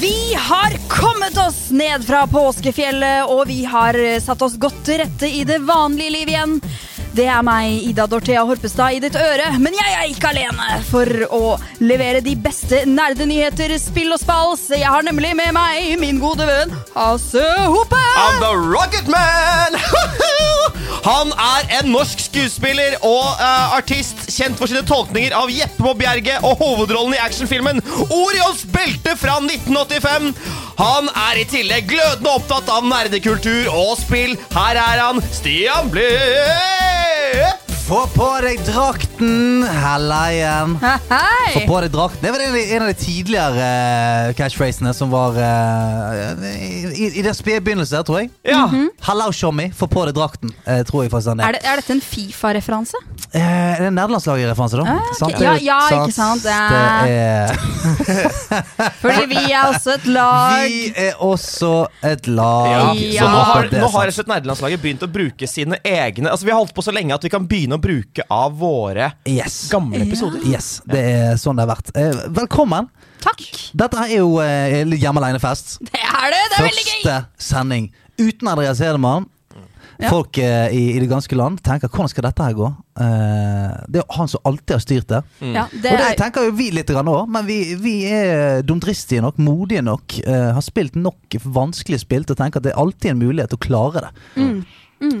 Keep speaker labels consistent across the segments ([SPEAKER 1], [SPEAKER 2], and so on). [SPEAKER 1] Vi har kommet oss ned fra påskefjellet, og vi har eh, satt oss godt til rette i det vanlige liv igjen. Det er meg, Ida Dorthea Horpestad, i ditt øre, men jeg er ikke alene for å levere de beste nerdenyheter, spill og spals. Jeg har nemlig med meg min gode venn Hasse Hope.
[SPEAKER 2] I'm the Rocket Man! Han er en norsk skuespiller og eh, artist kjent for sine tolkninger av Jeppe på Bjerget og hovedrollen i actionfilmen Orions belte fra 1985. Han er i tillegg glødende opptatt av nerdekultur og spill. Her er han, Stian Blipp!
[SPEAKER 3] Få på deg drakten, Helleien. Få
[SPEAKER 1] Hei!
[SPEAKER 3] på deg drakten. Det var en, en av de tidligere uh, catchphrasene som var eh, i, i den spede begynnelsen, tror jeg.
[SPEAKER 2] Ja.
[SPEAKER 3] Hello, Tjommi. Få på deg drakten, eh, tror jeg faktisk han er.
[SPEAKER 1] Er, det, er dette en Fifa-referanse?
[SPEAKER 3] Eh, er det nederlandslaget i referanse, da?
[SPEAKER 1] Ah, ok.
[SPEAKER 3] Sant?
[SPEAKER 1] Ja, ja, ikke sant?
[SPEAKER 3] Det
[SPEAKER 1] Ja.
[SPEAKER 3] er
[SPEAKER 1] Fordi vi er også et lag.
[SPEAKER 3] Vi er også et lag.
[SPEAKER 1] Ja.
[SPEAKER 2] Så nå har,
[SPEAKER 3] nettopp det er
[SPEAKER 2] nå har
[SPEAKER 3] sant.
[SPEAKER 2] Rødt Nerdelandslaget begynt å bruke sine egne Altså Vi har holdt på så lenge at vi kan begynne å bruke av våre
[SPEAKER 3] Yes.
[SPEAKER 2] gamle episoder.
[SPEAKER 3] Yes, det er sånn det har vært. Eh, velkommen.
[SPEAKER 1] Takk.
[SPEAKER 3] Dette her er jo eh, litt hjemme alene-fest.
[SPEAKER 1] Det er det. Det er veldig gøy.
[SPEAKER 3] Første sending uten Andreas Hedemann.
[SPEAKER 1] Ja.
[SPEAKER 3] Folk eh, i, i det ganske land tenker 'hvordan skal dette her gå'? Eh, det er jo han som alltid har styrt det.
[SPEAKER 1] Ja, det
[SPEAKER 3] og det
[SPEAKER 1] er,
[SPEAKER 3] tenker jo vi litt òg, men vi, vi er eh, dumdristige nok, modige nok. eh, har spilt nok vanskelige spill til å tenke at det er alltid en mulighet til å klare det.
[SPEAKER 1] Mm.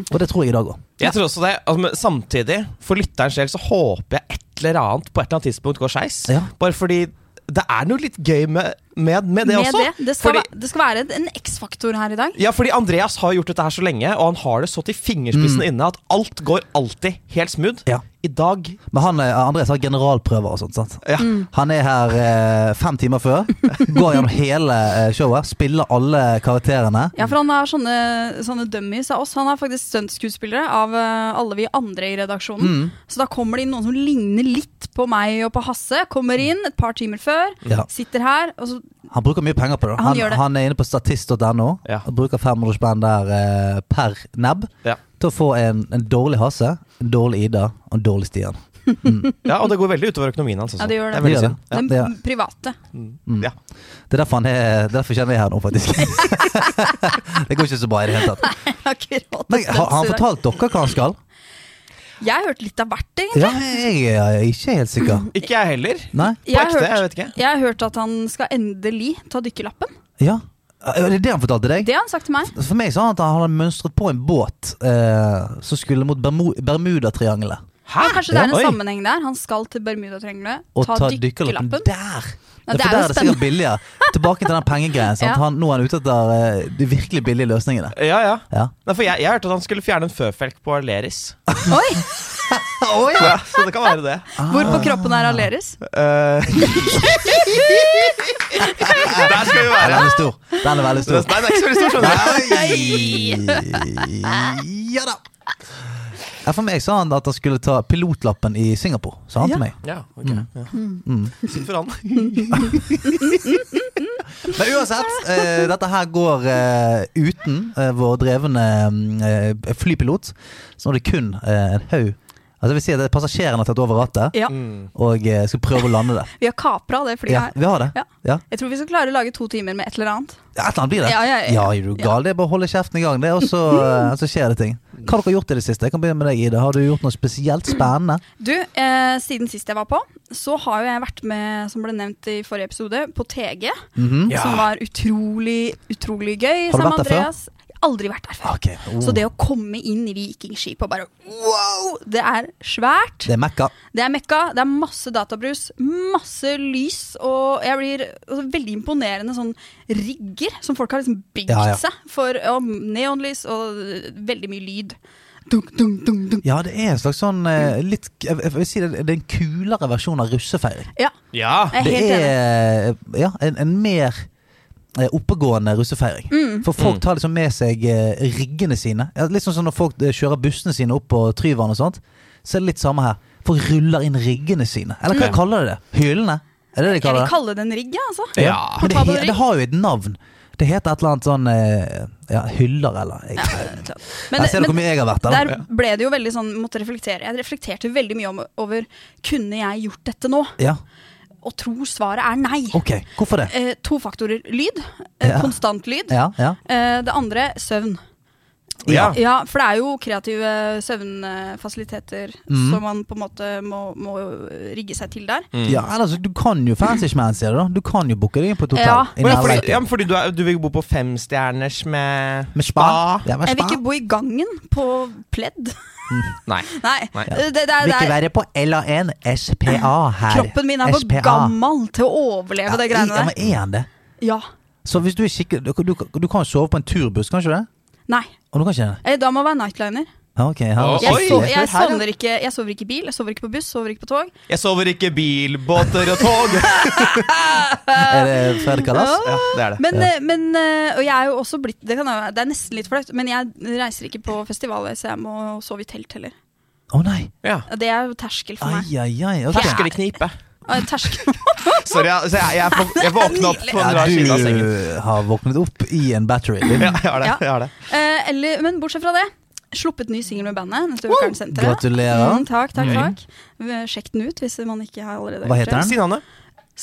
[SPEAKER 3] Og det tror jeg i dag òg.
[SPEAKER 2] Jeg tror også det, altså, men Samtidig, for lytterens del, så håper jeg et eller annet på et eller annet tidspunkt går skeis.
[SPEAKER 3] Ja.
[SPEAKER 2] Bare fordi det er noe litt gøy med, med, med det
[SPEAKER 1] med
[SPEAKER 2] også.
[SPEAKER 1] det. Det skal,
[SPEAKER 2] fordi,
[SPEAKER 1] være, det skal være en X-faktor her i dag.
[SPEAKER 2] ja, fordi Andreas har gjort dette her så lenge, og han har det så til fingerspissen
[SPEAKER 3] Mm.
[SPEAKER 2] inne at alt går alltid helt smooth.
[SPEAKER 3] Ja.
[SPEAKER 2] I dag
[SPEAKER 3] Men han, eh, Andreas har generalprøver og sånt. sant?
[SPEAKER 2] ja.
[SPEAKER 1] Mm.
[SPEAKER 3] Han er her eh, fem timer før. Går gjennom hele eh, showet. Spiller alle karakterene.
[SPEAKER 1] Ja, for han har sånne, sånne dummies av oss. Han er faktisk stuntskuespillere av eh, alle vi andre i
[SPEAKER 3] Mm.
[SPEAKER 1] redaksjonen. Så da kommer det inn noen som ligner litt på meg og på Hasse. Kommer inn et par timer før,
[SPEAKER 3] Ja.
[SPEAKER 1] sitter her, og så
[SPEAKER 3] Han bruker mye penger på det.
[SPEAKER 1] Han
[SPEAKER 3] Han,
[SPEAKER 1] gjør det.
[SPEAKER 3] han, er inne på statist.no.
[SPEAKER 2] Ja.
[SPEAKER 3] og Bruker 500 spenn der eh, per nebb
[SPEAKER 2] Ja.
[SPEAKER 3] til å få en, en dårlig Hasse, en dårlig Ida og en dårlig Stian.
[SPEAKER 2] ja, og det går veldig utover økonomien hans. også.
[SPEAKER 1] Ja, det gjør det.
[SPEAKER 2] er veldig
[SPEAKER 3] Det gjør
[SPEAKER 2] synd. Mm.
[SPEAKER 3] Ja,
[SPEAKER 1] Den
[SPEAKER 3] det Mm. er-
[SPEAKER 1] private.
[SPEAKER 2] Ja.
[SPEAKER 3] Det er derfor, han er, derfor kjenner jeg her nå, faktisk. det går ikke så bra i det hele tatt.
[SPEAKER 1] Jeg har ikke råd
[SPEAKER 3] Men,
[SPEAKER 1] til
[SPEAKER 3] har, har han
[SPEAKER 1] stunts i dag.
[SPEAKER 3] fortalt dere hva han skal?
[SPEAKER 1] Jeg har hørt litt av hvert, egentlig.
[SPEAKER 3] Ja, jeg er ikke helt sikker.
[SPEAKER 2] Ikke jeg heller.
[SPEAKER 3] Nei?
[SPEAKER 2] På
[SPEAKER 1] Jeg
[SPEAKER 2] ekte,
[SPEAKER 1] har,
[SPEAKER 2] jeg
[SPEAKER 1] hørt,
[SPEAKER 2] vet ikke.
[SPEAKER 1] jeg har hørt at han skal endelig ta dykkerlappen.
[SPEAKER 3] Ja. Er det det han fortalte deg?
[SPEAKER 1] Det har han sagt til meg.
[SPEAKER 3] For meg sa han at han hadde mønstret på en båt eh, som skulle mot Bermu Bermudatriangelet.
[SPEAKER 1] Men kanskje det er en
[SPEAKER 2] Oi.
[SPEAKER 1] sammenheng der. Han skal til Bermudatriangelet,
[SPEAKER 3] Og
[SPEAKER 1] ta,
[SPEAKER 3] ta dykkerlappen
[SPEAKER 1] dykkerlappen.
[SPEAKER 3] der!
[SPEAKER 1] Ja,
[SPEAKER 3] Ja,
[SPEAKER 1] det
[SPEAKER 3] for
[SPEAKER 1] er
[SPEAKER 3] der
[SPEAKER 1] jo
[SPEAKER 3] er det sikkert billigere. Tilbake til den pengegreien. Sant?
[SPEAKER 1] Ja.
[SPEAKER 3] Han, nå er han ute etter eh, de virkelig billige løsningene.
[SPEAKER 2] Ja, ja.
[SPEAKER 3] Ja.
[SPEAKER 2] Nei, for jeg, jeg hørte at han skulle fjerne en føfelk på Aleris.
[SPEAKER 1] Oi!
[SPEAKER 2] Så, så det kan være det.
[SPEAKER 1] Hvor
[SPEAKER 3] Ah.
[SPEAKER 1] på kroppen er Aleris?
[SPEAKER 2] Eh, Der skal vi
[SPEAKER 3] Den
[SPEAKER 2] være.
[SPEAKER 3] er stor. Den er veldig
[SPEAKER 2] Nei,
[SPEAKER 3] stor.
[SPEAKER 2] det er ikke så veldig stor, skjønner du.
[SPEAKER 3] Nei. Ja da. Ja, for meg sa han at han skulle ta pilotlappen i Singapore, sa han
[SPEAKER 1] Ja.
[SPEAKER 3] til meg.
[SPEAKER 2] Ja, ok. Ja. Mm. Synd for han.
[SPEAKER 3] Men uansett, eh, dette her går eh, uten eh, vår drevne eh, flypilot. Så nå er det kun eh, en haug Altså jeg vil si at det er Passasjerene har tatt over rattet
[SPEAKER 1] Ja.
[SPEAKER 2] Mm.
[SPEAKER 3] og eh, skal prøve å lande det.
[SPEAKER 1] Vi har kapra det flyet
[SPEAKER 3] Ja,
[SPEAKER 1] her.
[SPEAKER 3] vi har det.
[SPEAKER 1] Ja.
[SPEAKER 3] Ja.
[SPEAKER 1] Jeg tror vi skal klare å lage to timer med et eller annet.
[SPEAKER 3] Et eller annet blir det.
[SPEAKER 1] Ja, ja, ja.
[SPEAKER 3] er du gal? Det er bare å holde kjeften i gang, det, og så, eh, så skjer det ting. Hva har dere gjort i det siste? Jeg kan begynne med deg, Ida. Har du gjort noe spesielt spennende?
[SPEAKER 1] Du, eh, siden sist jeg var på, så har jo jeg vært med, som ble nevnt i forrige episode, på TG.
[SPEAKER 3] Mhm.
[SPEAKER 1] Som var utrolig, utrolig gøy.
[SPEAKER 3] Har du
[SPEAKER 1] sammen med
[SPEAKER 3] vært der før?
[SPEAKER 1] Andreas. Jeg har Aldri vært der før.
[SPEAKER 3] Ok, oh.
[SPEAKER 1] Så det å komme inn i vikingskip og bare wow! Det er svært.
[SPEAKER 3] Oh, Det er Mekka.
[SPEAKER 1] Det er mekka, det er masse databrus, masse lys, og jeg blir altså, veldig imponerende sånn rigger som folk har liksom bygd
[SPEAKER 3] Ja, ja.
[SPEAKER 1] seg for. Og neonlys og øh, veldig mye lyd. Dunk, dunk, dunk, dunk.
[SPEAKER 3] Ja, det er en slags sånn eh, litt jeg jeg vil si det, det er en kulere versjon av russefeiring.
[SPEAKER 1] Ja,
[SPEAKER 2] Ja.
[SPEAKER 1] jeg er
[SPEAKER 3] Det
[SPEAKER 1] helt enig.
[SPEAKER 3] er ja, en, en mer eh, oppegående russefeiring.
[SPEAKER 1] Mm.
[SPEAKER 3] For
[SPEAKER 2] Mm.
[SPEAKER 3] folk tar liksom med seg eh, riggene sine. Ja, Litt sånn som når folk eh, kjører bussene sine opp på Tryvann og sånt. Så er det litt samme her. Folk ruller inn riggene sine. Eller hva
[SPEAKER 2] Mm.
[SPEAKER 3] kaller de det? Hylene? Er det det
[SPEAKER 1] Jeg vil
[SPEAKER 3] de kaller det?
[SPEAKER 1] kalle det en rigg, jeg, altså.
[SPEAKER 2] Ja.
[SPEAKER 3] Men det,
[SPEAKER 1] Portabel
[SPEAKER 3] he-
[SPEAKER 1] rigg.
[SPEAKER 3] det har jo et navn. Det heter et eller annet sånn eh, ja, hyller, eller jeg,
[SPEAKER 1] Men,
[SPEAKER 3] Her ser du hvor
[SPEAKER 1] men
[SPEAKER 3] mye jeg har vært der.
[SPEAKER 1] der ble det jo veldig sånn Måtte reflektere. Jeg reflekterte veldig mye om, over Kunne jeg gjort dette nå?
[SPEAKER 3] Ja,
[SPEAKER 1] Og tror svaret er nei.
[SPEAKER 3] ok. Hvorfor det?
[SPEAKER 1] Eh, to faktorer. Lyd. Eh,
[SPEAKER 3] Ja.
[SPEAKER 1] Konstant lyd.
[SPEAKER 3] Ja, ja.
[SPEAKER 1] Eh, det andre søvn.
[SPEAKER 2] Ja.
[SPEAKER 1] Ja, for det er jo kreative søvnfasiliteter
[SPEAKER 3] Mm.
[SPEAKER 1] som man på en måte må, må rigge seg til der.
[SPEAKER 2] Mm.
[SPEAKER 3] ja ellers, du kan jo fancy schmancy, da. Du kan jo booke deg inn på et hotell.
[SPEAKER 1] Ja.
[SPEAKER 3] i
[SPEAKER 2] Å, ja, fordi,
[SPEAKER 3] nærheten.
[SPEAKER 2] ja, men fordi du, er, du vil bo på femstjerners med
[SPEAKER 3] Med spa.
[SPEAKER 2] Ah.
[SPEAKER 3] Ja, med
[SPEAKER 1] Jeg vil
[SPEAKER 3] spa.
[SPEAKER 1] ikke bo i gangen på pledd.
[SPEAKER 2] Nei.
[SPEAKER 1] Nei. Eh,
[SPEAKER 2] Nei.
[SPEAKER 1] Det, det, er-
[SPEAKER 3] Vil
[SPEAKER 1] det
[SPEAKER 3] ikke
[SPEAKER 1] er,
[SPEAKER 3] være på LAN SPA her.
[SPEAKER 1] kroppen min er for
[SPEAKER 3] SPA.
[SPEAKER 1] gammel til å overleve det
[SPEAKER 3] Ja,
[SPEAKER 1] greiene der.
[SPEAKER 3] men er han det?
[SPEAKER 1] Ja.
[SPEAKER 3] Så hvis du er skikkelig du, du, du kan jo sove på en turbuss, kan ikke du det?
[SPEAKER 1] Nei.
[SPEAKER 3] Og du kan ikke det?
[SPEAKER 1] Eh, Da må jeg være nightliner.
[SPEAKER 3] Ja, ok. her er
[SPEAKER 2] Oi.
[SPEAKER 3] det
[SPEAKER 1] Jeg, so
[SPEAKER 3] skikkelig.
[SPEAKER 1] jeg,
[SPEAKER 2] Her, ja.
[SPEAKER 1] sovner ikke, jeg sover ikke i bil, jeg sover ikke på buss, sover ikke på tog.
[SPEAKER 2] Jeg sover ikke i bil, båter og tog.
[SPEAKER 3] Er det Fredrik Kalas?
[SPEAKER 2] Ja, det er det.
[SPEAKER 1] Men, eh, men eh, Og jeg er jo også blitt Det, kan, jeg- det er nesten litt flaut, men jeg reiser ikke på festivaler, så jeg må sove i telt heller.
[SPEAKER 3] Å nei.
[SPEAKER 2] Ja.
[SPEAKER 1] Det er jo terskel for meg.
[SPEAKER 3] Ai, ai, ai. ok.
[SPEAKER 2] Terskel i knipe.
[SPEAKER 1] Eh, Terskel
[SPEAKER 2] Sorry, jeg, så jeg, jeg, får- jeg våkna opp på
[SPEAKER 3] Ja,
[SPEAKER 2] andre siden av sengen.
[SPEAKER 3] du har våknet opp i en battery.
[SPEAKER 2] Ja, jeg har det. Jeg har det.
[SPEAKER 1] Eh, eller, men bortsett fra det, sluppet ny singel med bandet. Neste uke er den sendt til dere.
[SPEAKER 3] Gratulerer.
[SPEAKER 1] Mm, takk, takk, takk. Eh, Sjekk den ut hvis man ikke har allerede
[SPEAKER 3] Hva heter
[SPEAKER 1] gjort det.
[SPEAKER 3] den?
[SPEAKER 2] Si navnet.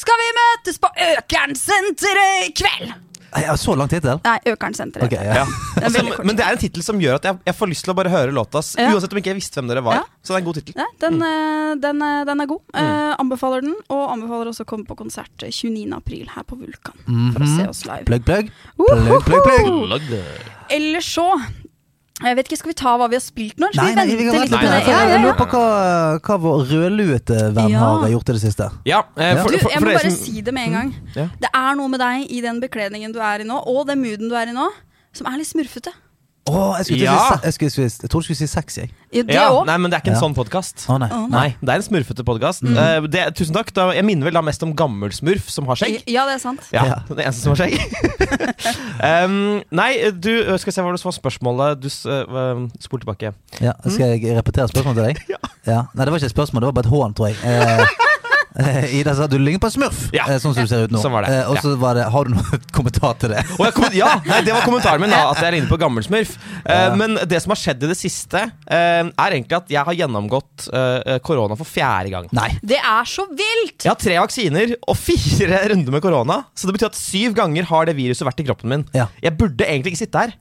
[SPEAKER 1] Skal vi møtes på Økernsenteret i kveld?
[SPEAKER 3] Ai, ja, så lang tittel?
[SPEAKER 1] Nei, Økernsenteret.
[SPEAKER 3] Ok, ja.
[SPEAKER 2] Ja.
[SPEAKER 1] Det er
[SPEAKER 2] Altså,
[SPEAKER 1] veldig kort.
[SPEAKER 2] men det er en tittel som gjør at jeg, jeg får lyst til å bare høre låta. s-
[SPEAKER 1] Ja.
[SPEAKER 2] Uansett om ikke jeg visste hvem dere
[SPEAKER 1] Ja.
[SPEAKER 2] var. Så det er en god tittel.
[SPEAKER 1] Nei, den, eh, den, eh, den er god.
[SPEAKER 2] Mm.
[SPEAKER 1] Eh, anbefaler den, og anbefaler også å komme på konsert 29. april her på Vulkan. For
[SPEAKER 2] Mhm.
[SPEAKER 1] å se oss live.
[SPEAKER 3] Plugg, plugg.
[SPEAKER 1] Woho!
[SPEAKER 3] Plugg, plugg, plugg.
[SPEAKER 1] Ellers så Jeg vet ikke, skal vi ta hva vi har spilt nå? Skal
[SPEAKER 3] Nei, nei, vi kan vente litt på
[SPEAKER 2] Nei,
[SPEAKER 3] det.
[SPEAKER 2] nei,
[SPEAKER 3] for
[SPEAKER 1] Ja, ja,
[SPEAKER 3] Jeg
[SPEAKER 1] ja.
[SPEAKER 3] lurer på hva, hva vår rødluete venn
[SPEAKER 1] Ja.
[SPEAKER 3] har gjort i det siste.
[SPEAKER 2] Ja, eh, for,
[SPEAKER 1] Du,
[SPEAKER 2] for,
[SPEAKER 1] jeg
[SPEAKER 2] for
[SPEAKER 1] må
[SPEAKER 2] dere
[SPEAKER 1] bare
[SPEAKER 2] som
[SPEAKER 1] si det med en gang.
[SPEAKER 2] Ja.
[SPEAKER 1] Det er noe med deg i den bekledningen du er i nå, og den mooden du er i nå, som er litt smurfete.
[SPEAKER 3] Å, jeg skulle til å
[SPEAKER 2] Ja.
[SPEAKER 3] si se- jeg, skulle, si- jeg trodde du skulle si sex, jeg.
[SPEAKER 1] Ja, det
[SPEAKER 2] ja,
[SPEAKER 1] òg.
[SPEAKER 2] Nei, men det er ikke en
[SPEAKER 3] Ja. Ah.
[SPEAKER 2] sånn podkast.
[SPEAKER 3] Å nei.
[SPEAKER 1] Å,
[SPEAKER 2] Nei, det er en smurfete podkast.
[SPEAKER 1] Mm.
[SPEAKER 2] tusen takk. Da, jeg minner vel da mest om gammel smurf som har skjegg.
[SPEAKER 1] Ja, det er sant.
[SPEAKER 2] Ja,
[SPEAKER 3] Ja.
[SPEAKER 2] Den eneste som har skjegg. um, nei, du Skal vi se hva det var spørsmålet du s- eh, Spol tilbake.
[SPEAKER 3] Ja, skal jeg repetere spørsmålet til deg?
[SPEAKER 2] Ja.
[SPEAKER 3] Nei, det var ikke et spørsmål, det var bare et hån, tror jeg. Eh, eh, Ida sa du ligner på en smurf,
[SPEAKER 2] Ja.
[SPEAKER 3] eh, sånn som du ser ut nå.
[SPEAKER 2] Sånn var det,
[SPEAKER 3] Eh, og så var det Har du noen kommentar til det?
[SPEAKER 2] Og jeg kom, ja, nei, det var kommentaren min, da, at jeg ligner på gammelsmurf. Eh,
[SPEAKER 3] Ja.
[SPEAKER 2] men det som har skjedd i det siste, eh, er egentlig at jeg har gjennomgått eh, korona for fjerde gang.
[SPEAKER 3] Nei.
[SPEAKER 1] Det er så vilt!
[SPEAKER 2] Jeg har tre vaksiner og fire runder med korona, så det betyr at syv ganger har det viruset vært i kroppen min.
[SPEAKER 3] Ja.
[SPEAKER 2] Jeg burde egentlig ikke sitte her.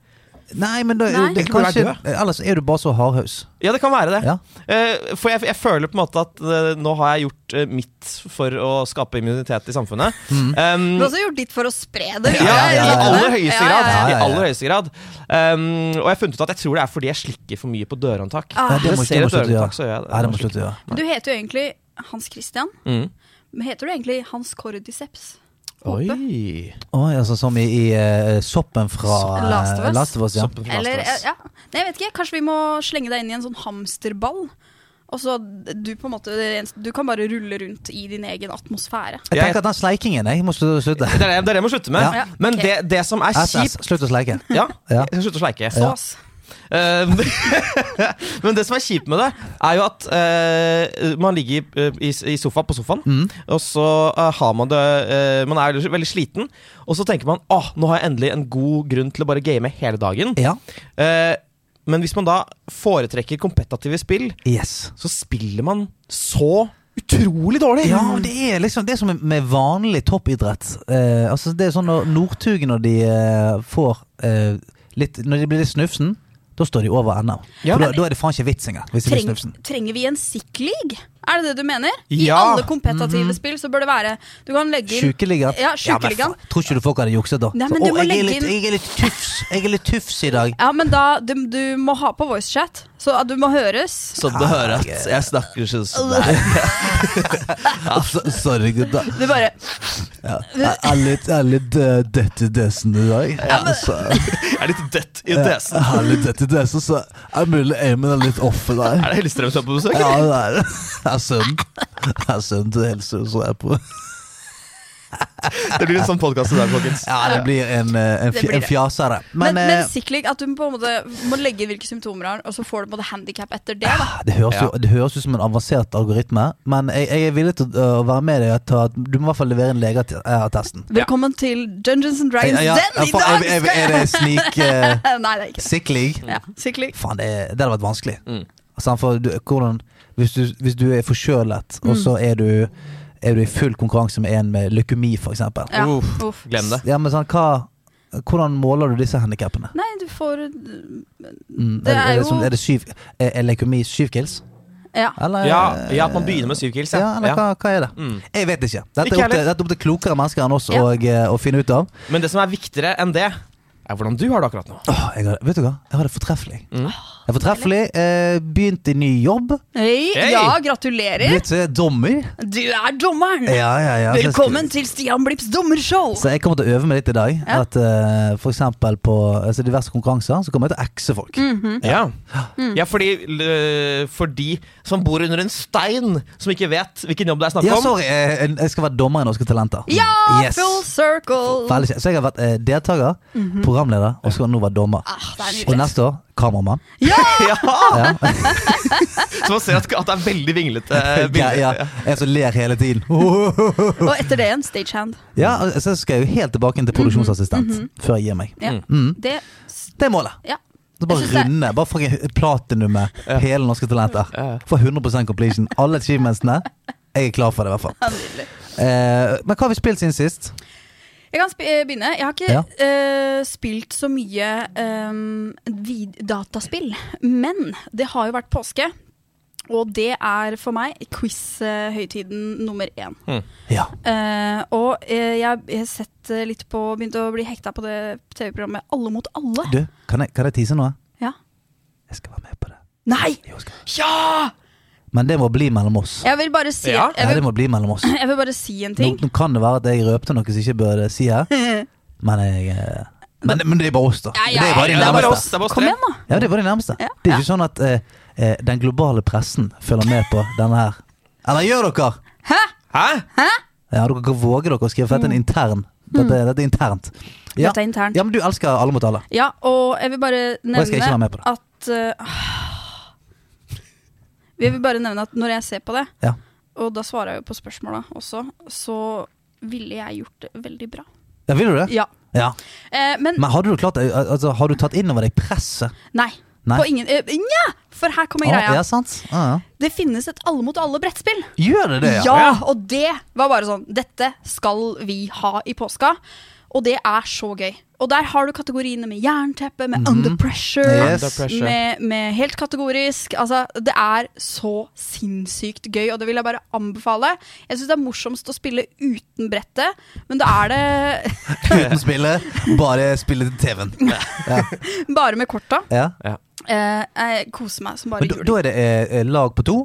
[SPEAKER 3] Nei, men da
[SPEAKER 1] Nei.
[SPEAKER 2] Jeg
[SPEAKER 3] Det,
[SPEAKER 2] tror
[SPEAKER 3] kanskje,
[SPEAKER 2] jeg er
[SPEAKER 3] eh, Ellers er du bare så hardhaus.
[SPEAKER 2] Ja, det kan være det.
[SPEAKER 3] Ja.
[SPEAKER 2] Eh, for jeg, jeg føler på en måte at eh, nå har jeg gjort eh, mitt for å skape immunitet i samfunnet. Um,
[SPEAKER 1] Du har også gjort ditt for å spre det.
[SPEAKER 2] ja,
[SPEAKER 3] Mm. ja, ja,
[SPEAKER 2] i
[SPEAKER 3] ja.
[SPEAKER 2] aller
[SPEAKER 1] Ja,
[SPEAKER 2] høyeste
[SPEAKER 1] ja,
[SPEAKER 2] grad.
[SPEAKER 1] ja.
[SPEAKER 3] ja, ja.
[SPEAKER 2] I aller høyeste grad. Um, og jeg har funnet ut at jeg tror det er fordi jeg slikker for mye på dørhåndtak.
[SPEAKER 1] Ah.
[SPEAKER 3] Nei, det
[SPEAKER 2] Hvis jeg
[SPEAKER 3] må ikke-
[SPEAKER 2] ser
[SPEAKER 3] det må
[SPEAKER 2] et
[SPEAKER 3] slutte å
[SPEAKER 2] dørhåndtak, så
[SPEAKER 3] gjøre.
[SPEAKER 2] gjør jeg det.
[SPEAKER 3] Nei, det må slutte å gjøre.
[SPEAKER 1] Du heter jo egentlig Hans Christian.
[SPEAKER 2] Mm.
[SPEAKER 1] Men heter du egentlig Hans Cordyceps?
[SPEAKER 2] Oi.
[SPEAKER 3] Oi, altså som i, i eh, soppen fra eh,
[SPEAKER 1] Last of Us.
[SPEAKER 3] Last of Us, ja.
[SPEAKER 2] Soppen fra
[SPEAKER 1] Eller eh,
[SPEAKER 2] Astras.
[SPEAKER 1] ja. Nei, jeg vet ikke. Kanskje vi må slenge deg inn i en sånn hamsterball? Og så du på en måte Du kan bare rulle rundt i din egen atmosfære.
[SPEAKER 3] Jeg
[SPEAKER 2] Jeg-
[SPEAKER 3] tenker at den sleikingen jeg må slutte. slutte.
[SPEAKER 2] Det er det, det er det jeg må slutte med.
[SPEAKER 3] Ja.
[SPEAKER 1] Ja,
[SPEAKER 2] Men
[SPEAKER 1] ok.
[SPEAKER 2] det, det som er
[SPEAKER 3] Ass, ass,
[SPEAKER 2] kjipt
[SPEAKER 3] slutt å sleike.
[SPEAKER 2] Ja,
[SPEAKER 3] Ja.
[SPEAKER 2] jeg skal slutte å sleike.
[SPEAKER 1] Så,
[SPEAKER 3] Ja.
[SPEAKER 1] ass.
[SPEAKER 2] Eh, Men det som er kjipt med det, er jo at eh, man ligger eh, i, i sofa på sofaen,
[SPEAKER 3] Mm.
[SPEAKER 2] og så eh, har man det eh, Man er veldig sliten, og så tenker man åh, nå har jeg endelig en god grunn til å bare game hele dagen.
[SPEAKER 3] Ja.
[SPEAKER 2] Eh, men hvis man da foretrekker kompetative spill,
[SPEAKER 3] Yes.
[SPEAKER 2] så spiller man så utrolig dårlig!
[SPEAKER 3] Ja,
[SPEAKER 1] Mm.
[SPEAKER 3] men det er liksom det som er med vanlig toppidrett. Eh, altså Det er sånn når Northug, når de eh, får eh, litt Når de blir litt snufsen, da står de over NM.
[SPEAKER 2] Ja.
[SPEAKER 3] For da, da er det faen ikke vits engang. Hvis de blir
[SPEAKER 1] Treng,
[SPEAKER 3] snufsen.
[SPEAKER 1] trenger vi en sick league? Er det det du mener? I
[SPEAKER 2] Ja.
[SPEAKER 1] alle kompetative
[SPEAKER 3] Mhm.
[SPEAKER 1] spill så bør det være Du kan legge inn
[SPEAKER 3] Sjukeligaen.
[SPEAKER 1] Ja, sjukeligaen.
[SPEAKER 3] men faen, tror ikke du folk hadde jukset da?
[SPEAKER 1] Nei, men du
[SPEAKER 3] å,
[SPEAKER 1] må
[SPEAKER 3] jeg, er
[SPEAKER 1] legge
[SPEAKER 3] litt,
[SPEAKER 1] inn-
[SPEAKER 3] jeg er litt tufs Jeg er litt tufs i dag.
[SPEAKER 1] Ja, men da du, du må ha på voicechat, så at du må høres.
[SPEAKER 3] sånn
[SPEAKER 2] Så du hører at jeg snakker ikke sånn.
[SPEAKER 3] Altså, sorry, gutta.
[SPEAKER 1] Du bare
[SPEAKER 3] Ja. Jeg er litt, jeg er litt uh, dødt i desen i dag. Altså,
[SPEAKER 2] Jeg er litt dødt i desen.
[SPEAKER 3] jeg er litt dødt i desen, så er det mulig aimen er litt off i dag.
[SPEAKER 2] Er det Hellstrøm som er på besøk?
[SPEAKER 3] Ja, det er det. Det er sønnen. Det er sønnen til Helse som er på
[SPEAKER 4] Det blir en sånn podkast i dag, folkens.
[SPEAKER 3] Ja, det blir en, eh, en,
[SPEAKER 1] Det
[SPEAKER 3] fj-
[SPEAKER 1] blir
[SPEAKER 3] en
[SPEAKER 1] det.
[SPEAKER 3] fjasere.
[SPEAKER 1] Men,
[SPEAKER 3] Men,
[SPEAKER 1] men,
[SPEAKER 3] eh,
[SPEAKER 1] sikkert at du på en måte må legge hvilke symptomer du har, og så får du på en måte handikap etter det. da
[SPEAKER 3] eh, det høres, jo, det høres ut som en avansert algoritme, men jeg, jeg er villig til å å være med deg. og ta- Du må i hvert fall levere en legeattesten.
[SPEAKER 1] Velkommen til Dungeons and Dragons.
[SPEAKER 3] Eh, Ja, ja,
[SPEAKER 1] Den i
[SPEAKER 3] for-
[SPEAKER 1] dag
[SPEAKER 3] er,
[SPEAKER 1] skal
[SPEAKER 3] er, er det sneak eh,
[SPEAKER 1] Nei, det er ikke det.
[SPEAKER 3] sick league?
[SPEAKER 1] Ja, sikkert.
[SPEAKER 3] Faen, det, det hadde vært vanskelig.
[SPEAKER 4] Mm.
[SPEAKER 3] Sant, for du, hvordan, hvis, du, hvis du er forkjølet,
[SPEAKER 1] Mm.
[SPEAKER 3] og så er du, er du i full konkurranse med en med leukemi, f.eks. Ja.
[SPEAKER 1] Ja.
[SPEAKER 4] Uff,
[SPEAKER 1] Uff.
[SPEAKER 4] glem det.
[SPEAKER 3] Ja, men sånn, hva- hvordan måler du disse handikappene?
[SPEAKER 1] Nei, du får
[SPEAKER 3] Mm,
[SPEAKER 1] Det er jo-
[SPEAKER 3] sånn- er, det syv, er, er leukemi syv kills?
[SPEAKER 1] Ja.
[SPEAKER 3] Eller,
[SPEAKER 4] Ja, ja, at man begynner med syv kills.
[SPEAKER 3] ja,
[SPEAKER 4] Ja.
[SPEAKER 3] eller
[SPEAKER 4] Ja.
[SPEAKER 3] Hva, hva er det?
[SPEAKER 4] Mm.
[SPEAKER 3] Jeg vet ikke. Dette
[SPEAKER 4] Ikke
[SPEAKER 3] er opp til,
[SPEAKER 4] heller.
[SPEAKER 3] dette er opp til klokere mennesker enn oss
[SPEAKER 1] Ja.
[SPEAKER 3] å- eh, å finne ut av.
[SPEAKER 4] Men det som er viktigere enn det, er hvordan du har det akkurat nå.
[SPEAKER 3] Åh, jeg har, vet du hva? Jeg har det fortreffelig.
[SPEAKER 4] Mm.
[SPEAKER 3] Jeg er fortreffelig. Eh, begynt i ny jobb.
[SPEAKER 1] Hei,
[SPEAKER 4] Hei!
[SPEAKER 1] ja, gratulerer.
[SPEAKER 3] Blitt eh, dommer.
[SPEAKER 1] Du er dommeren.
[SPEAKER 3] Ja, ja, ja. Så jeg skal-
[SPEAKER 1] Velkommen til Stian Blips dommershow.
[SPEAKER 3] Så jeg kommer til å øve meg litt i dag.
[SPEAKER 1] Ja.
[SPEAKER 3] At eh, for eksempel på altså diverse konkurranser så kommer jeg til å ekse folk.
[SPEAKER 1] Mm.
[SPEAKER 4] Ja,
[SPEAKER 3] Mm.
[SPEAKER 4] ja fordi, øh, for de som bor under en stein, som ikke vet hvilken jobb det er snakk
[SPEAKER 3] Ja,
[SPEAKER 4] om.
[SPEAKER 3] sorry. eh, Jeg skal være dommer i Norske Talenter.
[SPEAKER 1] Ja,
[SPEAKER 3] Yes.
[SPEAKER 1] full circle.
[SPEAKER 3] Veldig kjekt. Så jeg har vært eh, deltaker, programleder, og skal nå være dommer.
[SPEAKER 1] Mhm. Ah, det er nydelig.
[SPEAKER 3] og neste år kameramann.
[SPEAKER 4] Ja!
[SPEAKER 3] Ja.
[SPEAKER 4] Så man ser at, at det er veldig vinglete.
[SPEAKER 1] Eh,
[SPEAKER 4] øh,
[SPEAKER 3] Ja,
[SPEAKER 4] bilder.
[SPEAKER 3] ja. En som ler hele tiden.
[SPEAKER 1] Uhuh. Og etter det en stagehand.
[SPEAKER 3] Ja, og så skal jeg jo helt tilbake inn til produksjonsassistent
[SPEAKER 1] Mhm.
[SPEAKER 3] før jeg gir meg.
[SPEAKER 1] Ja.
[SPEAKER 3] Mm.
[SPEAKER 1] Det
[SPEAKER 3] Det er målet.
[SPEAKER 1] Ja.
[SPEAKER 3] Så bare
[SPEAKER 1] Jeg synes det-
[SPEAKER 3] runde. Bare fucking platinumet. Hele Norske
[SPEAKER 4] Ja.
[SPEAKER 3] Talenter. Få 100 completion. Alle achievementsene. Jeg er klar for det, i hvert fall.
[SPEAKER 1] er nydelig.
[SPEAKER 3] Eh, men hva har vi spilt siden sist?
[SPEAKER 1] Jeg kan sp eh, begynne. Jeg har ikke
[SPEAKER 3] Ja.
[SPEAKER 1] eh, spilt så mye eh, vid dataspill, men det har jo vært påske. Og det er for meg quiz-høytiden nummer én.
[SPEAKER 3] Ja.
[SPEAKER 1] Eh, og eh, jeg jeg har sett eh, litt på Begynt å bli hekta på det TV-programmet Alle mot alle.
[SPEAKER 3] Du, kan jeg, kan jeg tise noe?
[SPEAKER 1] Ja.
[SPEAKER 3] Jeg skal være med på det.
[SPEAKER 1] Nei!
[SPEAKER 3] Jo, jeg skal.
[SPEAKER 1] Ja!
[SPEAKER 3] Men det må bli mellom oss.
[SPEAKER 1] Jeg vil bare si,
[SPEAKER 4] Ja.
[SPEAKER 3] Ja,
[SPEAKER 1] jeg
[SPEAKER 3] det
[SPEAKER 1] vil,
[SPEAKER 3] må bli mellom oss.
[SPEAKER 1] jeg vil bare si en
[SPEAKER 3] Nå,
[SPEAKER 1] ting.
[SPEAKER 3] nå kan det være at jeg røpte noe som jeg ikke burde si her, men jeg eh, men, men det er bare oss, da.
[SPEAKER 1] Ja, ja,
[SPEAKER 3] det er bare de
[SPEAKER 4] Ja, det er bare oss.
[SPEAKER 3] nærmeste.
[SPEAKER 4] Det er bare oss
[SPEAKER 1] Kom
[SPEAKER 4] tre.
[SPEAKER 1] igjen, da.
[SPEAKER 3] Ja, det er bare de nærmeste.
[SPEAKER 1] Ja.
[SPEAKER 3] Det er ikke sånn at eh, eh, den globale pressen følger med på denne her. Eller gjør dere?
[SPEAKER 4] Hæ?
[SPEAKER 3] Ja, dere kan våge dere å skrive, for dette er en intern. Dette, dette er internt. Ja.
[SPEAKER 1] Mm. Dette er internt.
[SPEAKER 3] ja, men du elsker Alle mot alle.
[SPEAKER 1] Ja, og jeg vil bare nevne
[SPEAKER 3] jeg skal ikke være med på det.
[SPEAKER 1] at eh, Jeg vil bare nevne at når jeg ser på det,
[SPEAKER 3] Ja.
[SPEAKER 1] og da svarer jeg jo på spørsmåla også, så ville jeg gjort det veldig bra.
[SPEAKER 3] ja vil du det?
[SPEAKER 1] Ja.
[SPEAKER 3] Ja.
[SPEAKER 1] Eh, men
[SPEAKER 3] Men har du, klart, eh, altså, har du tatt inn over deg presset?
[SPEAKER 1] nei.
[SPEAKER 3] Nei.
[SPEAKER 1] På ingen eh, Nja! For her kommer
[SPEAKER 3] Ah,
[SPEAKER 1] greia.
[SPEAKER 3] ja, sant? Ah, ja.
[SPEAKER 1] Det finnes et alle mot alle brettspill.
[SPEAKER 3] Gjør det det,
[SPEAKER 1] Ja, og det var bare sånn Dette skal vi ha i påska. Og det er så gøy. Og der har du kategoriene med jernteppe, med under pressure,
[SPEAKER 3] Mhm. Yes.
[SPEAKER 4] Under pressure.
[SPEAKER 1] med, med helt kategorisk. Altså, det er så sinnssykt gøy, og det vil jeg bare anbefale. Jeg syns det er morsomst å spille uten brettet, men da er det
[SPEAKER 3] Uten spille, bare spille til TV-en. Ja.
[SPEAKER 1] bare med korta.
[SPEAKER 3] Ja.
[SPEAKER 1] Eh, jeg koser meg som bare
[SPEAKER 3] Men da,
[SPEAKER 1] juling.
[SPEAKER 3] da er det eh, eh, lag på to.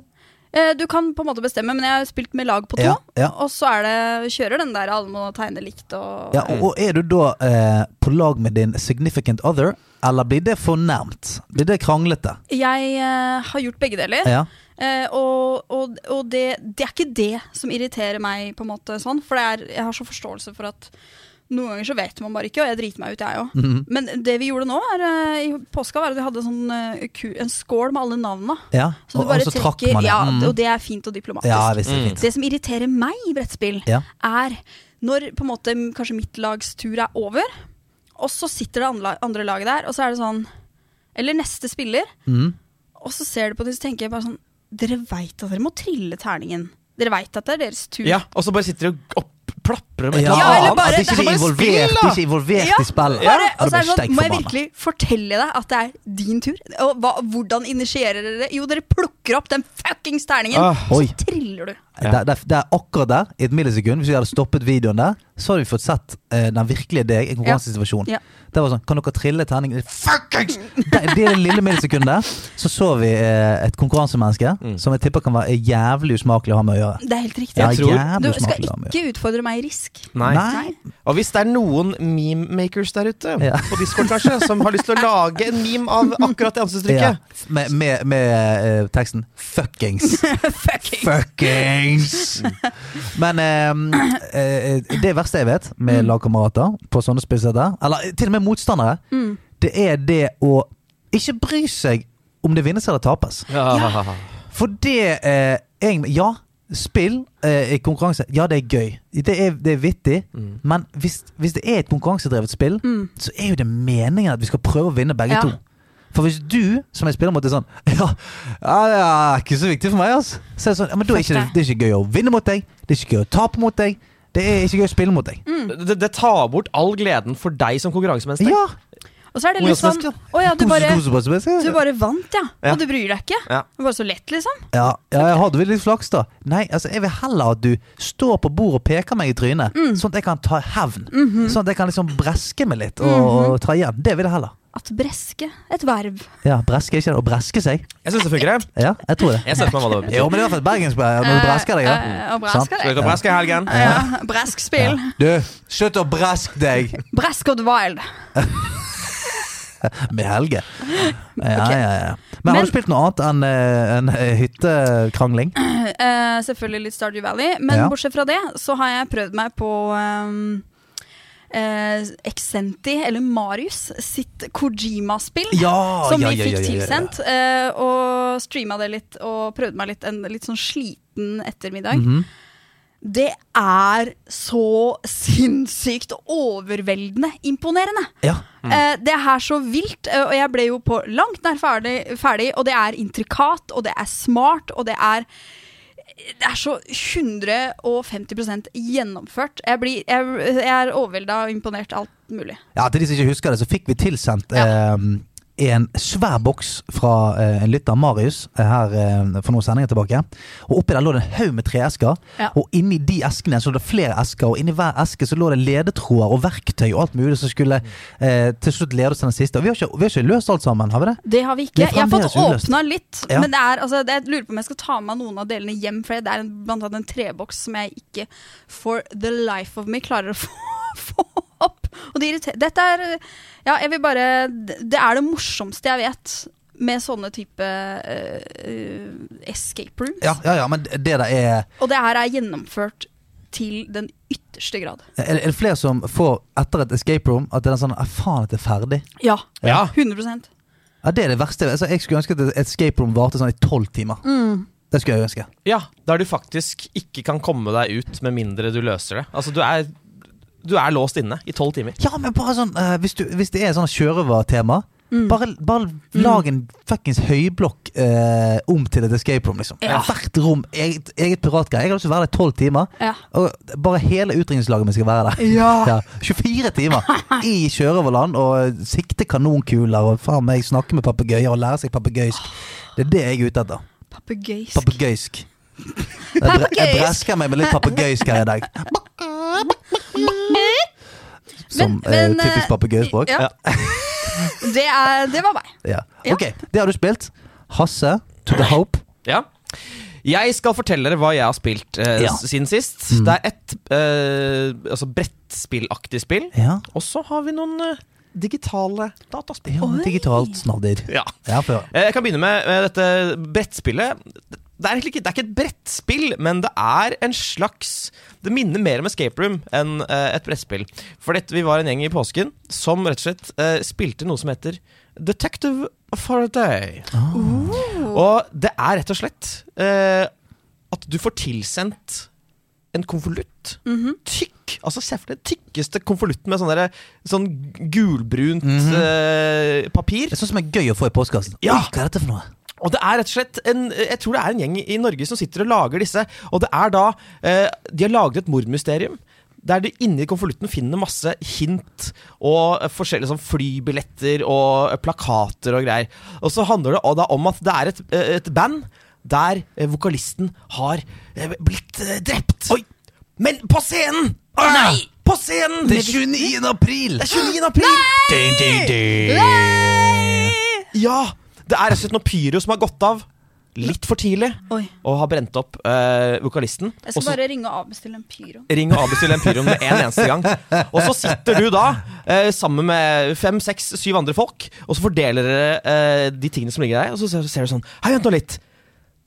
[SPEAKER 1] Eh, Du kan på en måte bestemme, men jeg har spilt med lag på to.
[SPEAKER 3] Ja, ja.
[SPEAKER 1] Og så er det, kjører den der alle må tegne likt og
[SPEAKER 3] Ja, og, og er du da eh, på lag med din significant other, eller blir det fornærmt? Blir det kranglete?
[SPEAKER 1] Jeg eh, har gjort begge deler.
[SPEAKER 3] Ja.
[SPEAKER 1] Eh, og og, og det, det er ikke det som irriterer meg, på en måte sånn. For det er, jeg har så forståelse for at noen ganger så vet man bare ikke, og jeg driter meg ut, jeg òg.
[SPEAKER 3] Mhm.
[SPEAKER 1] Men det vi gjorde nå er, eh, i påska, var at vi hadde sånn, eh, ku, en skål med alle navnene.
[SPEAKER 3] ja.
[SPEAKER 1] Så du bare trekker
[SPEAKER 3] det.
[SPEAKER 1] Ja,
[SPEAKER 3] Mm.
[SPEAKER 1] og det er fint og diplomatisk.
[SPEAKER 3] ja, visst det er fint.
[SPEAKER 1] Det som irriterer meg i brettspill,
[SPEAKER 3] Ja.
[SPEAKER 1] er når på en måte m- kanskje mitt lags tur er over, og så sitter det andre, andre laget der, og så er det sånn Eller neste spiller,
[SPEAKER 3] Mm.
[SPEAKER 1] og så ser du på det, så tenker jeg bare sånn Dere veit at dere må trille terningen. Dere veit at det er deres tur.
[SPEAKER 4] Ja, og så bare sitter de og opp, plaprer med
[SPEAKER 3] Ja,
[SPEAKER 1] Ja, eller bare-
[SPEAKER 3] at ikke de er involvert, de er ikke involvert
[SPEAKER 1] Ja,
[SPEAKER 3] i spillet.
[SPEAKER 1] Bare,
[SPEAKER 3] Ja,
[SPEAKER 1] og så
[SPEAKER 3] det
[SPEAKER 1] er det
[SPEAKER 3] blir
[SPEAKER 1] sånn, må
[SPEAKER 3] steik
[SPEAKER 1] jeg
[SPEAKER 3] forbanna.
[SPEAKER 1] virkelig fortelle deg at det er din tur? Og hva, hvordan initierer dere det? Jo, dere plukker opp den fuckings terningen,
[SPEAKER 4] Ah,
[SPEAKER 1] og
[SPEAKER 3] oi.
[SPEAKER 1] så triller du.
[SPEAKER 4] Ja.
[SPEAKER 3] Der, der, der, akkurat der, i et millisekund, hvis vi hadde stoppet videoen der, så hadde vi fått sett eh, den virkelige deg i en konkurransesituasjon.
[SPEAKER 1] Ja.
[SPEAKER 3] Det var sånn, Kan dere trille terningen Fuckings! Det, det er det lille millisekundet der, så så vi eh, et konkurransemenneske
[SPEAKER 4] Mm.
[SPEAKER 3] som jeg tipper kan være jævlig usmakelig å ha med å gjøre.
[SPEAKER 1] Det er helt riktig.
[SPEAKER 3] Ja,
[SPEAKER 4] Jeg tror-
[SPEAKER 1] du
[SPEAKER 3] jævlig
[SPEAKER 1] skal
[SPEAKER 3] usmakelig å ha med å gjøre.
[SPEAKER 1] ikke utfordre meg i risk.
[SPEAKER 4] Nei.
[SPEAKER 1] Nei.
[SPEAKER 4] Og hvis det er noen mememakers der ute,
[SPEAKER 3] Ja.
[SPEAKER 4] på Discord kanskje, som har lyst til å lage en meme av akkurat det
[SPEAKER 3] Ja,
[SPEAKER 4] ansiktsuttrykket
[SPEAKER 3] med med, med eh, teksten 'fuckings'.
[SPEAKER 1] Fucking.
[SPEAKER 3] Fuckings! Men eh, eh, det verste jeg vet med lagkamerater på sånne spillsetter, eller til og med motstandere,
[SPEAKER 1] Mm,
[SPEAKER 3] det er det å ikke bry seg om det vinnes eller tapes.
[SPEAKER 2] Ja.
[SPEAKER 3] For det eh, egentlig- Ja, spill eh, i konkurranse, ja det er gøy. Det er, det er vittig.
[SPEAKER 4] Mm.
[SPEAKER 3] Men hvis, hvis det er et konkurransedrevet spill,
[SPEAKER 1] mm.
[SPEAKER 3] så er jo det meningen at vi skal prøve å vinne begge
[SPEAKER 1] Ja.
[SPEAKER 3] to. For hvis du som jeg spiller mot er sånn Ja, ja det er ikke så viktig for meg, altså. Så er det sånn, ja, men da er
[SPEAKER 1] Fuck
[SPEAKER 3] ikke, det,
[SPEAKER 1] deg.
[SPEAKER 3] det er ikke gøy å vinne mot deg. Det er ikke gøy å tape mot deg. Det er ikke gøy å spille mot deg.
[SPEAKER 2] Det, det tar bort all gleden for deg som konkurransemenneske.
[SPEAKER 3] Ja!
[SPEAKER 1] Og så er det
[SPEAKER 3] Hvor
[SPEAKER 1] litt
[SPEAKER 3] jeg
[SPEAKER 1] sånn
[SPEAKER 3] skal-
[SPEAKER 1] Å ja, du
[SPEAKER 3] Kose-
[SPEAKER 1] bare,
[SPEAKER 3] kose på seg, skal jeg-
[SPEAKER 1] du bare vant, ja.
[SPEAKER 2] Ja.
[SPEAKER 1] Og du bryr deg ikke.
[SPEAKER 2] Ja.
[SPEAKER 1] Det var så lett, liksom.
[SPEAKER 3] Ja, ja, jeg hadde vel litt flaks, da. Nei, altså, jeg vil heller at du står på bordet og peker meg i trynet,
[SPEAKER 1] Mm.
[SPEAKER 3] sånn at jeg kan ta hevn.
[SPEAKER 1] Mhm.
[SPEAKER 3] Sånn at jeg kan liksom breske meg litt og, og ta igjen. Det vil jeg heller.
[SPEAKER 1] At breske et verv.
[SPEAKER 3] Ja, breske ikke det. Å breske seg.
[SPEAKER 2] Jeg syns det funker. jeg.
[SPEAKER 3] Ja, jeg tror det.
[SPEAKER 2] Jeg ser for meg hva det betyr.
[SPEAKER 3] Jo, men det er i hvert fall et bergensk når du bresker deg.
[SPEAKER 1] Eh, eh,
[SPEAKER 3] Ja.
[SPEAKER 1] og bresker
[SPEAKER 3] Sant?
[SPEAKER 2] Skal vi
[SPEAKER 1] deg.
[SPEAKER 2] ta brask i helgen?
[SPEAKER 1] Ja, bresk spill.
[SPEAKER 3] Du, slutt å breske deg
[SPEAKER 1] Bresk og wild.
[SPEAKER 3] med Helge. Ja,
[SPEAKER 1] Ok.
[SPEAKER 3] ja, ja. Men har
[SPEAKER 1] Men-
[SPEAKER 3] du spilt noe annet enn eh, en eh, hyttekrangling?
[SPEAKER 1] Eh, selvfølgelig litt Stardew Valley, men
[SPEAKER 3] Ja.
[SPEAKER 1] bortsett fra det så har jeg prøvd meg på ehm, eh, Exenti, eller Marius, sitt Kojima-spill.
[SPEAKER 3] Ja,
[SPEAKER 1] som
[SPEAKER 3] ja,
[SPEAKER 1] vi
[SPEAKER 3] ja,
[SPEAKER 1] fikk
[SPEAKER 3] ja, ja, ja.
[SPEAKER 1] tilsendt, eh, og streama det litt og prøvde meg litt en litt sånn sliten ettermiddag.
[SPEAKER 3] Mhm.
[SPEAKER 1] Det er så sinnssykt overveldende imponerende.
[SPEAKER 3] Ja.
[SPEAKER 1] Eh, det er så vilt, eh, og jeg ble jo på langt nær ferdig, ferdig, og det er intrikat, og det er smart, og det er det er så 150 gjennomført. Jeg, blir, jeg, jeg er overvelda og imponert alt mulig.
[SPEAKER 3] Ja, til de som ikke husker det, så fikk vi tilsendt
[SPEAKER 1] Ja.
[SPEAKER 3] eh, en svær boks fra eh, en lytter, Marius, eh, her eh, for noen sendinger tilbake. Og oppi der lå det en haug med treesker,
[SPEAKER 1] Ja.
[SPEAKER 3] og inni de eskene så lå det flere esker, og inni hver eske så lå det ledetråder og verktøy og alt mulig som skulle eh, til slutt lede oss til den siste. Og vi har ikke, vi har ikke løst alt sammen, har vi det?
[SPEAKER 1] Det har vi
[SPEAKER 3] Det
[SPEAKER 1] ikke.
[SPEAKER 3] er
[SPEAKER 1] Jeg har fått
[SPEAKER 3] fremdeles uløst.
[SPEAKER 1] åpna litt,
[SPEAKER 3] Ja.
[SPEAKER 1] men det er, altså, det, jeg lurer på om jeg skal ta med noen av delene hjem. For det er en, blant annet en treboks som jeg ikke for the life of me klarer å få, få opp. Og det irriterer Dette er Ja, jeg vil bare Det er det morsomste jeg vet med sånne type eh, eh, escape rooms.
[SPEAKER 3] Ja, ja, ja, men det der er
[SPEAKER 1] Og det her er gjennomført til den ytterste grad.
[SPEAKER 3] Er det er det flere som får etter et escape room at det er en sånn «Ah, Faen, at det er ferdig.
[SPEAKER 1] Ja.
[SPEAKER 2] Ja.
[SPEAKER 3] Ah.
[SPEAKER 1] 100
[SPEAKER 3] Ja, Det er det verste. Altså, jeg skulle ønske at et escape room varte sånn i tolv timer. Det skulle jeg ønske.
[SPEAKER 2] Ja, Der du faktisk ikke kan komme deg ut med mindre du løser det. Altså, du er, du er låst inne i tolv timer.
[SPEAKER 3] Ja, men bare sånn eh, hvis, du, hvis det er sånn kjørøvertema,
[SPEAKER 1] Mm.
[SPEAKER 3] bare, bare lag en fuckings høyblokk eh, om til et escape room, liksom.
[SPEAKER 1] Ja.
[SPEAKER 3] Hvert rom eget, eget piratgreie. Jeg har lyst til å være der i tolv timer.
[SPEAKER 1] Ja.
[SPEAKER 3] Og bare hele utringningslaget mitt skal være der.
[SPEAKER 1] Ja.
[SPEAKER 3] 24 timer i kjørøverland og eh, sikte kanonkuler og faen meg snakke med papegøyer og lære seg papegøysk. Det er det jeg er ute etter.
[SPEAKER 1] Papegøysk.
[SPEAKER 3] Papegøysk. Jeg, bre jeg
[SPEAKER 1] Papegøysk.
[SPEAKER 3] bresker meg med litt papegøysk her i dag. Som
[SPEAKER 1] Men-
[SPEAKER 3] eh,
[SPEAKER 1] men, eh,
[SPEAKER 3] typisk papegøyespråk.
[SPEAKER 1] Ja. Det, er, det var meg.
[SPEAKER 3] Ja.
[SPEAKER 1] Ja.
[SPEAKER 3] Ok, det har du spilt. Hasse, To The Hope.
[SPEAKER 2] Ja. Jeg skal fortelle dere hva jeg har spilt eh,
[SPEAKER 3] Ja. Mm.
[SPEAKER 2] s- siden sist. Det er et eh, altså brettspillaktig spill.
[SPEAKER 3] Ja.
[SPEAKER 2] Og så har vi noen eh, digitale dataspill.
[SPEAKER 3] ja
[SPEAKER 1] Oi.
[SPEAKER 3] digitalt snadder.
[SPEAKER 2] Ja.
[SPEAKER 3] Ja, for,
[SPEAKER 2] Eh, Jeg kan begynne med eh, dette brettspillet. Det er egentlig ikke, det er ikke et brettspill, men det er en slags Det minner mer om Escape Room enn eh, et brettspill. For dette, vi var en gjeng i påsken som rett og slett eh, spilte noe som heter Detective for a Day. Og det er rett og slett eh, at du får tilsendt en konvolutt. Tykk! Altså Se for deg den tykkeste konvolutten med sånn, derre- sånn gulbrunt eh, papir.
[SPEAKER 3] det er sånn som er gøy å få i postkassen.
[SPEAKER 2] Ja.
[SPEAKER 3] Oi, hva er dette for noe?
[SPEAKER 2] Og det er rett og slett en, Jeg tror det er en gjeng i Norge som sitter og lager disse. Og det er da eh, De har laget et mordmysterium. Der du inni konvolutten finner masse hint og eh, forskjellige sånn flybilletter og eh, plakater og greier. Og så handler det og da om at det er et, eh, et band der eh, vokalisten har eh, blitt eh, drept. Men på scenen!
[SPEAKER 1] Nei!
[SPEAKER 2] På scenen!
[SPEAKER 3] Det er 29. april!
[SPEAKER 2] Det er 29. april!
[SPEAKER 3] Ding, ding, ding.
[SPEAKER 2] Ja! Det er rett og slett noe pyro som har gått av litt for tidlig.
[SPEAKER 1] Oi.
[SPEAKER 2] og har brent opp eh, vokalisten.
[SPEAKER 1] Jeg
[SPEAKER 2] Og
[SPEAKER 1] skal
[SPEAKER 2] så
[SPEAKER 1] bare ringe og avbestille en pyro.
[SPEAKER 2] Ring og avbestill Empyrium med en eneste gang. Og så sitter du da eh, sammen med fem, seks, syv andre folk, og så fordeler dere eh, de tingene som ligger der, og så ser, ser du sånn Hei, vent nå litt.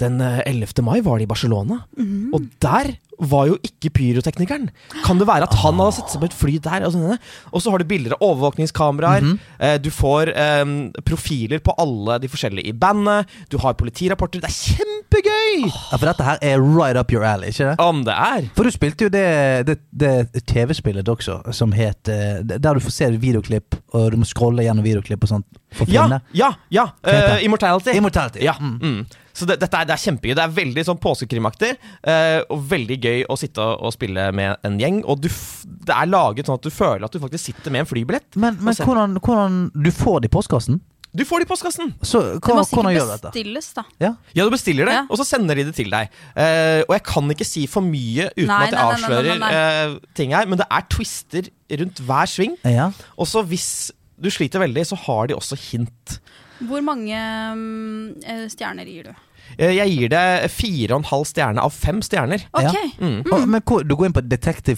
[SPEAKER 2] den eh, 11. mai var det i Barcelona.
[SPEAKER 1] Mhm.
[SPEAKER 2] Og der var jo ikke pyroteknikeren. Kan det være at han hadde satt seg på et fly der? Og, sånn, og så har du bilder av overvåkningskameraer. eh, Du får eh, profiler på alle de forskjellige i bandet. Du har politirapporter. Det er kjempegøy!
[SPEAKER 3] Ja, for dette her er right up your alley, ikke det?
[SPEAKER 2] Om det er
[SPEAKER 3] For du spilte jo det, det, det TV-spillet også, som het eh, Der du får se videoklipp, og du må scrolle gjennom videoklipp og sånt for å
[SPEAKER 2] Ja,
[SPEAKER 3] finne
[SPEAKER 2] ja, ja.
[SPEAKER 3] Hva heter
[SPEAKER 2] eh,
[SPEAKER 3] det?
[SPEAKER 2] immortality.
[SPEAKER 3] Immortality.
[SPEAKER 2] Ja.
[SPEAKER 3] Mm.
[SPEAKER 2] Mm. Så det, dette er, det er kjempegøy. Det er veldig sånn påskekrimaktig. eh, og veldig gøy å sitte og, og spille med en gjeng. Og du f det er laget sånn at du føler at du faktisk sitter med en flybillett.
[SPEAKER 3] Men, men
[SPEAKER 2] Og se-
[SPEAKER 3] hvordan, hvordan Du får det i postkassen?
[SPEAKER 2] Du får det i postkassen!
[SPEAKER 3] Så
[SPEAKER 1] Det
[SPEAKER 3] hva,
[SPEAKER 1] må
[SPEAKER 3] hvordan gjør du
[SPEAKER 1] sikkert
[SPEAKER 3] dette?
[SPEAKER 1] bestilles, da.
[SPEAKER 3] Ja.
[SPEAKER 2] Ja, du bestiller det,
[SPEAKER 1] Ja.
[SPEAKER 2] og så sender de det til deg. Eh, og jeg kan ikke si for mye uten
[SPEAKER 1] Nei,
[SPEAKER 2] at jeg
[SPEAKER 1] nei, nei, nei,
[SPEAKER 2] avslører
[SPEAKER 1] nei,
[SPEAKER 2] eh, ting her, men det er twister rundt hver sving.
[SPEAKER 3] ja.
[SPEAKER 2] Og så hvis du sliter veldig, så har de også hint.
[SPEAKER 1] Hvor mange mm, eh, stjerner gir du?
[SPEAKER 2] Eh, jeg gir det fire og en halv stjerne av fem stjerner.
[SPEAKER 1] Ok.
[SPEAKER 3] Ja.
[SPEAKER 2] Mm.
[SPEAKER 3] Og, men hvor, du går inn på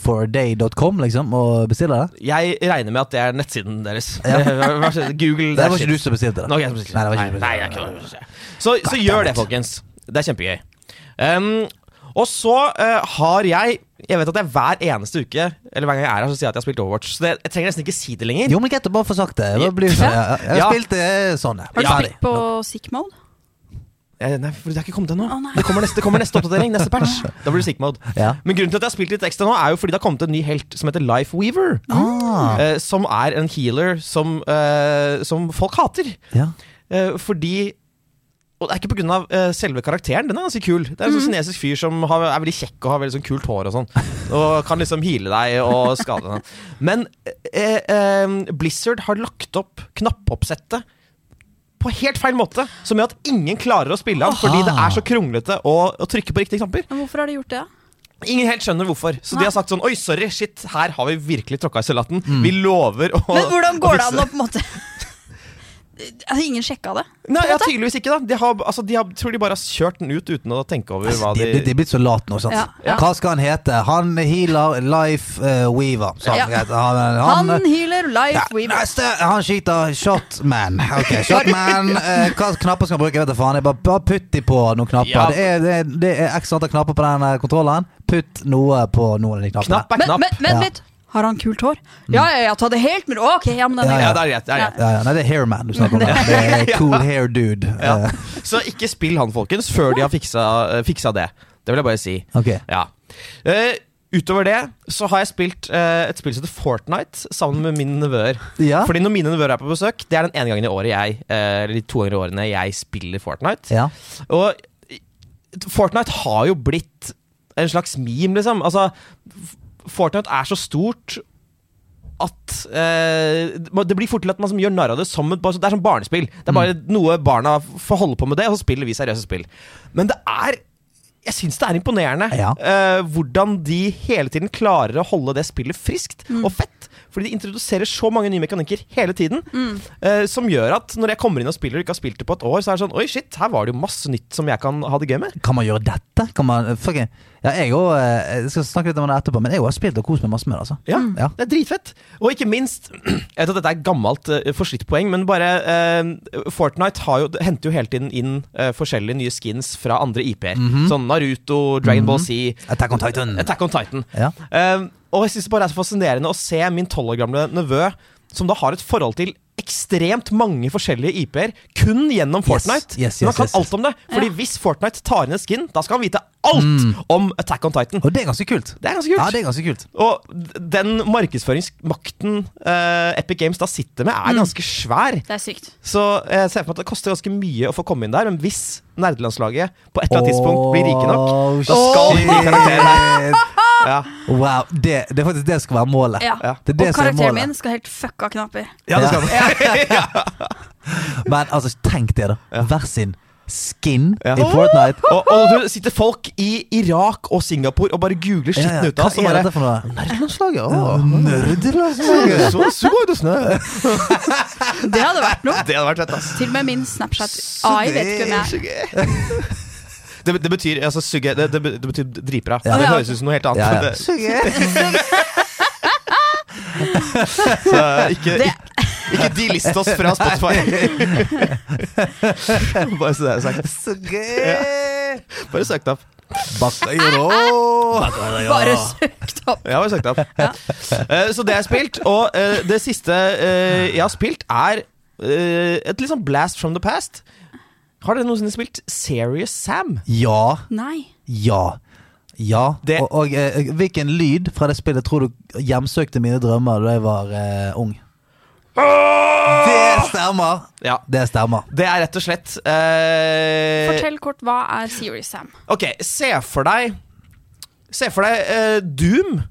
[SPEAKER 3] detectiveforaday.com liksom, og bestiller det?
[SPEAKER 2] Jeg regner med at det er nettsiden deres.
[SPEAKER 3] Ja.
[SPEAKER 2] Eh, vær så snill, Google
[SPEAKER 3] Det
[SPEAKER 2] that
[SPEAKER 3] var ikke
[SPEAKER 2] shit.
[SPEAKER 3] du som bestilte det?
[SPEAKER 2] Nå, jeg som
[SPEAKER 3] Nei,
[SPEAKER 2] bestiller.
[SPEAKER 3] det var
[SPEAKER 2] Nei,
[SPEAKER 3] ikke du.
[SPEAKER 2] nei, jeg kan- Så, så gjør det, folkens. Det er kjempegøy. Um, og så eh, har jeg Jeg vet at jeg hver eneste uke Eller hver gang jeg er her, så sier jeg at jeg har spilt Overwatch. Så det, jeg trenger nesten ikke si det lenger.
[SPEAKER 3] Jo, men greit å bare få sagt det. Jeg, blir,
[SPEAKER 1] Ja.
[SPEAKER 3] ja. ja, jeg
[SPEAKER 2] Ja.
[SPEAKER 3] spilte eh, sånn, ja.
[SPEAKER 1] Har du
[SPEAKER 2] Ja.
[SPEAKER 1] spilt på sick mode?
[SPEAKER 2] Eh, Nei, for Det har ikke kommet ennå.
[SPEAKER 1] Å, nei.
[SPEAKER 2] det, kommer neste- det kommer neste oppdatering. Neste patch. Da blir det sick mode.
[SPEAKER 3] Ah. Ja.
[SPEAKER 2] Men grunnen til at jeg har spilt litt ekstra nå, er jo fordi det har kommet en ny helt som heter Life Weaver.
[SPEAKER 3] Ah,
[SPEAKER 2] eh, som er en healer som, eh, som folk hater.
[SPEAKER 3] ja.
[SPEAKER 2] Eh, fordi Og det er ikke pga. Uh, selve karakteren, den er ganske kul. Det er en sånn
[SPEAKER 1] Mhm.
[SPEAKER 2] kinesisk fyr som har, er veldig kjekk og har veldig sånn kult hår og sånn. Og kan liksom heale deg og skade deg. Men eh, eh, Blizzard har lagt opp knappoppsettet på helt feil måte, som gjør at ingen klarer å spille han fordi det er så kronglete å, å trykke på riktige knapper.
[SPEAKER 1] Men hvorfor har de gjort det?
[SPEAKER 2] Ingen helt skjønner hvorfor. Så
[SPEAKER 1] Nei. Mm.
[SPEAKER 2] de har sagt sånn Oi, sorry, shit, her har vi virkelig tråkka i salaten. Vi lover å
[SPEAKER 1] Men hvordan
[SPEAKER 2] å
[SPEAKER 1] går det
[SPEAKER 2] fikse
[SPEAKER 1] an å på en måte Altså, Ingen sjekka det?
[SPEAKER 2] Nei, ja, tydeligvis ikke, da. De har, altså, de har, tror de bare har kjørt den ut uten å tenke over hva
[SPEAKER 3] Altså,
[SPEAKER 2] de
[SPEAKER 3] de, er blitt- de er blitt så late nå, sant.
[SPEAKER 1] Ja, ja.
[SPEAKER 3] Hva skal han hete? Han healer Life eh, Weaver. Sånn,
[SPEAKER 1] Ja.
[SPEAKER 3] greit. Han, han, eh,
[SPEAKER 1] Han healer life
[SPEAKER 3] ja,
[SPEAKER 1] weaver.
[SPEAKER 3] neste, han skyter Shotman. Ok, Shotman. eh, hva knapper skal han bruke? Jeg vet da faen. Jeg bare, bare putt de på noen knapper.
[SPEAKER 2] Ja.
[SPEAKER 3] Det, er, det, er, det er x antall knapper på den eh, kontrollen. Putt noe på noen av de knappene.
[SPEAKER 2] Knapp er
[SPEAKER 1] Men,
[SPEAKER 2] knapp.
[SPEAKER 1] men, men
[SPEAKER 3] Ja. Mm.
[SPEAKER 1] litt Har han kult hår? Ja, ja, ja, ta det helt med ro. Ok, ja, men den
[SPEAKER 3] Ja,
[SPEAKER 1] er
[SPEAKER 2] ja,
[SPEAKER 1] grei.
[SPEAKER 2] det er greit. Det er greit.
[SPEAKER 3] Ja, ja, nei, det er Hairman du snakker om. nå. Det er cool hair dude.
[SPEAKER 2] Ja.
[SPEAKER 3] Eh,
[SPEAKER 2] Så ikke spill han, folkens, før de har fiksa, eh, fiksa det. Det vil jeg bare si.
[SPEAKER 3] Ok.
[SPEAKER 2] Ja. Eh, utover det så har jeg spilt eh, et spill som heter Fortnite sammen med mine nevøer.
[SPEAKER 3] Ja.
[SPEAKER 2] Fordi når mine nevøer er på besøk, det er den ene gangen i året jeg eh, Eller de to ganger i årene jeg spiller Fortnite.
[SPEAKER 3] Ja.
[SPEAKER 2] Og Fortnite har jo blitt en slags meme, liksom. Altså, F- Fortnite er så stort at eh, Det blir fort til at man som gjør narr av det som et bare- Det er som barnespill. Det er bare noe barna f- får holde på med det, og så spiller vi seriøse spill. Men det er jeg syns det er imponerende
[SPEAKER 3] Ja.
[SPEAKER 2] eh, hvordan de hele tiden klarer å holde det spillet friskt og fett. Fordi de introduserer så mange nye mekanikker hele tiden. eh, som gjør at når jeg kommer inn og spiller og ikke har spilt det på et år, så er det sånn Oi, shit, her var det jo masse nytt som jeg kan ha det gøy med.
[SPEAKER 3] Kan man gjøre dette? Kan man, fuck, jeg- ja, jeg òg Jeg skal snakke litt om det etterpå, men jeg òg har spilt og kost meg masse med det. altså
[SPEAKER 2] Ja,
[SPEAKER 3] Ja.
[SPEAKER 2] Det er dritfett. Og ikke minst Jeg vet at dette er et gammelt, eh, forslitt poeng, men bare eh, Fortnite har jo, henter jo hele tiden inn eh, forskjellige nye skins fra andre IP-er.
[SPEAKER 3] Mhm.
[SPEAKER 2] Sånn Naruto, Dragon Ball Z,
[SPEAKER 3] Attack on Titan.
[SPEAKER 2] Attack on Titan.
[SPEAKER 3] Ja.
[SPEAKER 2] Eh, og jeg synes det bare er så fascinerende å se min 12 år gamle nevø, som da har et forhold til ekstremt mange forskjellige IP-er, kun gjennom Fortnite.
[SPEAKER 3] yes,
[SPEAKER 2] Men
[SPEAKER 3] yes,
[SPEAKER 2] han kan
[SPEAKER 3] yes,
[SPEAKER 2] alt om det, fordi hvis Fortnite tar inn et skin, da skal han vite alt om Attack on Titan.
[SPEAKER 3] Og det er ganske kult.
[SPEAKER 2] Det er ganske kult.
[SPEAKER 3] Mm. Ja, det er ganske kult.
[SPEAKER 2] Og d- den markedsføringsmakten eh, Epic Games da sitter med,
[SPEAKER 3] Mm.
[SPEAKER 2] er ganske svær.
[SPEAKER 1] Det er sykt.
[SPEAKER 2] Så jeg ser for meg at det koster ganske mye å få komme inn der, men hvis nerdelandslaget på et eller annet tidspunkt blir rike nok, da skal de bli karakterer der.
[SPEAKER 3] karakterer.
[SPEAKER 2] Ja.
[SPEAKER 3] Wow, det, det er faktisk det som skal være målet.
[SPEAKER 1] Ja.
[SPEAKER 2] Ja.
[SPEAKER 3] Det er
[SPEAKER 1] Og
[SPEAKER 3] det som er
[SPEAKER 1] karakteren
[SPEAKER 3] målet.
[SPEAKER 1] min skal helt fucka knapper.
[SPEAKER 3] Ja, det skal Men altså, tenk det, da. Hver sin skin
[SPEAKER 2] Ja.
[SPEAKER 3] i Fortnite.
[SPEAKER 2] Og, og du sitter folk i Irak og Singapore og bare googler
[SPEAKER 3] Ja, ja.
[SPEAKER 2] skitten ut
[SPEAKER 3] Hva
[SPEAKER 2] av oss. og
[SPEAKER 3] er
[SPEAKER 2] bare,
[SPEAKER 3] dette for noe?
[SPEAKER 2] Nerdelandslaget,
[SPEAKER 3] Ja,
[SPEAKER 2] å.
[SPEAKER 3] Nerdelandslaget!
[SPEAKER 2] Så- så går det snø.
[SPEAKER 1] Det hadde vært noe.
[SPEAKER 2] Det hadde vært fett, ass.
[SPEAKER 1] Til og med min Snapchat AI vet ikke hvem jeg er.
[SPEAKER 2] Sugge. Det, det betyr altså, sugge, det, det, be- det betyr dritbra.
[SPEAKER 3] Ja.
[SPEAKER 2] Det høres ut som noe helt annet.
[SPEAKER 3] Ja, ja.
[SPEAKER 2] Det- Så eh, ikke,
[SPEAKER 1] Det-
[SPEAKER 2] ikke, ikke delist oss fra Spotify. Bare så det er sagt.
[SPEAKER 3] Så gøy!
[SPEAKER 2] Bare søkt opp.
[SPEAKER 3] Bakkeiro!
[SPEAKER 1] Bare søkt opp.
[SPEAKER 2] Jeg har søkt opp. Eh, så det jeg har spilt, og eh, det siste eh, jeg har spilt, er eh, et litt sånn blast from the past. Har dere noensinne spilt Serious Sam?
[SPEAKER 3] Ja.
[SPEAKER 1] Nei.
[SPEAKER 3] Ja. Ja.
[SPEAKER 2] Det-
[SPEAKER 3] Og, og eh, hvilken lyd fra det spillet tror du hjemsøkte mine drømmer da jeg var eh, ung? Det stemmer.
[SPEAKER 2] Ja.
[SPEAKER 3] Det stemmer.
[SPEAKER 2] Det er rett og slett eh,
[SPEAKER 1] Fortell kort, hva er Serious Sam?
[SPEAKER 2] Ok, se for deg Se for deg eh, Doom.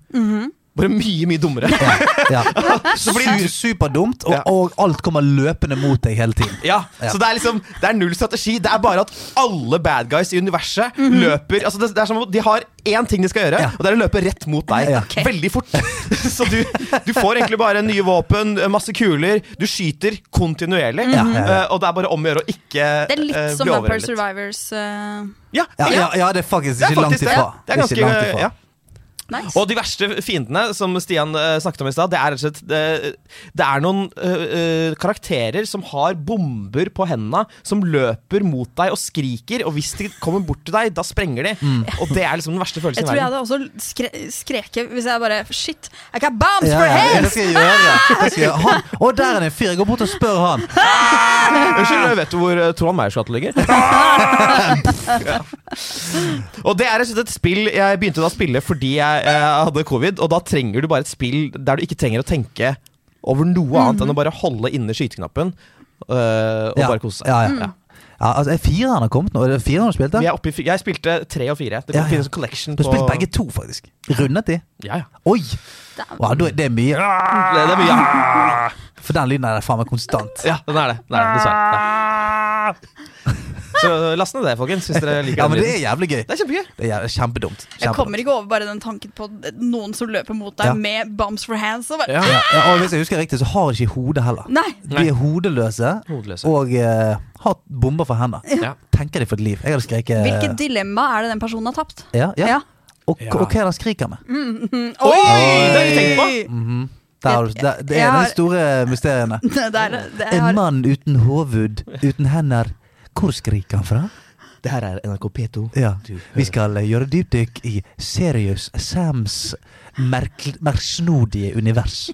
[SPEAKER 2] Bare mye, mye dummere.
[SPEAKER 3] Ja. ja.
[SPEAKER 2] Så blir
[SPEAKER 3] Su- Superdumt, og,
[SPEAKER 2] Ja.
[SPEAKER 3] og alt kommer løpende mot deg hele tiden.
[SPEAKER 2] Ja,
[SPEAKER 3] Ja.
[SPEAKER 2] Så det er liksom Det er null strategi. Det er bare at alle bad guys i universet løper Altså det, det er som om De har én ting de skal gjøre,
[SPEAKER 3] Mhm. Ja.
[SPEAKER 2] og det er å løpe rett mot deg.
[SPEAKER 3] Ja.
[SPEAKER 1] Ok.
[SPEAKER 2] Veldig fort. så du, du får egentlig bare nye våpen, masse kuler. Du skyter kontinuerlig.
[SPEAKER 3] Mhm. Ja, ja, ja.
[SPEAKER 2] eh, og det er bare om å gjøre å ikke
[SPEAKER 1] Det er litt
[SPEAKER 2] eh,
[SPEAKER 1] som
[SPEAKER 2] bli
[SPEAKER 1] Vampire
[SPEAKER 2] overveldet.
[SPEAKER 1] Survivors. eh,
[SPEAKER 2] Ja,
[SPEAKER 3] Ja,
[SPEAKER 2] ja,
[SPEAKER 3] ja, ja, det er faktisk
[SPEAKER 2] Det er
[SPEAKER 3] ikke langt
[SPEAKER 2] faktisk det.
[SPEAKER 3] ifra.
[SPEAKER 2] Det er ganske
[SPEAKER 3] ikke langt ifra.
[SPEAKER 2] ja.
[SPEAKER 1] nice.
[SPEAKER 2] Og de verste fiendene, som Stian eh, snakket om i stad, det er rett og slett det, det er noen eh, eh, karakterer som har bomber på hendene, som løper mot deg og skriker, og hvis de kommer bort til deg, da sprenger de. Og det er liksom den verste
[SPEAKER 1] Mm. jeg
[SPEAKER 2] følelsen
[SPEAKER 1] tror
[SPEAKER 2] i
[SPEAKER 1] jeg
[SPEAKER 2] verden.
[SPEAKER 1] hadde også skre skreket hvis jeg bare Shit, I got bombs
[SPEAKER 3] Ja,
[SPEAKER 1] for
[SPEAKER 3] ja, ja, det
[SPEAKER 1] hands!
[SPEAKER 3] skal jeg gjøre. Ja. Det skal jeg gjøre. Han, å, der er det en fyr. Jeg går bort og spør han.
[SPEAKER 2] Unnskyld, vet du hvor eh, Trond Meyers gate ligger? ja. Og det er rett og slett et spill jeg begynte da å spille fordi jeg eh, hadde covid, og da trenger du bare et spill der du ikke trenger å tenke over noe
[SPEAKER 1] Mm.
[SPEAKER 2] annet enn å bare holde inne skyteknappen eh, og
[SPEAKER 3] Ja.
[SPEAKER 2] bare kose seg.
[SPEAKER 3] Ja, ja. Ja, altså, er fireren har kommet nå? Er det fireren du spilte?
[SPEAKER 2] Vi er oppe i, fi- jeg spilte tre og fire. Det
[SPEAKER 3] Ja, ja.
[SPEAKER 2] finnes en collection
[SPEAKER 3] Du
[SPEAKER 2] på
[SPEAKER 3] har spilt begge to, faktisk. Rundet de?
[SPEAKER 2] Ja, ja.
[SPEAKER 3] Oi!
[SPEAKER 1] Damn.
[SPEAKER 3] Wow, da er det er mye.
[SPEAKER 2] Det, det er mye. Ja,
[SPEAKER 3] For den lyden er faen meg konstant.
[SPEAKER 2] ja den er det. Den er det dessverre. Ja. Så last ned det, folkens, hvis dere liker
[SPEAKER 3] Ja, men
[SPEAKER 2] den
[SPEAKER 3] det
[SPEAKER 2] lyden.
[SPEAKER 3] er jævlig gøy.
[SPEAKER 2] Det er kjempegøy.
[SPEAKER 3] Det er jævlig- kjempedumt.
[SPEAKER 1] Jeg
[SPEAKER 3] Kjempedumt.
[SPEAKER 1] kommer ikke over bare den tanken på noen som løper mot deg
[SPEAKER 3] Ja.
[SPEAKER 1] med bombs for hands. Og bare,
[SPEAKER 2] Ja.
[SPEAKER 3] Ja, ja, og hvis jeg husker riktig, så har de ikke hode heller.
[SPEAKER 1] Nei!
[SPEAKER 3] De er hodeløse
[SPEAKER 2] Hodeløse.
[SPEAKER 3] og eh, har bomber for hender.
[SPEAKER 2] Ja.
[SPEAKER 3] Tenker de for et liv. Jeg hadde skreket eh,
[SPEAKER 1] Hvilket dilemma er det den personen har tapt?
[SPEAKER 3] ja, ja.
[SPEAKER 1] Ja. Mm.
[SPEAKER 3] Og, og hva er det han skriker med?
[SPEAKER 2] Oi! Det har vi tenkt på.
[SPEAKER 3] Mhm. Der har du- der- det er
[SPEAKER 1] Jeg har-
[SPEAKER 3] de store mysteriene.
[SPEAKER 1] Det er, det er,
[SPEAKER 3] En mann uten hoved, uten hender. Hvor skriker han fra?
[SPEAKER 2] Det her er NRK P2.
[SPEAKER 3] Ja. Vi skal eh, gjøre dypdykk i Serious Sams merkel- merksnodige univers.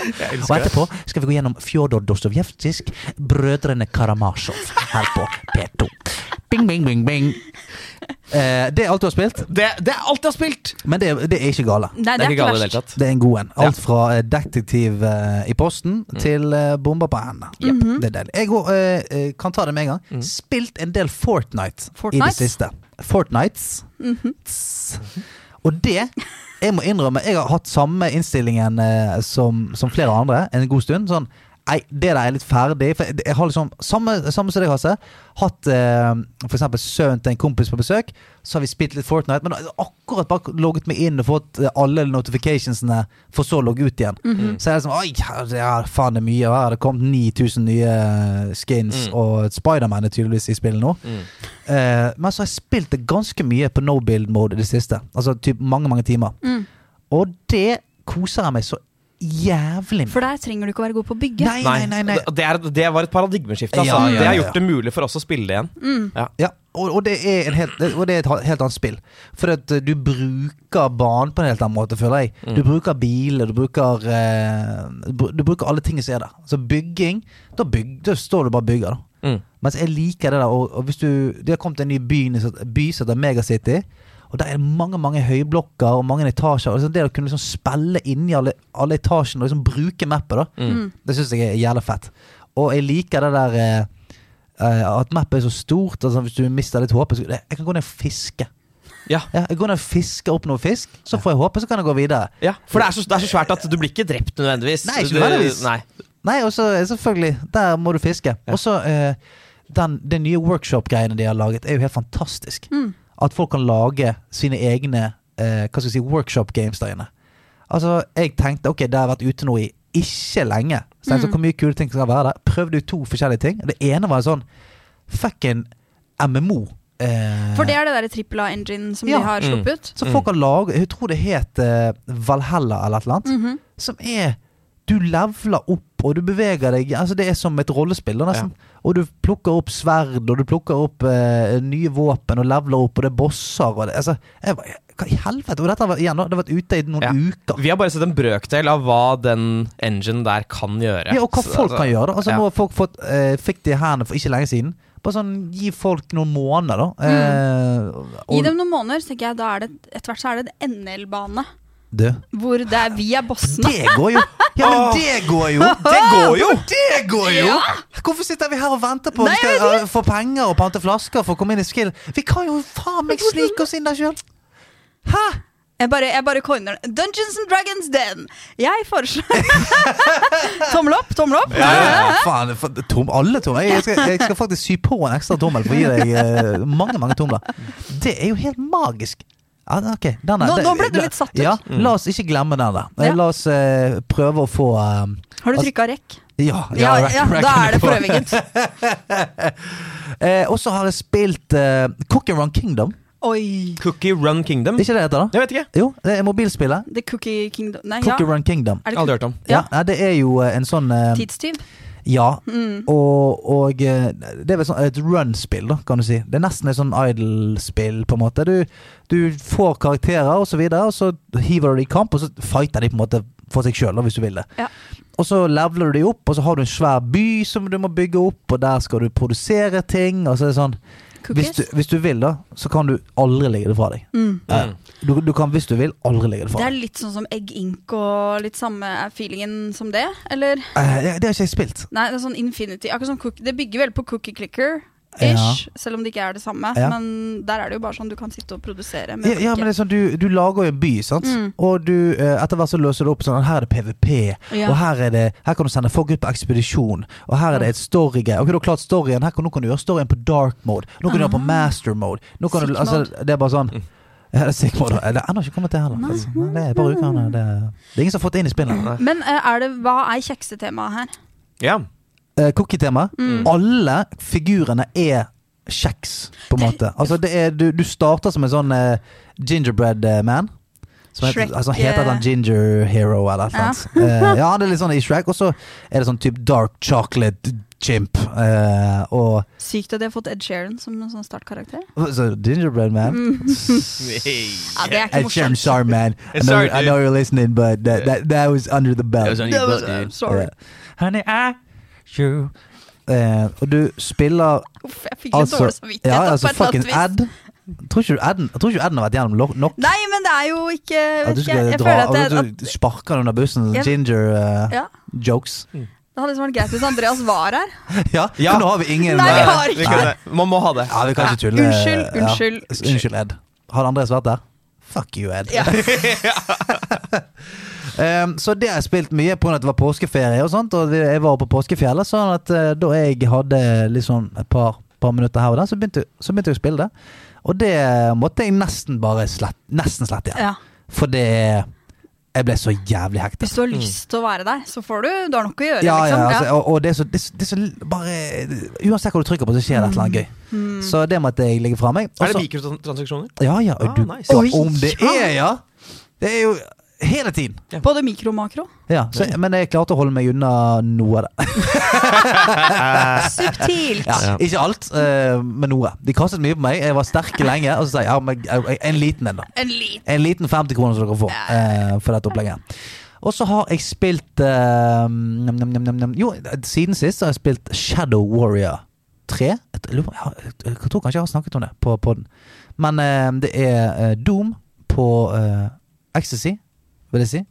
[SPEAKER 2] Jeg
[SPEAKER 3] Og
[SPEAKER 2] elsker det.
[SPEAKER 3] etterpå skal vi gå gjennom Fjodor Dostojevskijs Brødrene Karamasjov her på P2. Bing, bing, bing, bing. Eh, det er alt du har spilt,
[SPEAKER 2] Det, det er alt jeg har spilt!
[SPEAKER 3] men det, er- det er ikke gale.
[SPEAKER 1] Nei, det er ikke verst.
[SPEAKER 2] tatt.
[SPEAKER 3] Det er en god en. Alt fra eh, detektiv eh, i posten til eh, bomber på hendene. Det er deilig. Jeg går, eh, eh, kan ta det med en gang. Spilt en del Fortnite, i det
[SPEAKER 1] Fortnite?
[SPEAKER 3] siste. Fortnites. Tss. Og det Jeg må innrømme, jeg har hatt samme innstillingen eh, som, som flere andre en god stund. Sånn Nei, det der er litt ferdig. For jeg jeg har liksom, samme, samme som deg, Hasse. Hatt eh, for eksempel sønnen til en kompis på besøk. Så har vi spilt litt Fortnite. Men akkurat bare logget meg inn og fått eh, alle notificationsene, for så å logge ut igjen. Så er det sånn Oi, her- det er faen det er mye. og Her har det kommet 9000 nye skins,
[SPEAKER 2] Mm.
[SPEAKER 3] og Spiderman er tydeligvis i spillet nå.
[SPEAKER 2] Mm.
[SPEAKER 3] Eh, men så har jeg spilt det ganske mye på no build mode i det siste. Altså typ mange, mange timer.
[SPEAKER 1] Mm.
[SPEAKER 3] Og det koser jeg meg så jævlig med.
[SPEAKER 1] For der trenger du ikke å være god på å bygge.
[SPEAKER 3] Nei, nei, nei. nei.
[SPEAKER 2] Det, er, det var et paradigmeskifte. Altså.
[SPEAKER 3] Ja, ja,
[SPEAKER 2] Det har
[SPEAKER 3] ja.
[SPEAKER 2] gjort det mulig for oss å spille det igjen.
[SPEAKER 1] Mm.
[SPEAKER 3] Ja, og, og, det er en helt, og det er et ha- helt annet spill. For at eh, du bruker banen på en helt annen måte, føler jeg. Du bruker biler, du bruker eh, br- Du bruker alle tingene som er der. Så bygging, da, bygg, da står du bare og bygger, da.
[SPEAKER 2] Mm.
[SPEAKER 3] Mens jeg liker det der. Og, og hvis du, det har kommet en ny by, by som heter Megacity. Og der er det mange mange høyblokker og mange etasjer. Og liksom det å kunne liksom spille inni alle, alle etasjene og liksom bruke mappet, da, det syns jeg er jævla fett. Og jeg liker det der eh, eh, at mappet er så stort. Altså hvis du mister litt håpet så- Jeg kan gå ned og fiske.
[SPEAKER 2] Ja.
[SPEAKER 3] Ja, jeg går ned og fisker opp noe fisk, så får jeg håpe, så kan jeg gå videre.
[SPEAKER 2] Ja, for det er, så, det er så svært at du blir ikke drept nødvendigvis.
[SPEAKER 3] Nei, ikke
[SPEAKER 2] Du-
[SPEAKER 3] nødvendigvis.
[SPEAKER 2] Nei.
[SPEAKER 3] Nei, og så eh, selvfølgelig, der må du fiske. Og så eh, den, den nye workshop-greiene de har laget, er jo helt fantastisk.
[SPEAKER 1] Mm.
[SPEAKER 3] At folk kan lage sine egne eh, hva skal jeg si, workshop-games der inne. Altså, jeg tenkte ok, det har jeg vært ute nå i ikke lenge. Så
[SPEAKER 1] Mm.
[SPEAKER 3] jeg tenkte, hvor mye kule ting skal være der? Prøvde ut to forskjellige ting. Det ene var en sånn fucking MMO. eh,
[SPEAKER 1] For det er Mm. det derre trippel A-engine som
[SPEAKER 3] Ja.
[SPEAKER 1] de har sluppet.
[SPEAKER 3] så folk kan lage Jeg tror det het eh, Valhalla eller et eller annet. Som er Du leveler opp opp, og du beveger deg altså Det er som et rollespill, da, nesten. Og du plukker opp sverd, og du plukker opp eh, nye våpen, og leveler opp, og det er bosser og det, altså, jeg, bare, Hva i helvete? Og dette var, igjen, da, det har vært ute i noen
[SPEAKER 2] Ja.
[SPEAKER 3] uker.
[SPEAKER 2] Vi har bare sett en brøkdel av hva den engine der kan gjøre.
[SPEAKER 3] Ja, og hva
[SPEAKER 2] Så,
[SPEAKER 3] folk
[SPEAKER 2] altså,
[SPEAKER 3] kan gjøre. da. Altså,
[SPEAKER 2] ja.
[SPEAKER 3] Nå har folk fått, eh, fikk det i hendene for ikke lenge siden. Bare sånn, Gi folk noen måneder, da. Eh,
[SPEAKER 1] Mm. Gi
[SPEAKER 3] og-
[SPEAKER 1] dem noen måneder, så tenker jeg. Da er det, etter hvert så er det en NL-bane.
[SPEAKER 3] Du.
[SPEAKER 1] Hvor det er, vi er bossene.
[SPEAKER 3] Det går jo! Ja, men det går jo! Det går jo! Det går jo!
[SPEAKER 1] Ja.
[SPEAKER 3] Hvorfor sitter vi her og venter på at
[SPEAKER 1] Nei,
[SPEAKER 3] vi
[SPEAKER 1] jeg
[SPEAKER 3] skal uh, få penger og pante flasker for å komme inn i Skill? Vi kan jo faen meg snike oss inn der sjøl! Hæ?
[SPEAKER 1] Jeg bare, jeg bare coiner den. Dungeons and Dragons Den! Jeg foreslår Tommel opp, tommel opp.
[SPEAKER 3] Faen, for, tom, alle tomler. Jeg skal, jeg skal faktisk sy på en ekstra tommel for å gi deg eh, mange mange tomler. Det er jo helt magisk. Ja, ok, den er-
[SPEAKER 1] Nå-
[SPEAKER 3] det-
[SPEAKER 1] nå ble du litt satt ut. Mm.
[SPEAKER 3] Ja, La oss ikke glemme den der. Eh,
[SPEAKER 1] Ja.
[SPEAKER 3] La oss eh, prøve å få eh,
[SPEAKER 1] Har du trykka rekk?
[SPEAKER 3] Ja,
[SPEAKER 1] Ja,
[SPEAKER 3] rack-
[SPEAKER 1] ja, da
[SPEAKER 3] racken
[SPEAKER 1] er det
[SPEAKER 3] på.
[SPEAKER 1] prøvingen.
[SPEAKER 3] Eh, og så har jeg spilt eh, Cook and Run Kingdom.
[SPEAKER 1] Oi.
[SPEAKER 2] Cookie Run Kingdom?
[SPEAKER 3] Er ikke det det heter, da?
[SPEAKER 2] Jeg vet ikke.
[SPEAKER 3] Jo, det er mobilspillet.
[SPEAKER 1] The Cookie Kingdom Nei, ja.
[SPEAKER 3] Cook and Run Kingdom.
[SPEAKER 1] Er det
[SPEAKER 2] Aldri hørt om.
[SPEAKER 1] Ja.
[SPEAKER 3] Ja, nei, det er jo eh, en sånn eh,
[SPEAKER 1] tidstyv? Mm.
[SPEAKER 3] Ja. Og, og eh, det er vel sånn et run-spill, da, kan du si. Det er nesten et sånn idle-spill, på en måte. Du, du får karakterer, og så videre, og så hiver du dem i kamp, og så fighter de på en måte for seg sjøl, hvis du vil det.
[SPEAKER 1] Ja.
[SPEAKER 3] Og så leveler du de opp, og så har du en svær by som du må bygge opp, og der skal du produsere ting, og så er det sånn
[SPEAKER 1] Cookies?
[SPEAKER 3] hvis du, hvis du vil, da, så kan du aldri legge det fra deg.
[SPEAKER 1] Mm.
[SPEAKER 3] Ja, ja. Du, du kan, hvis du vil, aldri legge det
[SPEAKER 1] Det
[SPEAKER 3] fra
[SPEAKER 1] er
[SPEAKER 3] deg.
[SPEAKER 1] litt sånn som Egg Ink og litt samme er feelingen som det, eller?
[SPEAKER 3] Eh, Det, det har ikke jeg spilt.
[SPEAKER 1] Nei, det er sånn Infinity. Akkurat sånn cook- Det bygger vel på Cookie Clicker.
[SPEAKER 3] Ja.
[SPEAKER 1] Ish, Selv om det ikke er det samme.
[SPEAKER 3] Ja.
[SPEAKER 1] Men der er det jo bare sånn du kan sitte og produsere.
[SPEAKER 3] Ja, ja, men det er sånn, du, du lager jo en by, sant?
[SPEAKER 1] Mm.
[SPEAKER 3] og du, eh, etter hvert så løser du opp sånn Her er det PVP,
[SPEAKER 1] Ja.
[SPEAKER 3] og her, er det, her kan du sende folk ut på ekspedisjon. Og her er det et storygame. Ok, du har klart storyen. Her kan, nå kan du gjøre storyen på dark mode. Nå kan du gjøre på master mode. Nå kan du,
[SPEAKER 1] Ah. Sick
[SPEAKER 3] altså, det er bare sånn ja, det er sick mode. Eh, Det er ennå ikke kommet til heller.
[SPEAKER 1] Nei.
[SPEAKER 3] faktisk. Nei, Det er bare uker, det, er- det er ingen som har fått det inn i spillet.
[SPEAKER 1] Men, eh, er det, hva er kjeksetemaet her? Mm.
[SPEAKER 2] Ja.
[SPEAKER 3] eh, cookie-tema. Alle figurene er kjeks, på en måte. Altså, det er, du, du starter som en sånn eh, gingerbread eh, man. Som heter,
[SPEAKER 1] Shrek,
[SPEAKER 3] altså, heter
[SPEAKER 1] eh,
[SPEAKER 3] han Ginger Hero eller et eller annet. Eh, ja, det er litt sånn i Shrek. Og så er det sånn type dark chocolate chimp. eh, og
[SPEAKER 1] Sykt at de har fått Ed Sheeran som en sånn startkarakter. Mm.
[SPEAKER 3] så gingerbread man.
[SPEAKER 1] Ja, det er ikke
[SPEAKER 3] Ed Sheeran,
[SPEAKER 1] morsomt.
[SPEAKER 3] sorry, man. I know,
[SPEAKER 2] Sorry,
[SPEAKER 3] I know you're listening, but that, that, that was under the belt.
[SPEAKER 2] Det var sånn-
[SPEAKER 1] Det var- eh, Sorry.
[SPEAKER 3] Eh, eh, og du spiller
[SPEAKER 1] Uff, jeg fikk litt dårlig samvittighet.
[SPEAKER 3] ja,
[SPEAKER 1] da,
[SPEAKER 3] altså,
[SPEAKER 1] på et
[SPEAKER 3] fucking
[SPEAKER 1] eller annet vis.
[SPEAKER 3] ad. Tror ikke du adden, jeg tror ikke adden har vært gjennom lo- nok?
[SPEAKER 1] Nei, men det er jo ikke jeg
[SPEAKER 3] At
[SPEAKER 1] vet
[SPEAKER 3] du
[SPEAKER 1] ikke,
[SPEAKER 3] skal
[SPEAKER 1] jeg
[SPEAKER 3] dra
[SPEAKER 1] føler at det,
[SPEAKER 3] at
[SPEAKER 1] at,
[SPEAKER 3] altså, du sparker den under bussen. sånn
[SPEAKER 1] Ja.
[SPEAKER 3] Ginger eh,
[SPEAKER 1] Ja.
[SPEAKER 3] jokes.
[SPEAKER 1] det hadde liksom vært greit hvis Andreas var her.
[SPEAKER 3] Ja,
[SPEAKER 2] Ja.
[SPEAKER 3] for nå har vi ingen
[SPEAKER 1] Nei, vi
[SPEAKER 3] eh,
[SPEAKER 1] har
[SPEAKER 2] Vi
[SPEAKER 1] ikke
[SPEAKER 2] kunne, man må ha det.
[SPEAKER 3] Ja, vi kan ikke tulle.
[SPEAKER 1] Unnskyld,
[SPEAKER 3] ja.
[SPEAKER 1] unnskyld,
[SPEAKER 3] S- Unnskyld, Ed. Hadde Andreas vært der? Fuck you, Ed.
[SPEAKER 1] Ja.
[SPEAKER 3] Em, så det har jeg spilt mye pga. at det var påskeferie, og sånt Og vi- jeg var på påskefjellet. Sånn at eh, da jeg hadde liksom et par, par minutter her og der, så begynte, så begynte jeg å spille det. Og det måtte jeg nesten bare slett, nesten slette igjen.
[SPEAKER 1] Ja.
[SPEAKER 3] For det Jeg ble så jævlig hektet.
[SPEAKER 1] Hvis du har lyst til å være der, så får du. Du har nok å gjøre,
[SPEAKER 3] Ja, ja,
[SPEAKER 1] liksom. Ja.
[SPEAKER 3] altså, og, og det er så, det er så, det er så bare, Uansett hva du trykker på, så skjer det et eller annet gøy. Så det måtte jeg legge fra meg.
[SPEAKER 2] Er det
[SPEAKER 3] Også-
[SPEAKER 2] mikrotransaksjoner?
[SPEAKER 3] Ja, ja.
[SPEAKER 2] Ah,
[SPEAKER 3] Du,
[SPEAKER 2] nice.
[SPEAKER 3] og
[SPEAKER 1] Oi,
[SPEAKER 3] om det
[SPEAKER 1] ja.
[SPEAKER 3] er, ja! Det er jo hele tiden.
[SPEAKER 1] Både mikro og makro.
[SPEAKER 3] Ja, så, men jeg klarte å holde meg unna noe av det.
[SPEAKER 1] Subtilt.
[SPEAKER 3] Ja,
[SPEAKER 2] Ja.
[SPEAKER 3] Ikke alt, eh, men noe. De kastet mye på meg. Jeg var sterk lenge. Og så sa jeg ja, men eh, en liten en, da.
[SPEAKER 1] En liten
[SPEAKER 3] En liten 50 kroner som dere får eh, for dette opplegget. Og så har jeg spilt eh, nam, nam, nam, nam, nam. Jo, siden sist så har jeg spilt Shadow Warrior 3. Jeg lurer på- jeg har- jeg tror kanskje jeg har snakket om det på podden. Men eh, det er eh, Doom på eh, Ecstasy, vil jeg si.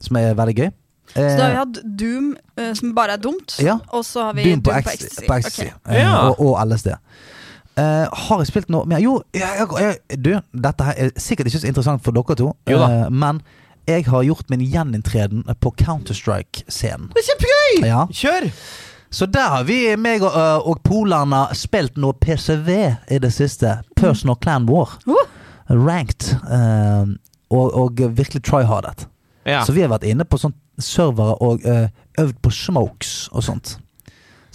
[SPEAKER 3] Som er veldig gøy.
[SPEAKER 1] Så da har vi
[SPEAKER 3] Eh,
[SPEAKER 1] hatt Doom, eh, som bare er dumt.
[SPEAKER 3] Ja.
[SPEAKER 1] Og så har vi
[SPEAKER 3] Doom på,
[SPEAKER 1] på
[SPEAKER 3] Ec-
[SPEAKER 1] ecstasy.
[SPEAKER 3] på Ecstasy.
[SPEAKER 1] Ok.
[SPEAKER 3] eh,
[SPEAKER 2] Ja.
[SPEAKER 3] og, og LSD. Eh, har jeg spilt noe mer? Jo, jeg, jeg, jeg, du, dette her er sikkert ikke så interessant for dere to,
[SPEAKER 2] Jo da.
[SPEAKER 3] eh, men jeg har gjort min gjeninntreden på Counter-Strike-scenen.
[SPEAKER 2] Det er kjempegøy!
[SPEAKER 3] Ja.
[SPEAKER 2] Kjør!
[SPEAKER 3] Så der har vi, meg og, eh, og polerne, spilt noe PCV i det siste. Personal Clan War.
[SPEAKER 1] Uh.
[SPEAKER 3] Ranked. eh, og, og virkelig tryhardet.
[SPEAKER 2] Ja.
[SPEAKER 3] Så vi har vært inne på sånn servere og eh, øvd på smokes og sånt.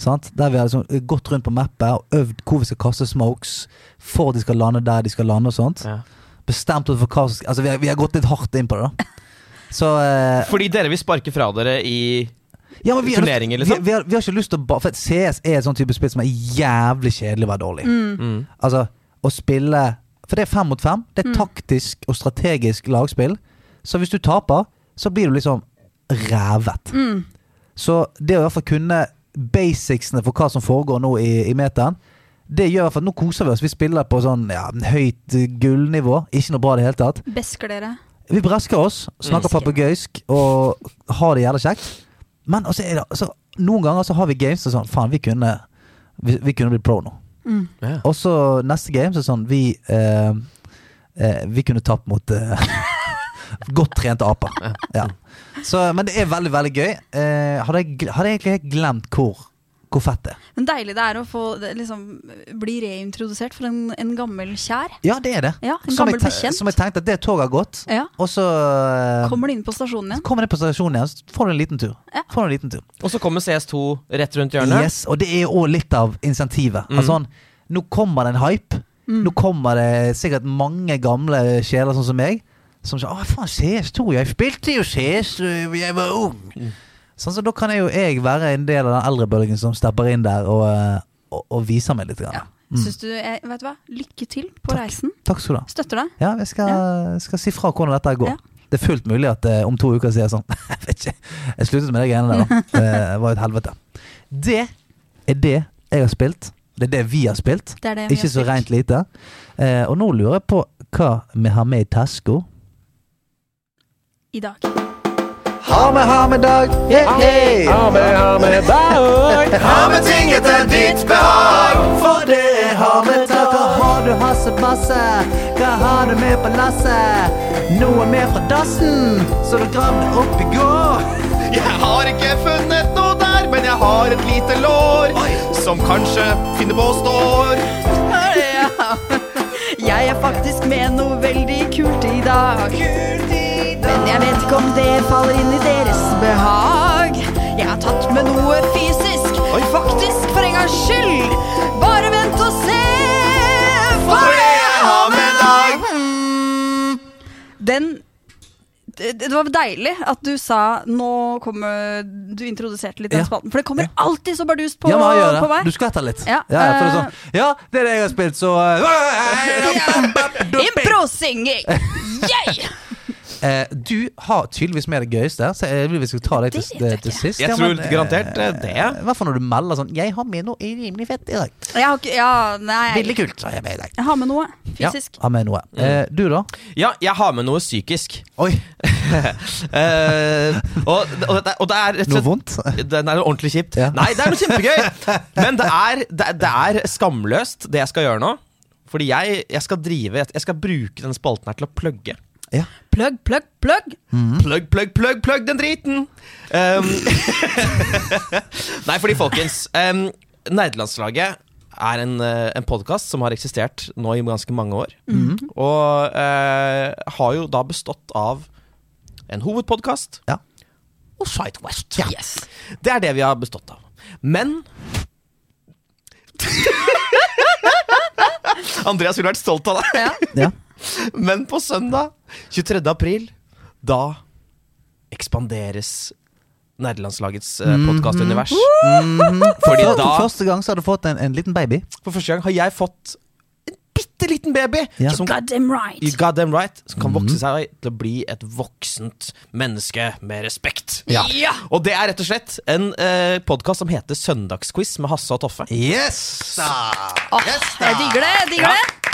[SPEAKER 3] Sant? Der vi har liksom gått rundt på mappet og øvd hvor vi skal kaste smokes. For de skal lande der de skal lande og sånt.
[SPEAKER 2] Ja.
[SPEAKER 3] Bestemt oss for hva som skal Altså, vi har, vi har gått litt hardt inn på det, da. Så eh,
[SPEAKER 2] Fordi dere vil sparke fra dere i
[SPEAKER 3] Ja, men vi har lyst-
[SPEAKER 2] Turneringer, liksom?
[SPEAKER 3] Vi, vi, har, vi har ikke lyst til å ba- For CS er et sånn type spill som er jævlig kjedelig å være dårlig i.
[SPEAKER 2] Mm.
[SPEAKER 3] Altså, å spille For det er fem mot fem. Det er
[SPEAKER 2] Mm.
[SPEAKER 3] taktisk og strategisk lagspill. Så hvis du taper, så blir du liksom rævet.
[SPEAKER 1] Mm.
[SPEAKER 3] Så det å i hvert fall kunne basicsene for hva som foregår nå i, i meteren, det gjør i hvert fall at nå koser vi oss. Vi spiller på sånn ja, høyt eh, gullnivå. Ikke noe bra i det hele tatt.
[SPEAKER 1] Besker dere.
[SPEAKER 3] Vi bresker oss, snakker papegøysk og har det jævla kjekt. Men også er det, altså, noen ganger så har vi games som sånn Faen, vi kunne, vi, vi kunne blitt pro nå.
[SPEAKER 2] Ja.
[SPEAKER 3] Og så neste game så er det sånn Vi, eh, eh, vi kunne tapt mot eh, godt trente aper. Ja. Så, men det er veldig, veldig gøy. Eh, hadde, jeg, gl- hadde jeg egentlig helt glemt hvor, hvor fett det er.
[SPEAKER 1] Men deilig det er å få, det liksom, bli reintrodusert for en, en gammel kjær.
[SPEAKER 3] Ja, det er det.
[SPEAKER 1] Ja, en
[SPEAKER 3] som, jeg,
[SPEAKER 1] gammel
[SPEAKER 3] te-
[SPEAKER 1] bekjent.
[SPEAKER 3] som jeg tenkte at det toget har gått,
[SPEAKER 1] Ja.
[SPEAKER 3] og så eh,
[SPEAKER 1] Kommer du inn på stasjonen igjen?
[SPEAKER 3] kommer det på stasjonen igjen, så får du en liten tur.
[SPEAKER 1] Ja.
[SPEAKER 3] Får du en liten tur.
[SPEAKER 2] Og så kommer CS2 rett rundt hjørnet.
[SPEAKER 3] Yes, og det er jo òg litt av insentivet. Altså, sånn, nå kommer det en hype.
[SPEAKER 1] Mm.
[SPEAKER 3] Nå kommer det sikkert mange gamle sjeler sånn som meg. Som sier 'Å, faen, CS2. Jeg spilte jo CS da jeg var ung'.
[SPEAKER 1] Mm.
[SPEAKER 3] Sånn, så da kan jeg jo jeg være en del av den eldrebølgen som stepper inn der og, eh, og, og viser meg litt. Grann.
[SPEAKER 1] Ja. Syns du, jeg, vet du hva? Lykke til på reisen.
[SPEAKER 3] mm. Takk skal du ha.
[SPEAKER 1] Støtter deg.
[SPEAKER 3] Ja, jeg skal, skal si fra hvordan dette går.
[SPEAKER 1] Ja.
[SPEAKER 3] Det er fullt mulig at eh, om to uker sier jeg sånn Jeg vet ikke. Jeg sluttet med de greiene der, da. Det var jo et helvete. Det er det jeg har spilt. Det er det vi har spilt.
[SPEAKER 1] Det er det vi
[SPEAKER 3] Ikke
[SPEAKER 1] har
[SPEAKER 3] så
[SPEAKER 1] spilt.
[SPEAKER 3] rent lite. Eh, og nå lurer jeg på hva vi har med i taska.
[SPEAKER 1] I dag.
[SPEAKER 3] Har vi, har vi, Dag?
[SPEAKER 4] Har med ting etter ditt behag.
[SPEAKER 3] For det har vi tatt. Hva har du hasset masse? Hva har du med på lasset? Noe med fra dassen, så du grav det opp i går.
[SPEAKER 4] Jeg har ikke funnet noe der, men jeg har et lite lår som kanskje finner på å stå.
[SPEAKER 1] Ja. Jeg er faktisk med noe veldig kult i dag. Men jeg vet ikke om det faller inn i deres behag. Jeg har tatt med noe fysisk,
[SPEAKER 4] Oi.
[SPEAKER 1] faktisk for en gangs skyld. Bare vent og se.
[SPEAKER 4] For det jeg har med dag.
[SPEAKER 1] Den det det var deilig at du sa Nå kommer Du introduserte litt den
[SPEAKER 3] Ja.
[SPEAKER 1] spalten. For det kommer alltid så bardust på,
[SPEAKER 3] ja, men han gjør det.
[SPEAKER 1] på meg.
[SPEAKER 3] Du skvetter litt.
[SPEAKER 1] Ja,
[SPEAKER 3] ja, for det er
[SPEAKER 1] eh,
[SPEAKER 3] sånn, ja, det er det jeg har spilt, så eh,
[SPEAKER 1] Impro-synging! Yeah!
[SPEAKER 3] eh, Du har tydeligvis med det gøyeste, så jeg vil vi skal ta deg til,
[SPEAKER 1] Det vet jeg
[SPEAKER 3] til
[SPEAKER 1] ikke.
[SPEAKER 3] sist.
[SPEAKER 2] Jeg
[SPEAKER 3] Ja, men,
[SPEAKER 2] tror
[SPEAKER 3] eh,
[SPEAKER 2] garantert eh, det.
[SPEAKER 3] I hvert fall når du melder sånn 'Jeg har med noe rimelig fett i dag'.
[SPEAKER 1] Jeg har ikke Ja, nei.
[SPEAKER 3] Veldig kult. har jeg med i dag
[SPEAKER 1] Jeg har med noe fysisk.
[SPEAKER 3] Ja, har med noe.
[SPEAKER 2] Mm.
[SPEAKER 3] Eh, du, da?
[SPEAKER 2] Ja, jeg har med noe psykisk.
[SPEAKER 3] Oi,
[SPEAKER 2] Eh, og, og, det, og det er rett og
[SPEAKER 3] noe
[SPEAKER 2] slett
[SPEAKER 3] vondt?
[SPEAKER 2] det er noe ordentlig kjipt.
[SPEAKER 3] Ja.
[SPEAKER 2] Nei, det er noe kjempegøy! Men det er, det, er- det er skamløst, det jeg skal gjøre nå. Fordi jeg, jeg skal drive Jeg skal bruke den spalten her til å plugge.
[SPEAKER 3] Ja.
[SPEAKER 1] Plugg, plugg, plugg.
[SPEAKER 2] Plugg, plugg, plugg, plugg den driten! Um, nei, fordi folkens um, Nerdelandslaget er en, eh, en podkast som har eksistert nå i ganske mange år. Og eh, har jo da bestått av en hovedpodkast
[SPEAKER 3] Ja.
[SPEAKER 2] og Sidequest.
[SPEAKER 1] Yes.
[SPEAKER 2] Det er det vi har bestått av. Men Andreas ville vært stolt av deg.
[SPEAKER 3] ja.
[SPEAKER 2] Men på søndag 23. april, da ekspanderes Nerdelandslagets eh,
[SPEAKER 3] Mhm.
[SPEAKER 2] podkastunivers. Fordi
[SPEAKER 3] For,
[SPEAKER 2] da,
[SPEAKER 3] for første gang så har du fått en, en liten baby.
[SPEAKER 2] for første gang, har jeg fått en bitte liten baby
[SPEAKER 3] Ja.
[SPEAKER 2] som
[SPEAKER 1] God damn right.
[SPEAKER 2] You goddamn right. Som kan vokse seg til å bli et voksent menneske med respekt.
[SPEAKER 1] Ja. Ja.
[SPEAKER 2] Og det er rett og slett en uh, podkast som heter Søndagsquiz med Hasse og Toffe.
[SPEAKER 3] Yes!
[SPEAKER 1] Åh, jeg digger det. jeg digger
[SPEAKER 2] Ja.
[SPEAKER 1] det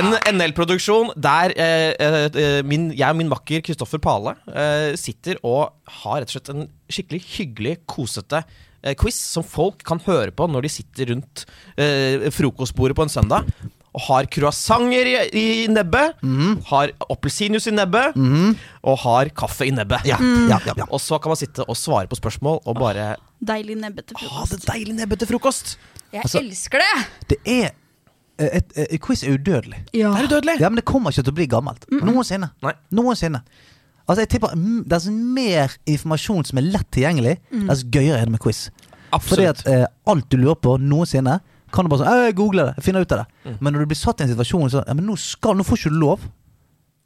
[SPEAKER 2] En NL-produksjon der eh, eh, eh, min, jeg og min makker Kristoffer Pale eh, sitter og har rett og slett en skikkelig hyggelig, kosete eh, quiz som folk kan høre på når de sitter rundt eh, frokostbordet på en søndag. Og har croissanter i, i nebbet,
[SPEAKER 3] Mhm.
[SPEAKER 2] har appelsinjuice i nebbet, og har kaffe i nebbet.
[SPEAKER 3] Mm. Ja,
[SPEAKER 1] Mm.
[SPEAKER 3] ja, ja, ja.
[SPEAKER 2] Og så kan man sitte og svare på spørsmål og bare
[SPEAKER 1] Deilig nebbete
[SPEAKER 3] Ah.
[SPEAKER 2] ha
[SPEAKER 1] frokost.
[SPEAKER 2] det deilig nebbe til frokost!
[SPEAKER 1] Jeg
[SPEAKER 3] altså-
[SPEAKER 1] elsker det!
[SPEAKER 3] Det er eh, et, et, Quiz er udødelig.
[SPEAKER 1] Ja.
[SPEAKER 2] Det er udødelig!
[SPEAKER 3] Ah. Ja, men det kommer ikke til å bli gammelt. Noensinne.
[SPEAKER 2] Nei.
[SPEAKER 3] Noensinne. Altså, jeg tipper mm, Det er mer informasjon som er lett tilgjengelig,
[SPEAKER 2] Mm.
[SPEAKER 3] dess gøyere er det med quiz. Fordi
[SPEAKER 2] Absolutt.
[SPEAKER 3] at eh, alt du lurer på noensinne, kan du bare sånn «Eh, Jeg googler det, jeg finner ut av det. Men når du blir satt i en situasjon så, ja, men nå, skal, nå får ikke du lov,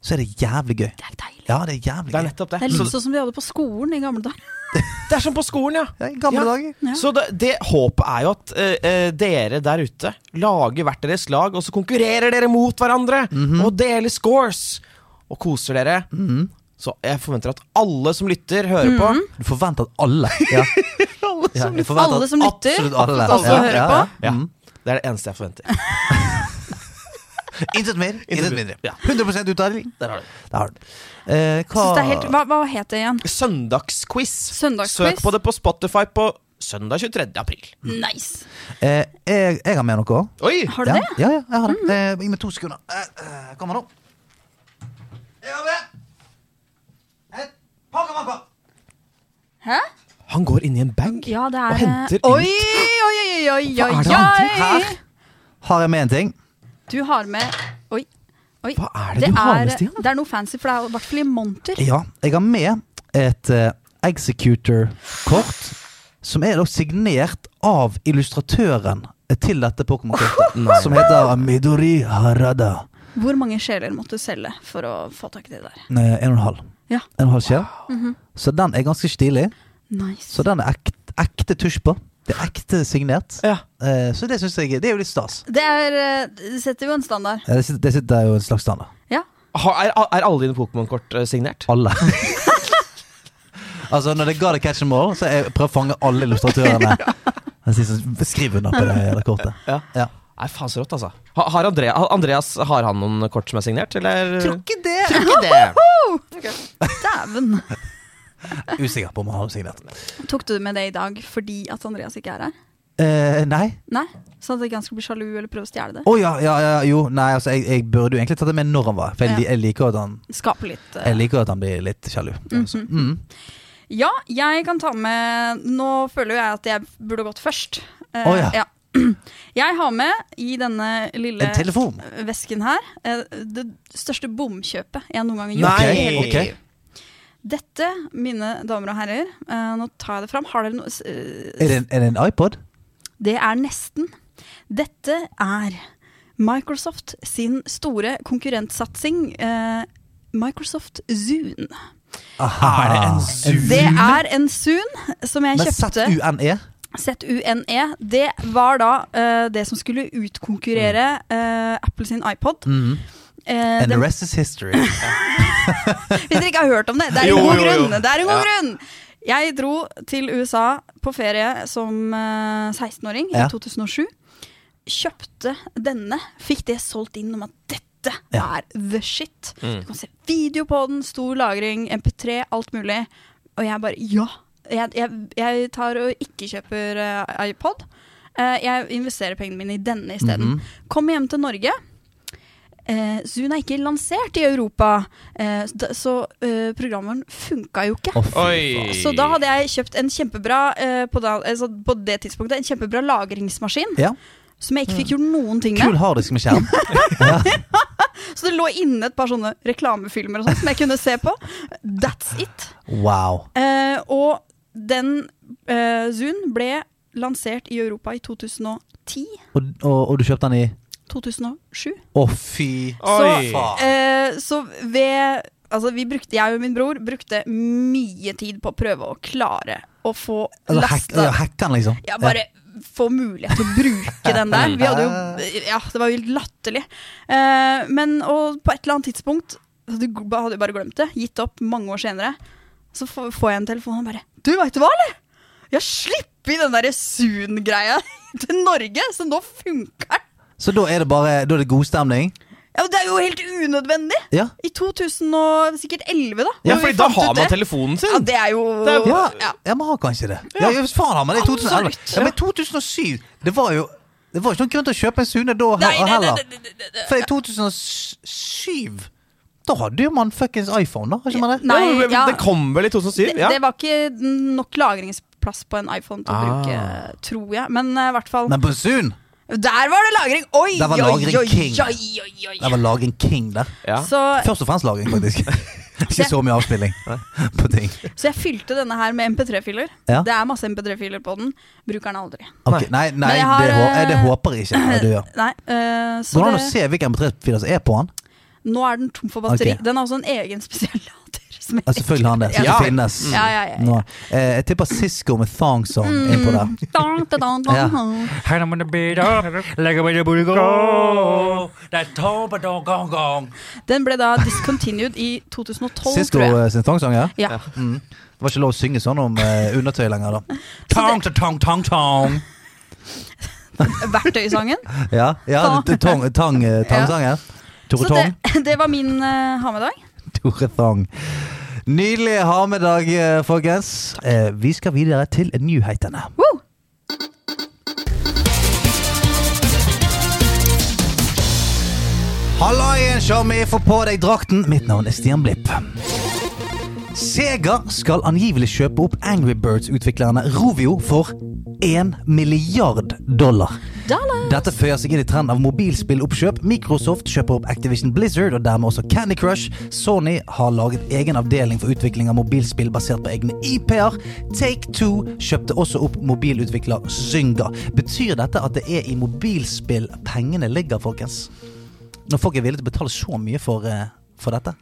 [SPEAKER 3] så er det jævlig gøy.
[SPEAKER 1] Det er deilig.
[SPEAKER 3] Ja, det er jævlig
[SPEAKER 2] Det er
[SPEAKER 3] gøy.
[SPEAKER 2] nettopp det.
[SPEAKER 1] Det er
[SPEAKER 2] Så
[SPEAKER 1] litt sånn som de hadde på skolen i gamle dager.
[SPEAKER 2] det er som på skolen, ja.
[SPEAKER 3] Ja, I gamle
[SPEAKER 2] Ja.
[SPEAKER 3] dager.
[SPEAKER 1] Ja.
[SPEAKER 2] Så det, det håpet er jo at eh, eh, dere der ute lager hvert deres lag, og så konkurrerer dere mot hverandre
[SPEAKER 1] Mhm.
[SPEAKER 2] og deler scores og koser dere. Så jeg forventer at alle som lytter, hører
[SPEAKER 1] Mhm.
[SPEAKER 2] på.
[SPEAKER 3] Mm. Du forventer at alle Ja, ja du forventer
[SPEAKER 1] Alle
[SPEAKER 3] at
[SPEAKER 1] som lytter,
[SPEAKER 3] Absolutt alle.
[SPEAKER 1] også hører på.
[SPEAKER 2] Ja,
[SPEAKER 3] Mm.
[SPEAKER 2] Det er det eneste jeg forventer.
[SPEAKER 3] Intet mer, intet mindre.
[SPEAKER 2] Ja.
[SPEAKER 3] 100 uttelling.
[SPEAKER 2] Der har du det.
[SPEAKER 3] Der har du det. Eh,
[SPEAKER 1] Jeg synes det er helt,
[SPEAKER 3] hva
[SPEAKER 1] hva, hva het det igjen?
[SPEAKER 2] Søndagsquiz.
[SPEAKER 1] Søndagsquiz.
[SPEAKER 2] Søk på det på Spotify på søndag 23. april.
[SPEAKER 1] Nice.
[SPEAKER 3] eh, jeg, jeg har med noe.
[SPEAKER 2] Oi!
[SPEAKER 1] Har du
[SPEAKER 3] ja.
[SPEAKER 1] det? Mm-hmm.
[SPEAKER 3] Ja, ja, jeg har det. Eh, gi meg to sekunder. Eh, eh, kommer nå. Jeg har med et pakkemakka.
[SPEAKER 1] Hæ?
[SPEAKER 2] Han går inn i en bag
[SPEAKER 1] Ja, det er eh,
[SPEAKER 2] og henter
[SPEAKER 1] Oi,
[SPEAKER 2] ut
[SPEAKER 1] oi, oi, oi, oi,
[SPEAKER 2] Hva er det
[SPEAKER 1] oi.
[SPEAKER 2] han
[SPEAKER 3] Her har jeg med en ting.
[SPEAKER 1] Du har med Oi. oi.
[SPEAKER 2] Hva er det du har med, Stian?
[SPEAKER 1] Det er noe fancy, for det er i hvert fall i monter.
[SPEAKER 3] Ja, jeg har med et eh, Executor-kort. Som er da signert av illustratøren til dette Pokémon-kortet. som heter Midori Harada.
[SPEAKER 1] Hvor mange sjeler måtte du selge for å få tak i det der?
[SPEAKER 3] Eh, En og en halv.
[SPEAKER 1] Ja, Mm-hmm.
[SPEAKER 3] En og en halv sjel. Så den er ganske stilig.
[SPEAKER 1] nice.
[SPEAKER 3] Så den er ekte, ekte tusj på. Det er ekte signert.
[SPEAKER 2] Ja.
[SPEAKER 3] Eh, Så det syns jeg Det er jo litt stas.
[SPEAKER 1] Det, er, eh, det setter jo en standard.
[SPEAKER 3] Eh, Det sitter- det sitter jo en slags standard.
[SPEAKER 1] Ja.
[SPEAKER 2] Har- Er, er alle dine Pokémon-kort eh, signert?
[SPEAKER 3] Alle. altså, når det ga det catch and all, så jeg prøver å fange alle illustratørene. Jeg sier sånn, Skriv under på det jævla kortet.
[SPEAKER 2] Ja.
[SPEAKER 3] Ja.
[SPEAKER 2] Nei, faen så rått, altså. Ha- Har Andrea, har Andreas har han noen kort som er signert, eller?
[SPEAKER 3] ikke det!
[SPEAKER 2] ikke det.
[SPEAKER 1] Dæven!
[SPEAKER 3] Usikker på om han har signert.
[SPEAKER 1] Tok du med det i dag fordi at Andreas ikke er her?
[SPEAKER 3] Eh, nei.
[SPEAKER 1] Nei? Sånn at ikke han skulle bli sjalu eller prøve å stjele det?
[SPEAKER 3] Å ja, ja, ja, jo. Nei, altså, jeg, jeg burde jo egentlig tatt det med når han var. For jeg, li- jeg liker at han
[SPEAKER 1] Skape litt eh,
[SPEAKER 3] Jeg liker at han blir litt sjalu.
[SPEAKER 1] Mhm.
[SPEAKER 3] Altså. Mm.
[SPEAKER 1] Ja, jeg kan ta med Nå føler jo jeg at jeg burde gått først. Eh,
[SPEAKER 3] Å ja.
[SPEAKER 1] Jeg har med i denne lille
[SPEAKER 3] En telefon.
[SPEAKER 1] vesken her eh, det største bomkjøpet jeg noen gang har gjort. i hele mitt
[SPEAKER 2] Nei!
[SPEAKER 3] Ok, ok.
[SPEAKER 1] liv. Dette, mine damer og herrer, eh, nå tar jeg det fram. Har dere noe s- eh,
[SPEAKER 3] Er det, en, er det en iPod?
[SPEAKER 1] Det er nesten. Dette er Microsoft sin store konkurrentsatsing, eh, Microsoft Zune.
[SPEAKER 3] Aha.
[SPEAKER 2] Er det en Zoom?
[SPEAKER 1] Det er en Zune som jeg
[SPEAKER 3] Men
[SPEAKER 1] kjøpte.
[SPEAKER 3] ZUNE?
[SPEAKER 1] ZUNE, E. det var da eh, det som skulle utkonkurrere eh, Apple sin iPod.
[SPEAKER 3] Mm.
[SPEAKER 1] Eh,
[SPEAKER 3] And the
[SPEAKER 1] den,
[SPEAKER 3] rest is history.
[SPEAKER 1] hvis dere ikke har hørt om det, det er
[SPEAKER 2] Jo,
[SPEAKER 1] en god
[SPEAKER 2] jo, jo.
[SPEAKER 1] grunn! Det er en god
[SPEAKER 2] Ja.
[SPEAKER 1] grunn! Jeg dro til USA på ferie som eh, 16-åring
[SPEAKER 3] Ja.
[SPEAKER 1] i 2007. Kjøpte denne, fikk det solgt inn om at dette
[SPEAKER 3] Ja.
[SPEAKER 1] er the shit.
[SPEAKER 2] Mm.
[SPEAKER 1] Du kan se video på den, stor lagring, MP3, alt mulig. Og jeg bare ja! Jeg, jeg, jeg tar og ikke kjøper eh, iPod. Eh, jeg investerer pengene mine i denne isteden.
[SPEAKER 3] Mhm.
[SPEAKER 1] Kom hjem til Norge. Eh, Zoom er ikke lansert i Europa, eh, så da- så eh, programvaren funka jo ikke.
[SPEAKER 3] Å, fy
[SPEAKER 2] Oi.
[SPEAKER 3] faen.
[SPEAKER 1] Så da hadde jeg kjøpt en kjempebra eh, på, da, altså på det tidspunktet, en kjempebra lagringsmaskin
[SPEAKER 3] Ja.
[SPEAKER 1] som jeg ikke fikk gjort noen ting med.
[SPEAKER 3] Kul harddisk med skjerm.
[SPEAKER 1] Så det lå inne et par sånne reklamefilmer og sånt som jeg kunne se på. That's it.
[SPEAKER 3] Wow.
[SPEAKER 1] Eh, og den eh, Zoom ble lansert i Europa i 2010.
[SPEAKER 3] Og, og, og du kjøpte den i
[SPEAKER 1] 2007.
[SPEAKER 3] Å, fy
[SPEAKER 2] Oi.
[SPEAKER 3] faen.
[SPEAKER 1] Eh, så ved Altså, vi brukte, jeg og min bror brukte mye tid på å prøve å klare å få
[SPEAKER 3] Altså, hack,
[SPEAKER 1] lasta
[SPEAKER 3] ja, hacka den, liksom.
[SPEAKER 1] Ja, bare få mulighet til å bruke den der. Vi hadde jo Ja, det var jo helt latterlig. Eh, men og på et eller annet tidspunkt så du ba- hadde jo bare glemt det, gitt opp mange år senere. Så få- får jeg en telefon og bare 'Du, veit du hva, eller? Jeg slipper i den derre Zoon-greia til Norge, så nå funker den!'
[SPEAKER 3] Så da er det bare Da er det god stemning?
[SPEAKER 1] Ja, men det er jo helt unødvendig!
[SPEAKER 3] Ja.
[SPEAKER 1] I 2011, da.
[SPEAKER 2] Ja,
[SPEAKER 1] hvor
[SPEAKER 2] fordi
[SPEAKER 1] vi
[SPEAKER 2] da
[SPEAKER 1] fant
[SPEAKER 2] har
[SPEAKER 1] ut
[SPEAKER 2] man
[SPEAKER 1] det.
[SPEAKER 2] telefonen
[SPEAKER 1] Ja,
[SPEAKER 2] sin.
[SPEAKER 1] det er jo
[SPEAKER 3] Ja,
[SPEAKER 1] ja.
[SPEAKER 3] ja, man har kanskje det. Ja, ja, hvis faen har man det i 2011.
[SPEAKER 1] Absolutt.
[SPEAKER 3] Ja, men 2007, det var jo Det var ikke noen grunn til å kjøpe en Sune da
[SPEAKER 1] Nei, nei, nei,
[SPEAKER 3] heller.
[SPEAKER 1] nei, nei, nei, nei.
[SPEAKER 3] For i 2007 Da hadde jo man fuckings iPhone, da. Har ikke man det?
[SPEAKER 1] Nei,
[SPEAKER 2] Jo, men
[SPEAKER 1] ja.
[SPEAKER 2] Den kom vel i 2007?
[SPEAKER 1] Det,
[SPEAKER 2] Ja.
[SPEAKER 1] det var ikke nok lagringsplass på en iPhone til å
[SPEAKER 2] Ah.
[SPEAKER 1] bruke, tror jeg. Men eh, i hvert fall
[SPEAKER 3] Men på Zoom,
[SPEAKER 1] Der var det lagring! Oi,
[SPEAKER 3] Der var
[SPEAKER 1] oi,
[SPEAKER 3] lagring
[SPEAKER 1] oi,
[SPEAKER 3] king.
[SPEAKER 1] oi, oi, oi.
[SPEAKER 3] der var lagring king der.
[SPEAKER 2] Ja.
[SPEAKER 1] Så,
[SPEAKER 3] Først og fremst lagring, faktisk. ikke så mye avspilling på ting.
[SPEAKER 1] så jeg fylte denne her med MP3-filer.
[SPEAKER 3] Ja.
[SPEAKER 1] Det er masse MP3-filer på den. Bruker den aldri.
[SPEAKER 3] Ok, nei, nei
[SPEAKER 1] Men jeg har,
[SPEAKER 3] det, hå jeg, det
[SPEAKER 1] eh,
[SPEAKER 3] håper jeg ikke at du gjør.
[SPEAKER 1] Nei, eh, så
[SPEAKER 3] Går det an å
[SPEAKER 1] det,
[SPEAKER 3] se hvilken MP3-filer som er på den?
[SPEAKER 1] nå er den tom for batteri.
[SPEAKER 3] Ok. Altså,
[SPEAKER 1] Den har også en egen spesiell lader. som
[SPEAKER 3] Ja, selvfølgelig har han det. Så
[SPEAKER 1] Ja.
[SPEAKER 3] det finnes
[SPEAKER 1] Ja, ja, ja, Mm, ja.
[SPEAKER 3] nå. Eh, jeg tipper Sisko med Thong Song innpå der.
[SPEAKER 1] Dun, dun, dun, dun.
[SPEAKER 3] Ja.
[SPEAKER 5] Hang on the beat up, like a way to go. That tom, but don't gong gong.
[SPEAKER 1] Den ble da discontinued i 2012,
[SPEAKER 3] Sisko
[SPEAKER 1] tror jeg.
[SPEAKER 3] eh, sin Thong Song, ja.
[SPEAKER 1] Ja.
[SPEAKER 3] Det var ikke lov å synge sånn om eh, undertøy lenger, da.
[SPEAKER 5] Tong to tong tong tong.
[SPEAKER 1] Verktøysangen.
[SPEAKER 3] Ja, ja det- tong, tang, eh, tangsangen. Tore
[SPEAKER 1] Så
[SPEAKER 3] Tong.
[SPEAKER 1] det, det var min uh, ha med dag.
[SPEAKER 3] Tore Thong. Nydelig ha med dag, eh, folkens. Eh, vi skal videre til nyhetene.
[SPEAKER 1] Woo!
[SPEAKER 3] Hallaien, Shami, få på deg drakten. Mitt navn er Stian Blipp. Sega skal angivelig kjøpe opp Angry Birds-utviklerne Rovio for 1 milliard dollar.
[SPEAKER 1] Dollar.
[SPEAKER 3] Dette føyer seg inn i trenden av mobilspilloppkjøp. Microsoft kjøper opp Activision Blizzard og dermed også Candy Crush. Sony har laget egen avdeling for utvikling av mobilspill basert på egne IP-er. Take Two kjøpte også opp mobilutvikler Zynga. Betyr dette at det er i mobilspill pengene ligger, folkens? Når folk er villige til å betale så mye for, eh, for dette?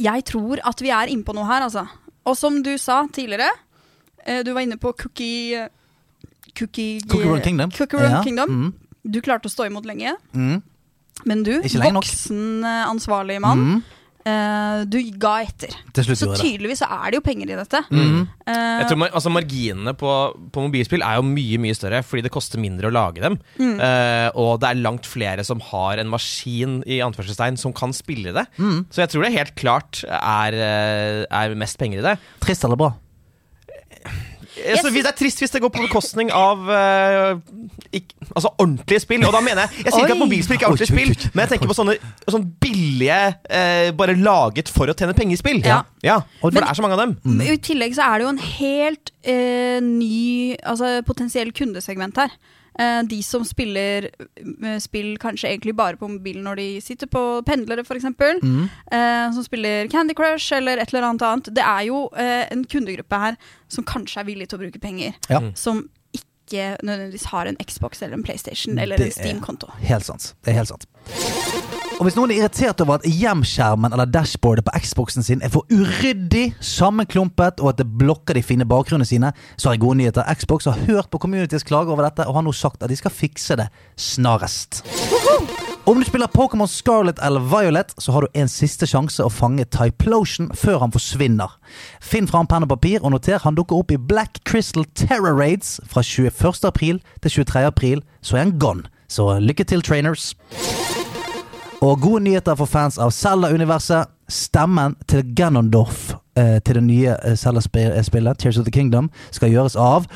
[SPEAKER 1] Jeg tror at vi er inne på noe her, altså. Og som du sa tidligere, eh, du var inne på cookie eh, Cookie, eh,
[SPEAKER 3] Cookie Run Kingdom.
[SPEAKER 1] Cookie Run
[SPEAKER 3] Ja,
[SPEAKER 1] Kingdom.
[SPEAKER 3] mm.
[SPEAKER 1] Du klarte å stå imot lenge,
[SPEAKER 3] Mm.
[SPEAKER 1] men du,
[SPEAKER 3] Ikke lenge nok.
[SPEAKER 1] voksen eh, ansvarlig mann, eh, du ga etter.
[SPEAKER 3] Mm. Til slutt
[SPEAKER 1] Så
[SPEAKER 3] gjorde jeg det. Mm.
[SPEAKER 1] tydeligvis så er det jo penger i dette. Eh,
[SPEAKER 2] Jeg tror mar altså Marginene på, på mobilspill er jo mye mye større, fordi det koster mindre å lage dem. Eh, og det er langt flere som har en maskin i anførselstegn som kan spille det. Så jeg tror det helt klart er, eh, er mest penger i det.
[SPEAKER 3] Trist eller bra?
[SPEAKER 2] Eh, Så hvis Det er trist hvis det går på bekostning av eh, ikk- altså ordentlige spill. Og da mener Jeg jeg sier ikke at
[SPEAKER 1] Oi.
[SPEAKER 2] mobilspill ikke er ordentlige
[SPEAKER 3] Oi, oi, oi.
[SPEAKER 2] spill, men jeg tenker på sånne, sånne billige, eh, bare laget for å tjene penger-spill.
[SPEAKER 1] Ja.
[SPEAKER 2] For det er så mange av dem.
[SPEAKER 3] Mm.
[SPEAKER 1] Men I tillegg så er det jo en helt eh, ny altså, potensiell kundesegment her. Eh, de som spiller eh, spill kanskje egentlig bare på mobilen når de sitter på pendlere, f.eks. Mm. Eh, som spiller Candy Crush eller et eller annet annet. Det er jo eh, en kundegruppe her som kanskje er villig til å bruke penger.
[SPEAKER 3] Ja.
[SPEAKER 1] Som ikke nødvendigvis har en Xbox eller en PlayStation eller
[SPEAKER 3] Det
[SPEAKER 1] en Steam-konto.
[SPEAKER 3] Er helt sant. Det er helt sant. Og hvis noen er irritert over at hjemskjermen eller dashboardet på Xboxen sin er for uryddig, sammenklumpet og at det blokker de fine bakgrunnene sine, så har jeg gode nyheter. Xbox har hørt på communities klage over dette og har nå sagt at de skal fikse det snarest. Om du spiller Pokémon Scarlet eller Violet, så har du en siste sjanse å fange Typlosion før han forsvinner. Finn fram penn og papir og noter. Han dukker opp i Black Crystal Terror Raids fra 21. april til 23. april, så er han gone. Så lykke til, trainers. Og gode nyheter for fans av Zelda-universet. Stemmen til Ganondorf eh, til det nye eh, Zelda-spillet, Tears of the Kingdom, skal gjøres av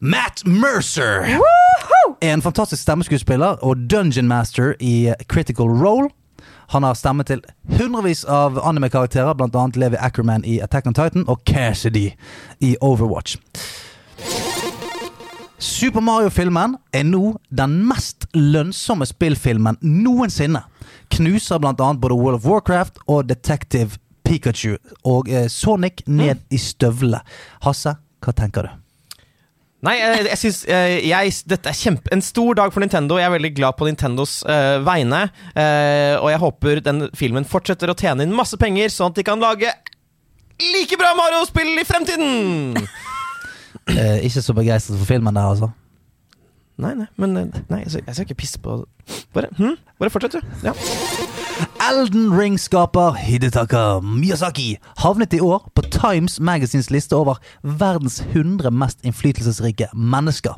[SPEAKER 3] Matt Mercer! En fantastisk stemmeskuespiller og dungeon master i eh, Critical Role. Han har stemme til hundrevis av anime-karakterer, bl.a. Levi Ackerman i Attack on Titan og Cassidy i Overwatch. Super Mario-filmen er nå den mest lønnsomme spillfilmen noensinne. Knuser blant annet både World of Warcraft og Detective Pikachu. Og eh, Sonic ned i støvlene. Hasse, hva tenker du?
[SPEAKER 2] Nei, jeg, jeg synes, eh, jeg, Dette er kjempe, en stor dag for Nintendo. Jeg er veldig glad på Nintendos eh, vegne. eh, og jeg håper den filmen fortsetter å tjene inn masse penger, sånn at de kan lage like bra Mario-spill i fremtiden!
[SPEAKER 3] Eh, ikke så begeistret for filmen der, altså.
[SPEAKER 2] Nei, nei, men eh, nei, jeg, skal, jeg skal ikke pisse på Bare, hm? Bare fortsett, du. Ja.
[SPEAKER 3] Elden Ring-skaper Hidetaka Miyazaki havnet i år på Times Magazines liste over verdens 100 mest innflytelsesrike mennesker.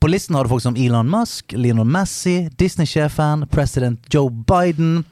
[SPEAKER 3] På listen har du folk som Elon Musk, Lionel Messi, Disney-sjefen, president Joe Biden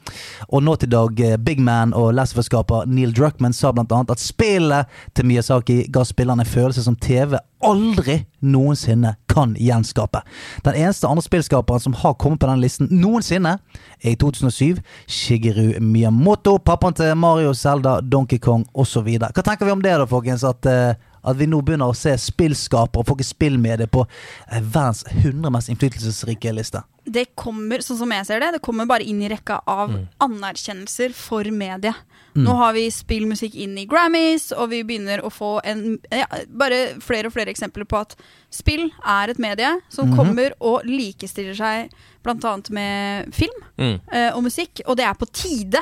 [SPEAKER 3] og nå til dag eh, Big Man og Lesver-skaper Neil Druckman sa blant annet at spillet til Miyazaki ga spillerne en følelse som TV aldri noensinne kan gjenskape. Den eneste andre spillskaperen som har kommet på den listen noensinne, er i 2007 Shigeru Miyamoto, pappaen til Mario, Zelda, Donkey Kong osv. Hva tenker vi om det, da, folkens? At, eh, at vi nå begynner å se spillskapere og folk i spillmediet på eh, verdens 100 mest innflytelsesrike liste.
[SPEAKER 1] det kommer, sånn som jeg ser det, det kommer bare inn i rekka av anerkjennelser for mediet. Nå har vi spillmusikk inn i Grammys, og vi begynner å få en, ja, bare flere og flere eksempler på at spill er et medie som kommer og likestiller seg bl.a. med film
[SPEAKER 2] Mm.
[SPEAKER 1] eh, og musikk, og det er på tide.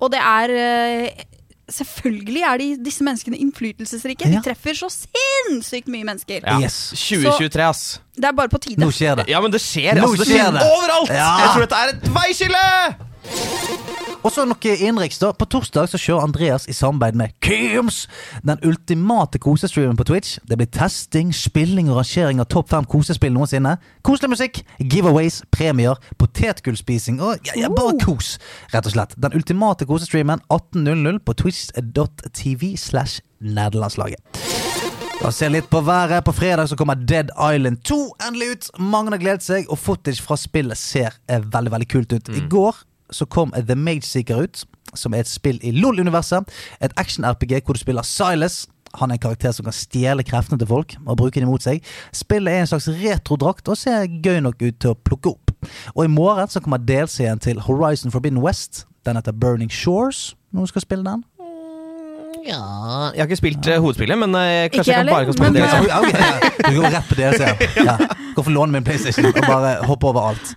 [SPEAKER 1] Og det er eh, selvfølgelig er de, disse menneskene innflytelsesrike. De
[SPEAKER 3] Ja.
[SPEAKER 1] treffer så sinnssykt mye mennesker.
[SPEAKER 2] Ja.
[SPEAKER 3] Yes.
[SPEAKER 2] 2023, ass.
[SPEAKER 1] Det er bare på tide.
[SPEAKER 3] Nå skjer det.
[SPEAKER 2] Ja, men det skjer.
[SPEAKER 3] Nå
[SPEAKER 2] altså, det
[SPEAKER 3] skjer
[SPEAKER 2] skjer
[SPEAKER 3] det.
[SPEAKER 2] overalt!
[SPEAKER 3] Ja.
[SPEAKER 2] Jeg tror dette er et veiskille!
[SPEAKER 3] Og så noe innenriks, da. På torsdag så kjører Andreas i samarbeid med Kims den ultimate kosestreamen på Twitch. Det blir testing, spilling og rangering av topp fem kosespill noensinne. Koselig musikk, giveaways, premier, potetgullspising og ja, ja, bare kos, rett og slett. Den ultimate kosestreamen 18.00 på twitch.tv slash nederlandslaget. Da ser jeg litt på været. På fredag så kommer Dead Island 2 endelig ut. Mange har gledet seg, og footage fra spillet ser eh, veldig veldig kult ut. I går så kom eh, The Mage Seeker ut, som er et spill i LOL-universet. Et action-RPG hvor du spiller Silas. Han er en karakter som kan stjele kreftene til folk og bruke dem mot seg. Spillet er en slags retrodrakt og ser gøy nok ut til å plukke opp. Og i morgen så kommer delscenen til Horizon Forbidden West. Den heter Burning Shores. Noen skal spille den?
[SPEAKER 2] Jeg har ikke spilt eh, hovedspillet, men eh,
[SPEAKER 1] Ikke
[SPEAKER 2] kanskje jeg
[SPEAKER 1] heller,
[SPEAKER 2] kan bare kan spille
[SPEAKER 1] men,
[SPEAKER 2] det.
[SPEAKER 1] eh,
[SPEAKER 2] Liksom.
[SPEAKER 3] Ja, ok, ja. Du går rett på DLC. Ja. Ja. Gå for å låne min PlayStation og bare hoppe over alt.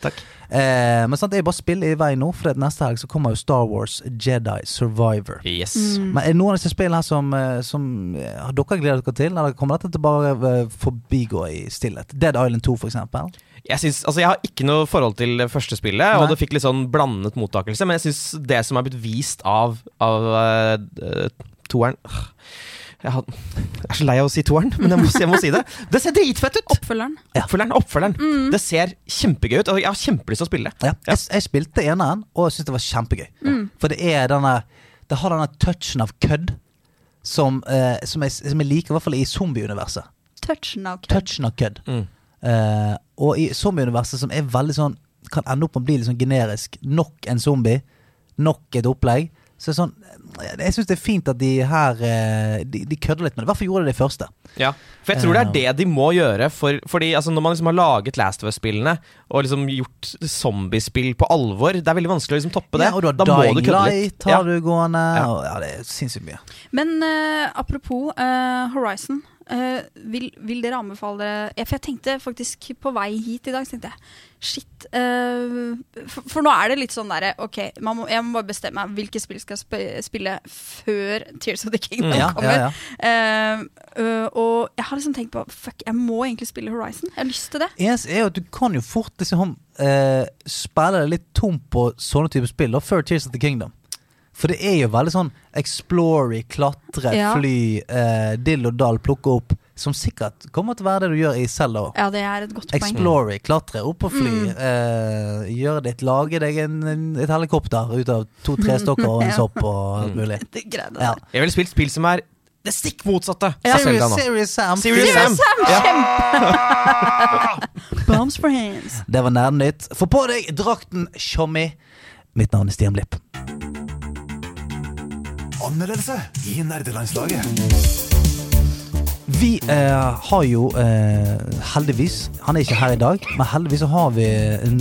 [SPEAKER 3] Eh, men sant, det er jo bare spill i veien nå, for det at neste helg så kommer jo Star Wars Jedi Survivor.
[SPEAKER 1] mm.
[SPEAKER 2] Yes.
[SPEAKER 3] Men Er det noen av disse spillene her som, eh, som eh, har dere gledet dere til, eller kommer dette til å bare eh, forbigå i stillhet? Dead Island 2, for eksempel.
[SPEAKER 2] Jeg, synes, altså, jeg har ikke noe forhold til det første spillet,
[SPEAKER 3] Nei.
[SPEAKER 2] og det fikk litt sånn blandet mottakelse, men jeg syns det som er blitt vist av, av eh, toeren Åh, jeg, har, jeg er så lei av å si toeren, men jeg må, jeg må si det. Det ser dritfett ut!
[SPEAKER 1] Oppfølgeren.
[SPEAKER 2] Oppfølgeren. oppfølgeren
[SPEAKER 1] Mm.
[SPEAKER 2] Det ser kjempegøy ut. og Jeg har kjempelyst til å spille.
[SPEAKER 3] Ja. Jeg, jeg spilte eneren, og syntes det var kjempegøy. For det er denne Det har denne touchen av kødd som, eh, som, jeg, som jeg liker, i hvert fall i zombieuniverset.
[SPEAKER 1] Touchen av kødd.
[SPEAKER 3] touchen av kødd.
[SPEAKER 2] Mm.
[SPEAKER 3] Eh, og i zombieuniverset, som er veldig sånn kan ende opp med å bli litt sånn generisk, nok en zombie, nok et opplegg. Så er det sånn Jeg syns det er fint at de her eh, de, de kødder litt med det. I hvert fall gjorde de det i første.
[SPEAKER 2] Ja, for jeg tror det er det de må gjøre. For, fordi altså, Når man liksom har laget Last of Us-spillene og liksom gjort zombiespill på alvor, det er veldig vanskelig å liksom toppe det.
[SPEAKER 3] Ja, og du har
[SPEAKER 2] da må du
[SPEAKER 3] Dying
[SPEAKER 2] kødde litt.
[SPEAKER 3] Light har
[SPEAKER 2] Ja.
[SPEAKER 3] du gående.
[SPEAKER 2] Ja.
[SPEAKER 3] Og, ja, det er sinnssykt mye.
[SPEAKER 1] Men eh, apropos eh, Horizon. eh, vil, vil dere anbefale dere ja, For jeg tenkte faktisk på vei hit i dag, så tenkte jeg shit. eh, for, for nå er det litt sånn derre OK, man må, jeg må bare bestemme meg hvilke spill skal sp spille før Tears of the Kingdom
[SPEAKER 3] Mm, Ja,
[SPEAKER 1] kommer.
[SPEAKER 3] ja, ja.
[SPEAKER 1] Eh, øh, og jeg har liksom tenkt på Fuck, jeg må egentlig spille Horizon. Jeg har lyst til det.
[SPEAKER 3] Eneste er jo at du kan jo fort liksom eh, spille deg litt tom på sånne typer spill da, før Tears of the Kingdom. For det er jo veldig sånn explory, klatre,
[SPEAKER 1] Ja.
[SPEAKER 3] fly, eh, dill og dall, plukke opp. Som sikkert kommer til å være det du gjør i Zelda òg.
[SPEAKER 1] Ja, det er et godt poeng. Mm.
[SPEAKER 3] Explory, klatre, opp og fly. Eh, gjøre ditt, lage deg en, en- et helikopter ut av to-tre stokker og en
[SPEAKER 1] Ja.
[SPEAKER 3] sopp og alt mulig.
[SPEAKER 1] Det greiene
[SPEAKER 3] Ja.
[SPEAKER 1] der.
[SPEAKER 2] Jeg ville spilt spill som er det stikk motsatte av Zelda
[SPEAKER 3] Serious,
[SPEAKER 2] nå.
[SPEAKER 3] serious Sam.
[SPEAKER 2] Serious Sam.
[SPEAKER 1] Bombs for hands.
[SPEAKER 3] Det var Nerdenytt. Få på deg drakten, tjommi. Mitt navn er Stian Blipp.
[SPEAKER 6] Anmeldelse i nerdelandslaget.
[SPEAKER 3] Vi eh, har jo eh, heldigvis Han er ikke her i dag, men heldigvis så har vi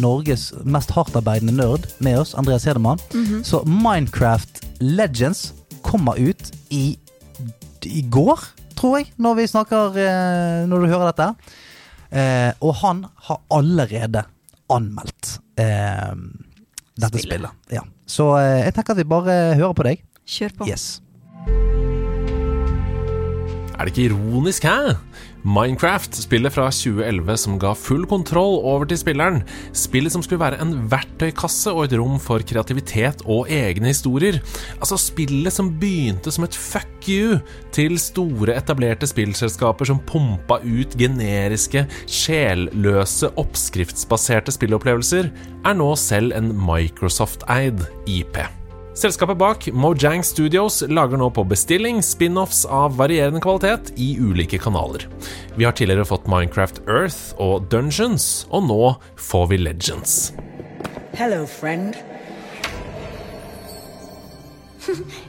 [SPEAKER 3] Norges mest hardtarbeidende nerd med oss, Andreas Hedemann. Så Minecraft Legends kommer ut i, i går, tror jeg, når vi snakker eh, Når du hører dette. Eh, og han har allerede anmeldt eh, dette spillet. Ja. Så eh, jeg tenker at vi bare hører på deg.
[SPEAKER 1] Kjør på.
[SPEAKER 3] Yes.
[SPEAKER 7] Er det ikke ironisk, hæ? Minecraft, spillet fra 2011 som ga full kontroll over til spilleren. Spillet som skulle være en verktøykasse og et rom for kreativitet og egne historier. Altså spillet som begynte som et fuck you til store, etablerte spillselskaper som pumpa ut generiske, sjelløse, oppskriftsbaserte spillopplevelser, er nå selv en Microsoft-eid IP. Selskapet bak Mojang Studios lager nå på bestilling spin-offs av varierende kvalitet i ulike kanaler. Vi har tidligere fått Minecraft Earth og Dungeons, og nå får vi Legends.
[SPEAKER 8] Hello, friend.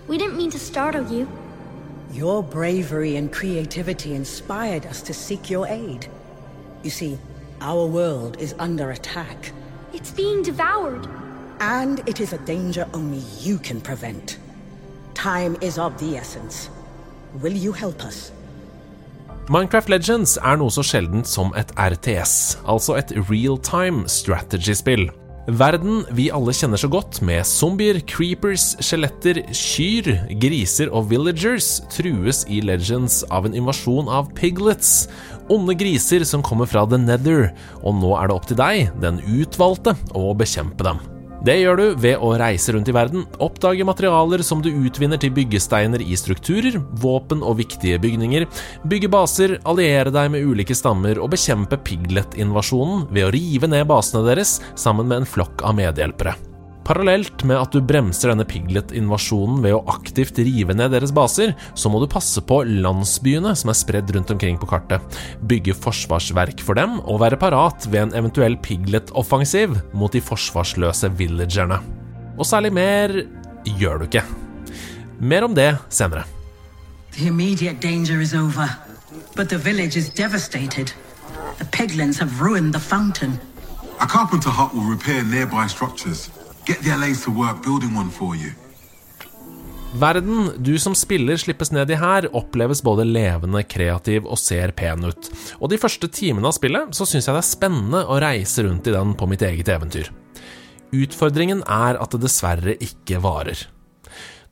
[SPEAKER 9] We didn't mean to startle you.
[SPEAKER 8] Your bravery and creativity inspired us to seek your aid. You see, our world is under attack,
[SPEAKER 9] It's being devoured.
[SPEAKER 8] and it is a danger only you can prevent. Time is of the essence. Will you help us?
[SPEAKER 7] Minecraft Legends er noe så sjeldent som et RTS, altså et real-time strategy-spill. Verden vi alle kjenner så godt, med zombier, creepers, skjeletter, kyr, griser og villagers, trues i Legends av en invasjon av piglets. Onde griser som kommer fra The Nether, og nå er det opp til deg, den utvalgte, å bekjempe dem. Det gjør du ved å reise rundt i verden, oppdage materialer som du utvinner til byggesteiner i strukturer, våpen og viktige bygninger, bygge baser, alliere deg med ulike stammer og bekjempe piglet-invasjonen ved å rive ned basene deres sammen med en flokk av medhjelpere. Parallelt med at du bremser denne piglet-invasjonen ved å aktivt rive ned deres baser, så må du passe på landsbyene som er spredd rundt omkring på kartet, bygge forsvarsverk for dem og være parat ved en eventuell piglet-offensiv mot de forsvarsløse villagerne. Og særlig mer gjør du ikke. Mer om det senere.
[SPEAKER 8] The immediate danger is over, but the village is devastated. The piglins have ruined the fountain.
[SPEAKER 6] A carpenter hut will repair nearby structures. Get the LAs to work building one for you.
[SPEAKER 7] Verden du som spiller slippes ned i her, oppleves både levende, kreativ og ser pen ut. Og de første timene av spillet så syns jeg det er spennende å reise rundt i den på mitt eget eventyr. Utfordringen er at det dessverre ikke varer.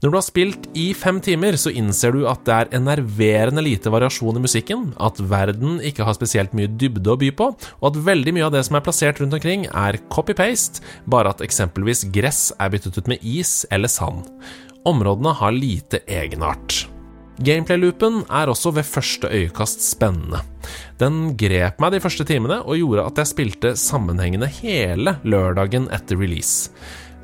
[SPEAKER 7] Når du har spilt i fem timer, så innser du at det er enerverende lite variasjon i musikken, at verden ikke har spesielt mye dybde å by på, og at veldig mye av det som er plassert rundt omkring, er copy-paste, bare at eksempelvis gress er byttet ut med is eller sand. Områdene har lite egenart. Gameplay-loopen er også ved første øyekast spennende. Den grep meg de første timene og gjorde at jeg spilte sammenhengende hele lørdagen etter release.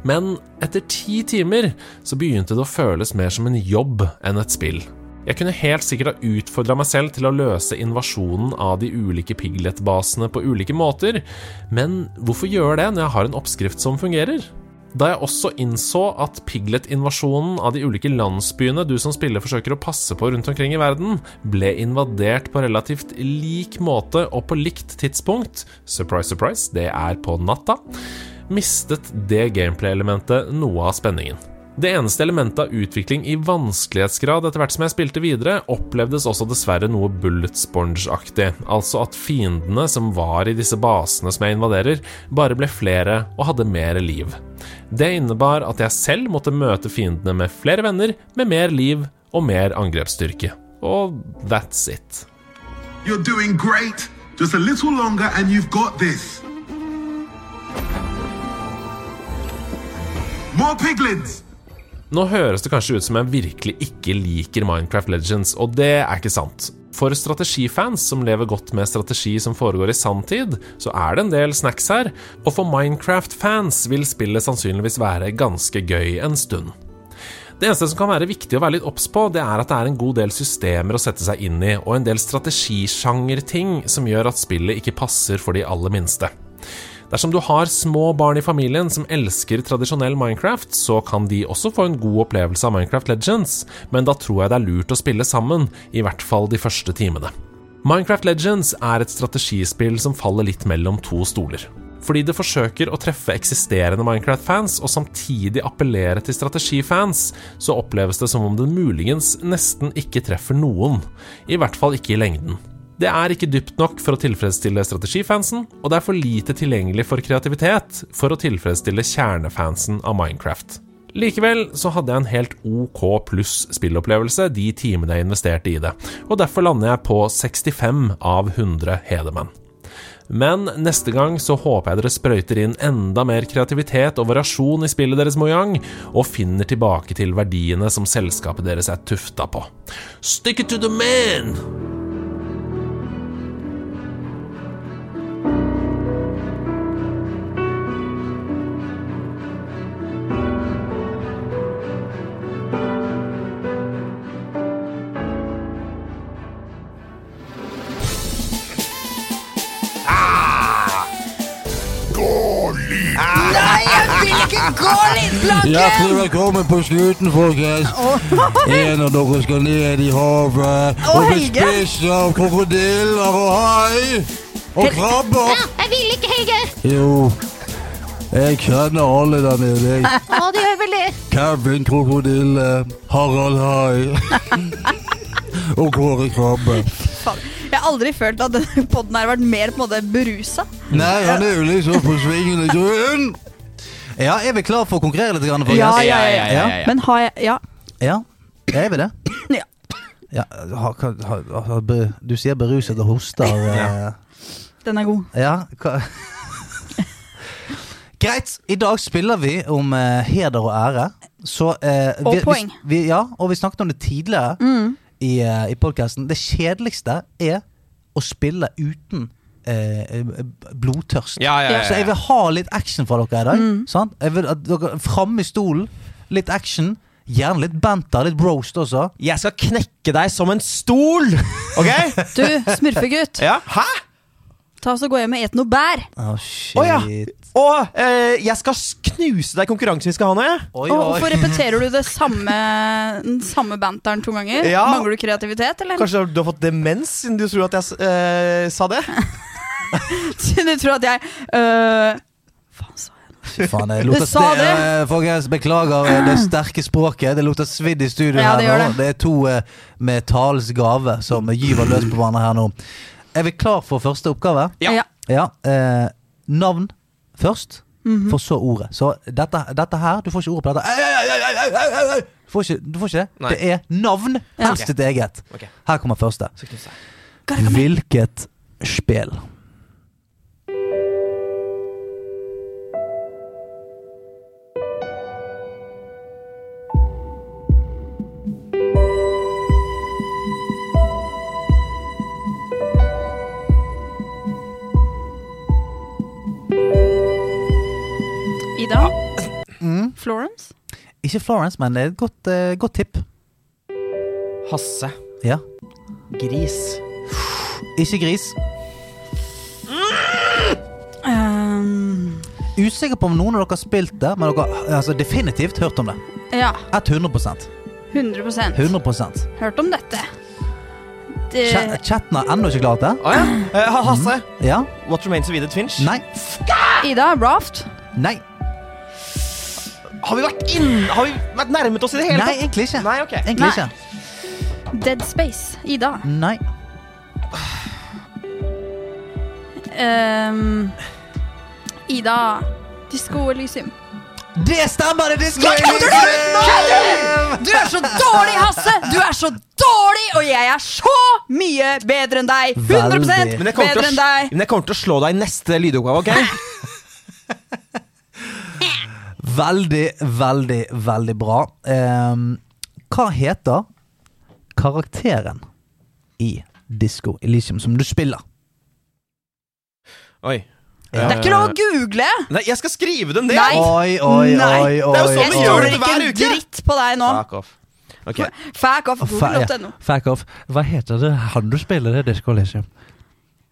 [SPEAKER 7] Men etter ti timer så begynte det å føles mer som en jobb enn et spill. Jeg kunne helt sikkert ha utfordra meg selv til å løse invasjonen av de ulike piglet-basene på ulike måter, men hvorfor gjøre det når jeg har en oppskrift som fungerer? Da jeg også innså at piglet-invasjonen av de ulike landsbyene du som spiller forsøker å passe på rundt omkring i verden, ble invadert på relativt lik måte og på likt tidspunkt Surprise, surprise, det er på natta mistet det gameplay-elementet noe av spenningen. Det eneste elementet av utvikling i vanskelighetsgrad etter hvert som jeg spilte videre, opplevdes også dessverre noe bullet sponge-aktig, altså at fiendene som var i disse basene som jeg invaderer, bare ble flere og hadde mer liv. Det innebar at jeg selv måtte møte fiendene med flere venner, med mer liv og mer angrepsstyrke. Og that's it.
[SPEAKER 6] You're doing great! Just a little longer and you've got this. More piglins!
[SPEAKER 7] Nå høres det kanskje ut som jeg virkelig ikke liker Minecraft Legends, og det er ikke sant. For strategifans som lever godt med strategi som foregår i sanntid, så er det en del snacks her, og for Minecraft-fans vil spillet sannsynligvis være ganske gøy en stund. Det eneste som kan være viktig å være litt obs på, det er at det er en god del systemer å sette seg inn i, og en del strategisjangerting som gjør at spillet ikke passer for de aller minste. Dersom du har små barn i familien som elsker tradisjonell Minecraft, så kan de også få en god opplevelse av Minecraft Legends, men da tror jeg det er lurt å spille sammen, i hvert fall de første timene. Minecraft Legends er et strategispill som faller litt mellom to stoler. Fordi det forsøker å treffe eksisterende Minecraft-fans og samtidig appellere til strategifans, så oppleves det som om det muligens nesten ikke treffer noen. I hvert fall ikke i lengden. Det er ikke dypt nok for å tilfredsstille strategifansen, og det er for lite tilgjengelig for kreativitet for å tilfredsstille kjernefansen av Minecraft. Likevel så hadde jeg en helt OK pluss spillopplevelse de timene jeg investerte i det, og derfor lander jeg på 65 av 100 Hedemann. Men neste gang så håper jeg dere sprøyter inn enda mer kreativitet og variasjon i spillet deres, Mojang, og finner tilbake til verdiene som selskapet deres er tufta på. Stick it to the man!
[SPEAKER 1] Nei, jeg vil ikke gå litt
[SPEAKER 10] Hjertelig
[SPEAKER 1] blanken!
[SPEAKER 10] velkommen på slutten, folkens. En av dere skal ned i havet
[SPEAKER 1] Å,
[SPEAKER 10] og bli
[SPEAKER 1] Helge.
[SPEAKER 10] spist av krokodiller og hai og krabber.
[SPEAKER 9] jeg vil ikke, Helge!
[SPEAKER 10] Jo, jeg kjenner alle der nede. jeg.
[SPEAKER 9] Å, det er gjør vel det.
[SPEAKER 10] Kevin Krokodille, Harald Hai og Kåre Krabbe.
[SPEAKER 1] Faen, Jeg har aldri følt at denne podden her har vært mer på en måte berusa.
[SPEAKER 10] Nei, han er jo liksom på svingende grunn.
[SPEAKER 3] Ja, er vi klar for å konkurrere litt? Grann, folkens?
[SPEAKER 1] Ja, ja, ja, ja, ja, ja. Men har jeg Ja.
[SPEAKER 3] Ja, er vi det?
[SPEAKER 1] Ja.
[SPEAKER 3] Ja, har- hva- har- har- be- du sier beruset og hoster. eh,
[SPEAKER 1] Den er god.
[SPEAKER 3] Ja, hva? Greit, i dag spiller vi om eh, heder og ære. Så, eh,
[SPEAKER 1] Og
[SPEAKER 3] vi,
[SPEAKER 1] poeng.
[SPEAKER 3] Vi, ja, og vi snakket om det tidligere
[SPEAKER 1] Mm.
[SPEAKER 3] i, eh, i podkasten. Det kjedeligste er å spille uten eh, blodtørst.
[SPEAKER 2] Ja, ja, ja, ja.
[SPEAKER 3] Så jeg vil ha litt action fra dere i dag.
[SPEAKER 1] Mm.
[SPEAKER 3] Sant? Jeg vil at dere Fram i stolen, litt action. Gjerne litt banter, litt roast også.
[SPEAKER 2] Jeg skal knekke deg som en stol! Ok?
[SPEAKER 1] Du, smurfegutt,
[SPEAKER 2] Ja. Hæ?
[SPEAKER 1] ta oss og gå hjem og et noe bær.
[SPEAKER 3] Å, shit.
[SPEAKER 2] Å ja. Og eh, jeg skal s- knuse deg i konkurransen vi skal ha nå, jeg.
[SPEAKER 3] Oi,
[SPEAKER 1] Og hvorfor repeterer du det samme, den samme banteren to ganger?
[SPEAKER 2] Ja.
[SPEAKER 1] Mangler du kreativitet, eller?
[SPEAKER 2] Kanskje du har fått demens siden du tror at jeg s- eh, sa det?
[SPEAKER 1] Siden du tror at jeg øh, Faen, sa jeg
[SPEAKER 3] Fy faen, det
[SPEAKER 1] Du
[SPEAKER 3] lukter
[SPEAKER 1] sa det.
[SPEAKER 3] eh, Folkens, beklager eh, det sterke språket. Det lukter svidd i studio
[SPEAKER 1] Ja,
[SPEAKER 3] her
[SPEAKER 1] det
[SPEAKER 3] nå.
[SPEAKER 1] gjør det.
[SPEAKER 3] Det er to eh, med talens gave som gyver løs på hverandre her nå. Er vi klar for første oppgave?
[SPEAKER 2] Ja.
[SPEAKER 3] Ja. Eh, navn først, for så ordet. Så dette, dette her Du får ikke ordet på dette. Ei, ei, ei, ei, ei, ei, ei, ei. Du får ikke, du får ikke det.
[SPEAKER 2] Nei.
[SPEAKER 3] Det er navn,
[SPEAKER 1] Ja.
[SPEAKER 3] helst ditt eget.
[SPEAKER 2] Ok.
[SPEAKER 3] Her kommer første.
[SPEAKER 2] Så knuse deg.
[SPEAKER 1] Gargamel.
[SPEAKER 3] Hvilket spill?
[SPEAKER 1] Ida? Florence?
[SPEAKER 3] Ikke Florence, men det er et godt, eh, godt tipp.
[SPEAKER 2] Hasse.
[SPEAKER 3] Ja.
[SPEAKER 2] Gris.
[SPEAKER 3] Ikke gris.
[SPEAKER 1] Ehm,
[SPEAKER 3] Usikker på om noen av dere har spilt det, men dere har altså, definitivt hørt om det.
[SPEAKER 1] ja,
[SPEAKER 3] 100
[SPEAKER 1] 100
[SPEAKER 3] 100 Ch-
[SPEAKER 1] Hørt om dette. Det,
[SPEAKER 3] Chatten har ennå ikke klart det.
[SPEAKER 2] Å ja. Eh, ha- Hasse.
[SPEAKER 3] Ja?
[SPEAKER 2] What remains of Edith Finch?
[SPEAKER 3] Nei?
[SPEAKER 1] Ida, Raft?
[SPEAKER 3] Nei?
[SPEAKER 2] Har vi vært inn... Har vi vært nærmet oss i det hele
[SPEAKER 3] Nei, egentlig ikke.
[SPEAKER 2] Nei, ok.
[SPEAKER 3] Egentlig ikke.
[SPEAKER 1] Dead Space? Ida?
[SPEAKER 3] Nei.
[SPEAKER 1] Ehm, Ida? Disko Elysium?
[SPEAKER 3] Det stemmer! Det er Disco
[SPEAKER 1] Du er så dårlig, Hasse! Du er så dårlig, og jeg er så mye bedre enn deg! 100
[SPEAKER 3] Veldig.
[SPEAKER 2] Men jeg
[SPEAKER 1] bedre
[SPEAKER 2] kommer til å s-
[SPEAKER 1] enn deg.
[SPEAKER 2] Men jeg kommer til å slå deg i neste lydoppgave, ok?
[SPEAKER 3] Veldig, veldig, veldig bra. Ehm, hva heter karakteren i Disko Elicium som du spiller?
[SPEAKER 2] Oi.
[SPEAKER 3] Ja.
[SPEAKER 1] Det er ikke noe å google!
[SPEAKER 2] Nei, jeg skal skrive den ned!
[SPEAKER 1] Nei.
[SPEAKER 3] Oi, oi,
[SPEAKER 1] Nei.
[SPEAKER 3] oi, oi.
[SPEAKER 2] Det er jo sånn
[SPEAKER 1] Jeg
[SPEAKER 2] vi gjør
[SPEAKER 1] stoler
[SPEAKER 2] det
[SPEAKER 1] ikke
[SPEAKER 2] hver
[SPEAKER 1] en
[SPEAKER 2] uke.
[SPEAKER 1] dritt på deg nå.
[SPEAKER 2] Fuck off. Ok.
[SPEAKER 1] Fack off
[SPEAKER 3] Fa- ja.
[SPEAKER 1] google.no.
[SPEAKER 3] Fuck off. Hva heter det han du spiller i Disco Elysium?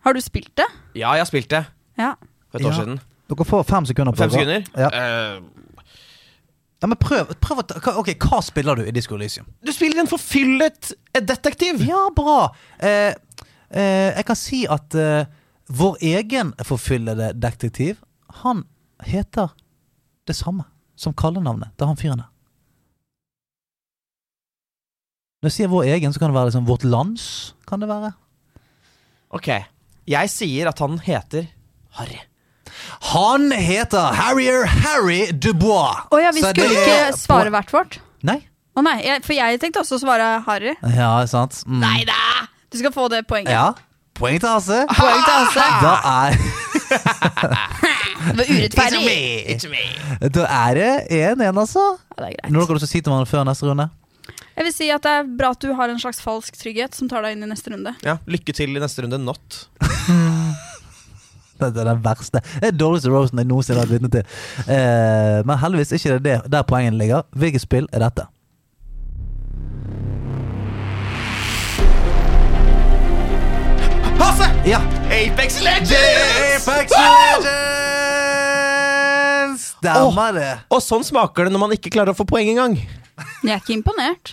[SPEAKER 1] Har du spilt det?
[SPEAKER 2] Ja, jeg har spilt det
[SPEAKER 1] Ja.
[SPEAKER 2] for et år
[SPEAKER 3] Ja.
[SPEAKER 2] siden.
[SPEAKER 3] Dere får fem sekunder på
[SPEAKER 2] Fem
[SPEAKER 3] dere.
[SPEAKER 2] sekunder?
[SPEAKER 3] Ja.
[SPEAKER 2] Eh,
[SPEAKER 3] ja, men prøv, prøv å ta, hva- Ok, hva spiller du i Disco Elysium?
[SPEAKER 2] du spiller en forfyllet eh, detektiv!
[SPEAKER 3] Ja, bra! Eh, eh, jeg kan si at eh, vår egen forfyllede detektiv, han heter det samme som kallenavnet til han fyren der. Når jeg sier vår egen, så kan det være liksom vårt lands. Kan det være?
[SPEAKER 2] Ok. Jeg sier at han heter Harry.
[SPEAKER 3] Han heter Harrier Harry Dubois.
[SPEAKER 1] Å ja, vi
[SPEAKER 3] Så
[SPEAKER 1] skulle
[SPEAKER 3] det er
[SPEAKER 1] ikke
[SPEAKER 3] på-
[SPEAKER 1] svare hvert vårt.
[SPEAKER 3] Nei?
[SPEAKER 1] Å nei, jeg, for jeg tenkte også å svare Harry.
[SPEAKER 3] Ja, sant. Mm.
[SPEAKER 1] Nei da! Du skal få det poenget.
[SPEAKER 3] Ja. Poeng til Hasse.
[SPEAKER 1] Poeng til Hasse.
[SPEAKER 3] Da er,
[SPEAKER 1] Det var urettferdig.
[SPEAKER 3] da er det 1-1, altså.
[SPEAKER 1] Ja, det er
[SPEAKER 3] Noe dere
[SPEAKER 1] greit.
[SPEAKER 3] har lyst til å si til hverandre før neste runde?
[SPEAKER 1] Jeg vil si at det er bra at du har en slags falsk trygghet som tar deg inn i neste runde.
[SPEAKER 2] Ja, Lykke til i neste runde, Not.
[SPEAKER 3] Det er den verste. Det er den dårligste rosen jeg noensinne har vært vitne til. Eh, men heldigvis er ikke det det der poenget ligger. Hvilket spill er dette?
[SPEAKER 2] Hasse!
[SPEAKER 3] Ja!
[SPEAKER 2] Apex Legends!
[SPEAKER 3] Legends! Stemmer det.
[SPEAKER 2] Og sånn smaker det når man ikke klarer å få poeng engang.
[SPEAKER 1] Jeg er ikke imponert.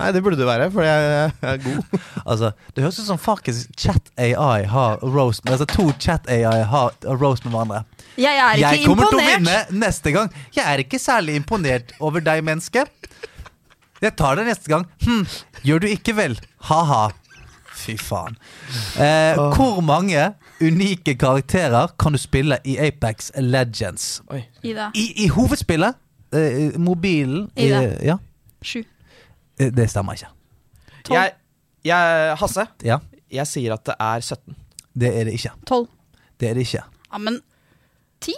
[SPEAKER 2] Nei, det burde det være, for jeg er god.
[SPEAKER 3] Altså, det høres ut som faktisk Chat AI har roast Altså to Chat AI har roast med hverandre.
[SPEAKER 1] Jeg er ikke
[SPEAKER 3] Jeg kommer til å vinne
[SPEAKER 1] imponert.
[SPEAKER 3] neste gang. Jeg er ikke særlig imponert over deg, menneske. Jeg tar det neste gang. Hm, gjør du ikke vel? Ha-ha. Fy faen. Eh, hvor mange unike karakterer kan du spille i Apex Legends?
[SPEAKER 1] Ida.
[SPEAKER 3] I, i hovedspillet, eh, mobilen i,
[SPEAKER 1] Ida.
[SPEAKER 3] ja,
[SPEAKER 1] Sju.
[SPEAKER 3] eh, Det stemmer ikke.
[SPEAKER 2] Jeg, jeg, Hasse,
[SPEAKER 3] Ja,
[SPEAKER 2] jeg sier at det er 17.
[SPEAKER 3] Det er det ikke.
[SPEAKER 1] Tolv.
[SPEAKER 3] Det er det ikke.
[SPEAKER 1] Ja, men ti?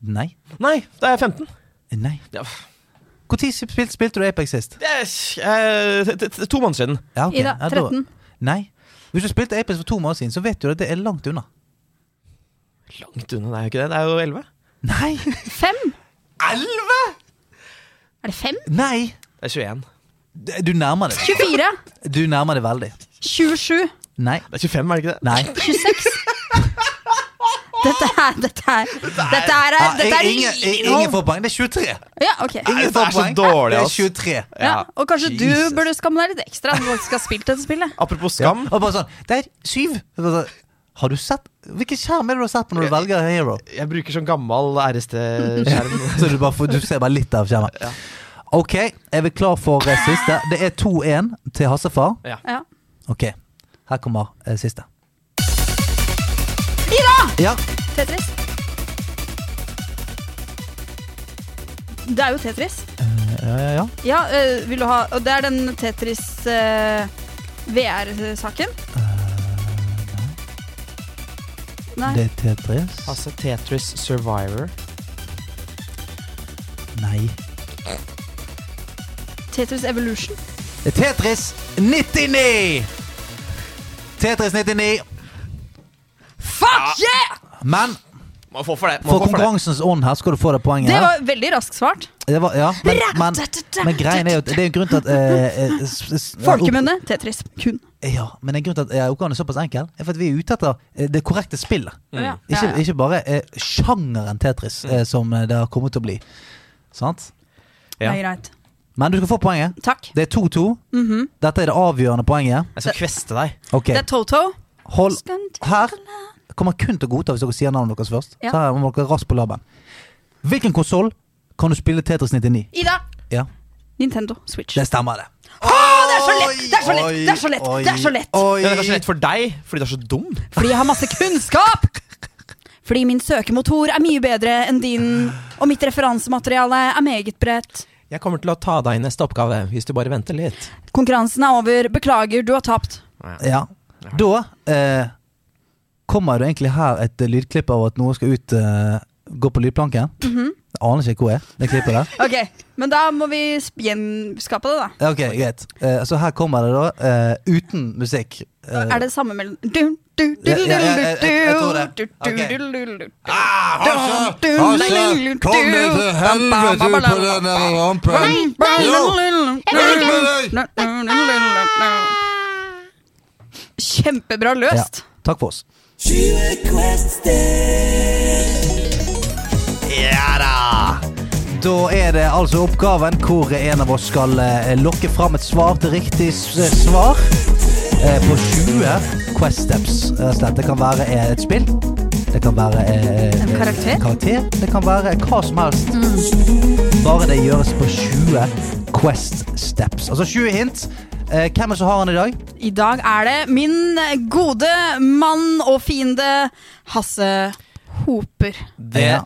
[SPEAKER 3] Nei. Eh,
[SPEAKER 2] Nei, det er 15.
[SPEAKER 3] Nei.
[SPEAKER 2] Ja.
[SPEAKER 3] Når spilte, spilte du Apex sist?
[SPEAKER 2] Det er, eh, t- t- t- to måneder siden.
[SPEAKER 3] Ja, ok.
[SPEAKER 1] Ida,
[SPEAKER 3] Ja, da-
[SPEAKER 1] 13.
[SPEAKER 3] Nei. Hvis du spilte Apex for to måneder siden, så vet du at det er langt unna.
[SPEAKER 2] Langt unna, det er jo ikke det. Det er jo 11.
[SPEAKER 3] Nei!
[SPEAKER 1] Fem?
[SPEAKER 2] 11?!
[SPEAKER 1] Er det fem?
[SPEAKER 3] Nei!
[SPEAKER 2] Det er 21.
[SPEAKER 3] D- Du nærmer deg.
[SPEAKER 1] 24?
[SPEAKER 3] Du nærmer deg veldig.
[SPEAKER 1] 27?
[SPEAKER 3] Nei.
[SPEAKER 2] Det er 25, er det ikke det?
[SPEAKER 3] Nei.
[SPEAKER 1] 26? Dette er Dette er Dette er,
[SPEAKER 3] Ja,
[SPEAKER 1] dette er
[SPEAKER 3] Ah, ingen, ingen får poeng. Det er 23.
[SPEAKER 1] Ja, ok.
[SPEAKER 3] Ingen
[SPEAKER 2] det er
[SPEAKER 3] får
[SPEAKER 2] så
[SPEAKER 3] poeng.
[SPEAKER 2] dårlig,
[SPEAKER 3] Det er
[SPEAKER 2] ass.
[SPEAKER 3] 23.
[SPEAKER 1] Ja, og kanskje
[SPEAKER 3] Jesus.
[SPEAKER 1] du burde skamme deg litt ekstra når du faktisk har spilt dette spillet.
[SPEAKER 2] Apropos skam.
[SPEAKER 3] Og bare sånn, det er syv. Det er sånn, Har du sett Hvilken skjerm er det du har sett på når du velger Hero?
[SPEAKER 2] Jeg bruker sånn gammel RST-skjerm.
[SPEAKER 3] Så du, bare får, du ser bare litt av skjermen. Ok, er vi klar for eh, siste? Det er 2-1 til Hassefar.
[SPEAKER 1] Ja.
[SPEAKER 3] Ok, her kommer eh, siste.
[SPEAKER 1] Ida!
[SPEAKER 3] Ja,
[SPEAKER 1] Tetris. Det er jo Tetris.
[SPEAKER 3] ja, ja. ja.
[SPEAKER 1] Ja, øh, vil du ha Og det er den Tetris øh, VR-saken?
[SPEAKER 3] Eh,
[SPEAKER 1] Nei.
[SPEAKER 3] Det er Tetris.
[SPEAKER 2] Altså Tetris Survivor.
[SPEAKER 3] Nei.
[SPEAKER 1] Tetris Evolution.
[SPEAKER 3] Det er Tetris 99! Tetris 99.
[SPEAKER 1] Fuck yeah!
[SPEAKER 3] Men
[SPEAKER 2] Må få for det. Må
[SPEAKER 3] for
[SPEAKER 2] få for det.
[SPEAKER 3] konkurransens ånd her skal du få det poenget.
[SPEAKER 1] Det
[SPEAKER 3] her.
[SPEAKER 1] var veldig raskt svart.
[SPEAKER 3] Det var, ja, men, men, men greien er jo at det er en grunn til at eh, eh, s- s-
[SPEAKER 1] Folkemunne. Tetris. Kun.
[SPEAKER 3] Ja, men en grunn til at eh, oppgaven er såpass enkel, er for at vi er ute etter eh, det korrekte spillet.
[SPEAKER 1] Ja. Mm.
[SPEAKER 3] Ikke, ikke bare eh, sjangeren Tetris, eh, som eh, det har kommet til å bli. Sant?
[SPEAKER 1] Ja.
[SPEAKER 2] Ja.
[SPEAKER 1] Nei, greit.
[SPEAKER 3] Men du skal få poenget.
[SPEAKER 1] Takk.
[SPEAKER 3] Det er 2-2. Dette er det avgjørende poenget.
[SPEAKER 2] Jeg skal kveste deg.
[SPEAKER 3] Ok,
[SPEAKER 1] Mhm. Det er Toto.
[SPEAKER 3] hold her. Kommer kun til å godta hvis dere sier navnet deres først.
[SPEAKER 1] Sånn Ja.
[SPEAKER 3] Så her må dere raskt på labben. Hvilken konsoll kan du spille Tetris 99?
[SPEAKER 1] Ida.
[SPEAKER 3] Ja,
[SPEAKER 1] Nintendo Switch.
[SPEAKER 3] det stemmer, det.
[SPEAKER 1] Å, det er så lett! Det er så lett! Det er så lett! Det er så lett.
[SPEAKER 2] Ja, det er kanskje lett for deg, fordi du er så dum.
[SPEAKER 1] Fordi jeg har masse kunnskap! Fordi min søkemotor er mye bedre enn din, og mitt referansemateriale er meget bredt.
[SPEAKER 2] Jeg kommer til å ta deg i neste oppgave, hvis du bare venter litt.
[SPEAKER 1] Konkurransen er over. Beklager, du har tapt.
[SPEAKER 3] Ja. Da eh, kommer det egentlig her et eh, lydklipp av at noe skal ut eh, Gå på lydplanken.
[SPEAKER 1] Mhm.
[SPEAKER 3] Jeg aner ikke hvor jeg er, det klippet der.
[SPEAKER 1] Ok, Men da må vi sp- gjenskape det, da.
[SPEAKER 3] Ja, Ok, greit. Eh, så her kommer det, da. eh, uten musikk. Eh,
[SPEAKER 1] Er det samme mellom du, du, du, du,
[SPEAKER 3] Ja, ja, ja, jeg- jeg- jeg tror det.
[SPEAKER 1] du, du,
[SPEAKER 3] Ok.
[SPEAKER 1] du, du, du, du.
[SPEAKER 10] Hasse, Hasse, kom deg til helvete ut på den der rampen. Jo, ut med deg!
[SPEAKER 1] Kjempebra løst.
[SPEAKER 3] Ja. Takk for oss. Ja da! Da er det altså oppgaven hvor en av oss skal eh, lokke fram et svar til riktig s svar eh, på 20 Quest Steps. Rett og slett. Det kan være eh, et spill. Det kan være eh,
[SPEAKER 1] En
[SPEAKER 3] eh,
[SPEAKER 1] karakter?
[SPEAKER 3] karakter. Det kan være hva som helst. Bare det gjøres på 20 Quest Steps. Altså 20 hint. Eh, hvem er det som har den i dag?
[SPEAKER 1] I dag er det min gode mann og fiende Hasse Hoper.
[SPEAKER 2] Det,
[SPEAKER 3] Ja.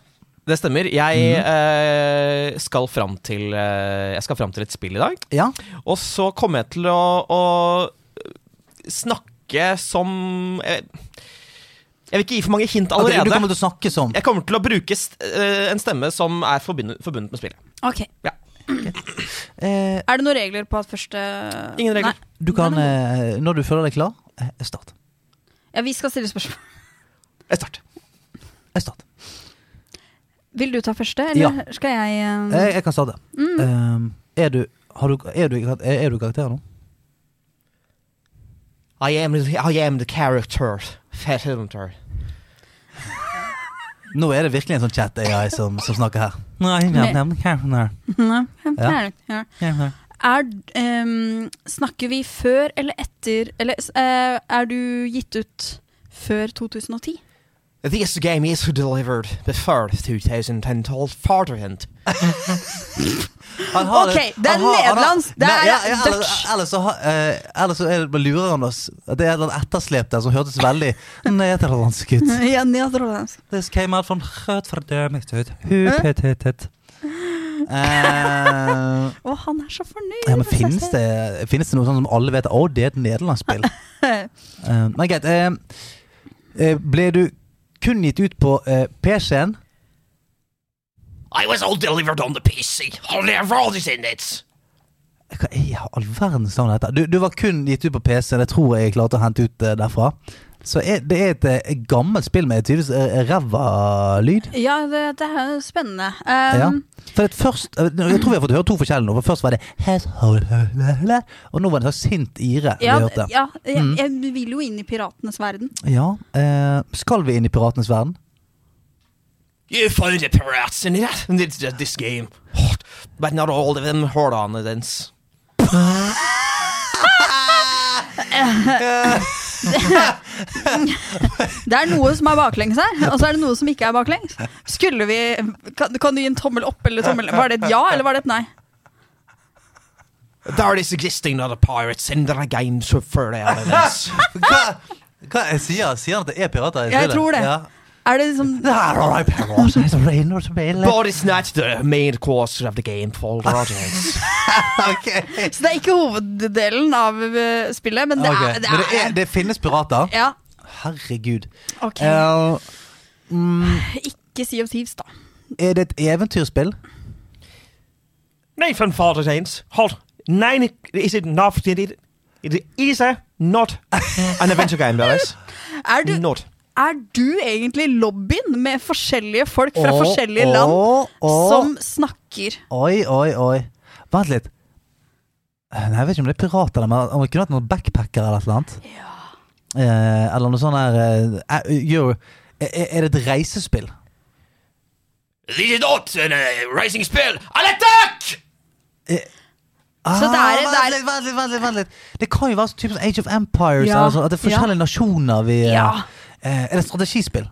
[SPEAKER 2] det stemmer. Jeg, eh, skal fram til, eh, jeg skal fram til et spill i dag.
[SPEAKER 3] Ja.
[SPEAKER 2] Og så kommer jeg til å, å snakke som jeg, jeg vil ikke gi for mange hint
[SPEAKER 3] Ok,
[SPEAKER 2] allerede.
[SPEAKER 3] du kommer til å snakke som
[SPEAKER 2] Jeg kommer til å bruke st eh, en stemme som er forbundet, forbundet med spillet.
[SPEAKER 1] Ok,
[SPEAKER 3] eh,
[SPEAKER 1] Er det noen regler på at første
[SPEAKER 2] Ingen regler.
[SPEAKER 1] Nei.
[SPEAKER 3] Du kan, eh, når du føler deg klar eh, Start.
[SPEAKER 1] Ja, vi skal stille spørsmål.
[SPEAKER 2] Jeg starter.
[SPEAKER 3] Jeg, start.
[SPEAKER 1] Vil du ta første, eller skal jeg eh,
[SPEAKER 3] jeg, jeg kan starte.
[SPEAKER 1] Mm.
[SPEAKER 3] Eh, er, du, har du, er, du, i kar- er du i karakter nå?
[SPEAKER 2] I am, I am the character. Facilitator.
[SPEAKER 3] Nå er det virkelig en sånn chat-AI som, som snakker her. Nei,
[SPEAKER 1] nei, Nei.
[SPEAKER 3] Ja.
[SPEAKER 1] Ja. Er, ehm, snakker vi før eller etter Eller eh, er du gitt ut før 2010?
[SPEAKER 2] This game is delivered the first 2012 fatherhand.
[SPEAKER 3] Han har
[SPEAKER 1] Ok, det er
[SPEAKER 3] han har- han har-
[SPEAKER 1] nederlandsk, det
[SPEAKER 3] Nei,
[SPEAKER 1] er
[SPEAKER 3] ja, ja,
[SPEAKER 1] Dutch.
[SPEAKER 3] Ellers, ellers, så, har- eh, ellers så er det, bare lurer han oss. At Det er et eller annet etterslep der som hørtes veldig nederlandsk ut.
[SPEAKER 1] Ja, nederlandsk.
[SPEAKER 3] This came out from Rotterdam's hood. Hupetetet. Eh,
[SPEAKER 1] Å, han er så fornøyd.
[SPEAKER 3] ja, men
[SPEAKER 1] med seg
[SPEAKER 3] finnes
[SPEAKER 1] selv.
[SPEAKER 3] det, finnes det noe sånn som alle vet Å, det er et nederlandsk spill? Eh, nei, greit. Eh, eh, ble du kun gitt ut på eh, PC-en?
[SPEAKER 2] I was all delivered on the PC. Only have rollers in it.
[SPEAKER 3] Hva i all verdens navn er dette? Du, du var kun gitt ut på PC, det tror jeg jeg klarte å hente ut eh, derfra. Så er, det er et eh, gammelt spill med tydeligvis eh, ræva lyd.
[SPEAKER 1] Ja, det, det er jo spennende.
[SPEAKER 3] ja.
[SPEAKER 1] Um,
[SPEAKER 3] For at først, eh, jeg tror vi har fått høre to forskjellige nå. For først var det «Household», Og nå var det en slags sint ire.
[SPEAKER 1] ja,
[SPEAKER 3] vi hørte.
[SPEAKER 1] ja jeg,
[SPEAKER 3] Mm.
[SPEAKER 1] jeg vil jo inn i piratenes verden.
[SPEAKER 3] Ja, eh, Skal vi inn i piratenes verden?
[SPEAKER 2] You found the pirates in it, in this, this game. But not all of them hold on to this.
[SPEAKER 1] Det er noe som er baklengs her, og så er det noe som ikke er baklengs. Skulle vi Kan, kan du gi en tommel opp eller tommel Var det et ja, eller var det et nei?
[SPEAKER 2] There is existing other pirates in their games who further out of this.
[SPEAKER 3] Hva, hva jeg sier Sier han at det er pirater? i
[SPEAKER 1] Jeg
[SPEAKER 3] spillet?
[SPEAKER 1] tror det.
[SPEAKER 3] Ja.
[SPEAKER 1] Er det liksom
[SPEAKER 2] But it's not the main course of the game for Rogers.
[SPEAKER 1] Så det er ikke hoveddelen av eh, spillet, men det
[SPEAKER 3] Ok,
[SPEAKER 1] er, det
[SPEAKER 3] Men det,
[SPEAKER 1] er
[SPEAKER 3] er, det finnes pirater?
[SPEAKER 1] Ja,
[SPEAKER 3] Herregud.
[SPEAKER 1] ok.
[SPEAKER 3] Eh, mm,
[SPEAKER 1] Ikke Sea of Thieves, da.
[SPEAKER 3] er det et eventyrspill?
[SPEAKER 2] Nee, van vader eens. Halt. Nee, is it not? It is a not an adventure game, wel eens.
[SPEAKER 1] Er du,
[SPEAKER 2] Not.
[SPEAKER 1] er du egentlig lobbyen med forskjellige folk fra
[SPEAKER 3] Å,
[SPEAKER 1] forskjellige
[SPEAKER 3] å,
[SPEAKER 1] land
[SPEAKER 3] å.
[SPEAKER 1] som snakker?
[SPEAKER 3] Oi, oi, oi. Vent litt. Eh, Nei, jeg vet ikke om det er pirater, men om det kunne vært noen backpackere eller et eller annet. Eh, eller noe sånn her eh, eh, Euro- er, er det et reisespill?
[SPEAKER 2] This is not a racing spell. An attack!
[SPEAKER 1] Så det er-
[SPEAKER 3] Ah, vent,
[SPEAKER 1] det er-
[SPEAKER 3] litt, vent litt, vent litt, vent litt. Det kan jo være sånn type sånn Age of Empires.
[SPEAKER 1] Ja,
[SPEAKER 3] Eller sånn, at det er forskjellige nasjoner vi eh,
[SPEAKER 1] Ja.
[SPEAKER 3] eh, Er det strategispill?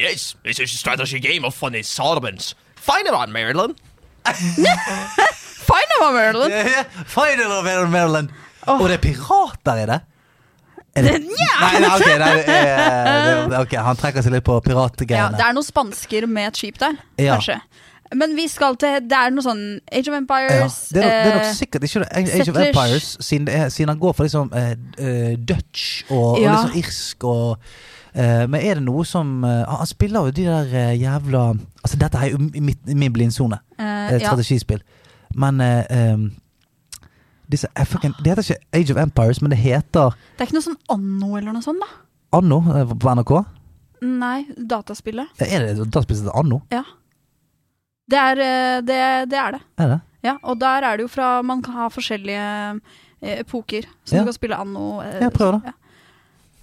[SPEAKER 2] Yes, this is a strategy game of funny sodomies. Find it on Maryland.
[SPEAKER 1] Fine, hva, Merlin?
[SPEAKER 3] Final of Maryland. Og det er pirater i det? Er det? Nei, nei, ok, nei, det er- det- ok, han trekker seg litt på
[SPEAKER 1] Ja, det
[SPEAKER 3] piratgreiene.
[SPEAKER 1] er noen spansker med et skip der,
[SPEAKER 3] Ja.
[SPEAKER 1] kanskje. Men vi skal til Det er noe sånn Age of
[SPEAKER 3] Ja,
[SPEAKER 1] Empires
[SPEAKER 3] det, er nok, det er nok
[SPEAKER 1] eh,
[SPEAKER 3] sikkert ikke det. Age of
[SPEAKER 1] Settlers.
[SPEAKER 3] Empires, siden, det er, siden han går for liksom eh, eh, Dutch og, og
[SPEAKER 1] Ja.
[SPEAKER 3] liksom irsk og eh, Men er det noe som eh, Han han spiller jo de der eh, jævla Altså, dette er jo i mitt, i min blindsone.
[SPEAKER 1] eh,
[SPEAKER 3] Eh,
[SPEAKER 1] ja.
[SPEAKER 3] strategispill. Men eh, em, disse, eh, fucking, Det heter ikke Age of Empires, men det heter
[SPEAKER 1] Det er ikke noe sånn anno eller noe sånt, da?
[SPEAKER 3] Anno eh, på NRK.
[SPEAKER 1] Nei, dataspillet.
[SPEAKER 3] Ja, Er det da spiser det Anno?
[SPEAKER 1] Ja. Det er eh, det. det, er det.
[SPEAKER 3] Er det?
[SPEAKER 1] Ja, og der er det jo fra Man kan ha forskjellige eh, epoker, så
[SPEAKER 3] Ja.
[SPEAKER 1] du kan spille anno. eh,
[SPEAKER 3] Ja, prøv det.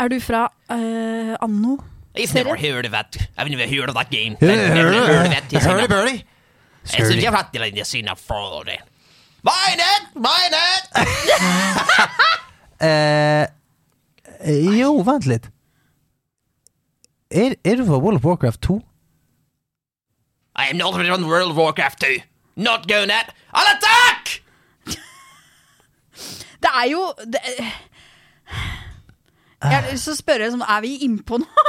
[SPEAKER 1] Er du fra eh, anno?
[SPEAKER 2] I've
[SPEAKER 1] Serien?
[SPEAKER 2] never heard of that. I've never heard of that game.
[SPEAKER 3] Heard-
[SPEAKER 2] I've never
[SPEAKER 3] heard-
[SPEAKER 2] heard of that. Yes, I know.
[SPEAKER 3] Birdie?
[SPEAKER 2] It's a different thing. You see, not follow that. Mine it! Mine it!
[SPEAKER 3] Eh, jo, vent litt. Er, er du fra World of Warcraft 2?
[SPEAKER 2] I am not on World of Warcraft 2. Not going at. An attack!
[SPEAKER 1] Det er jo det, eh, Jeg har lyst til å spørre sånn, Er vi innpå nå?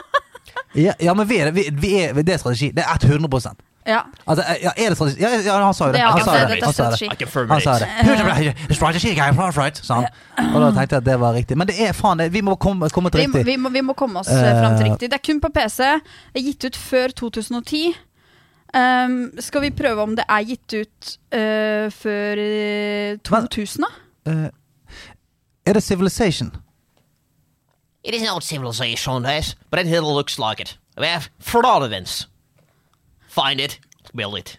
[SPEAKER 3] Ja, ja men vi er, vi, vi er, det er strategi. Det er 100 altså,
[SPEAKER 1] ja.
[SPEAKER 3] eh, ja, Er det strategi? Ja, ja, han sa jo det.
[SPEAKER 1] Det er
[SPEAKER 3] Han sa
[SPEAKER 1] akkurat
[SPEAKER 3] det.
[SPEAKER 1] det,
[SPEAKER 3] Han sa
[SPEAKER 1] det
[SPEAKER 3] det.
[SPEAKER 1] er
[SPEAKER 2] confirm
[SPEAKER 3] Han sa det.
[SPEAKER 1] Eh.
[SPEAKER 3] "Hundre- Strategi, guy, right, right," sa han. Og da tenkte jeg at det var riktig. Men det er faen det. Vi må komme, komme til
[SPEAKER 1] Vi, må-
[SPEAKER 3] riktig.
[SPEAKER 1] vi, må, vi må komme oss uh, fram til
[SPEAKER 3] Eh.
[SPEAKER 1] riktig. Det er kun på PC. Det er gitt ut før 2010. Um, skal vi prøve om det er gitt ut eh, før eh, 2000, da?
[SPEAKER 3] Eh, er Eh, det Civilization?
[SPEAKER 2] It is not civilization, yes, but it looks like it. We have fraudulence. Find it, build it.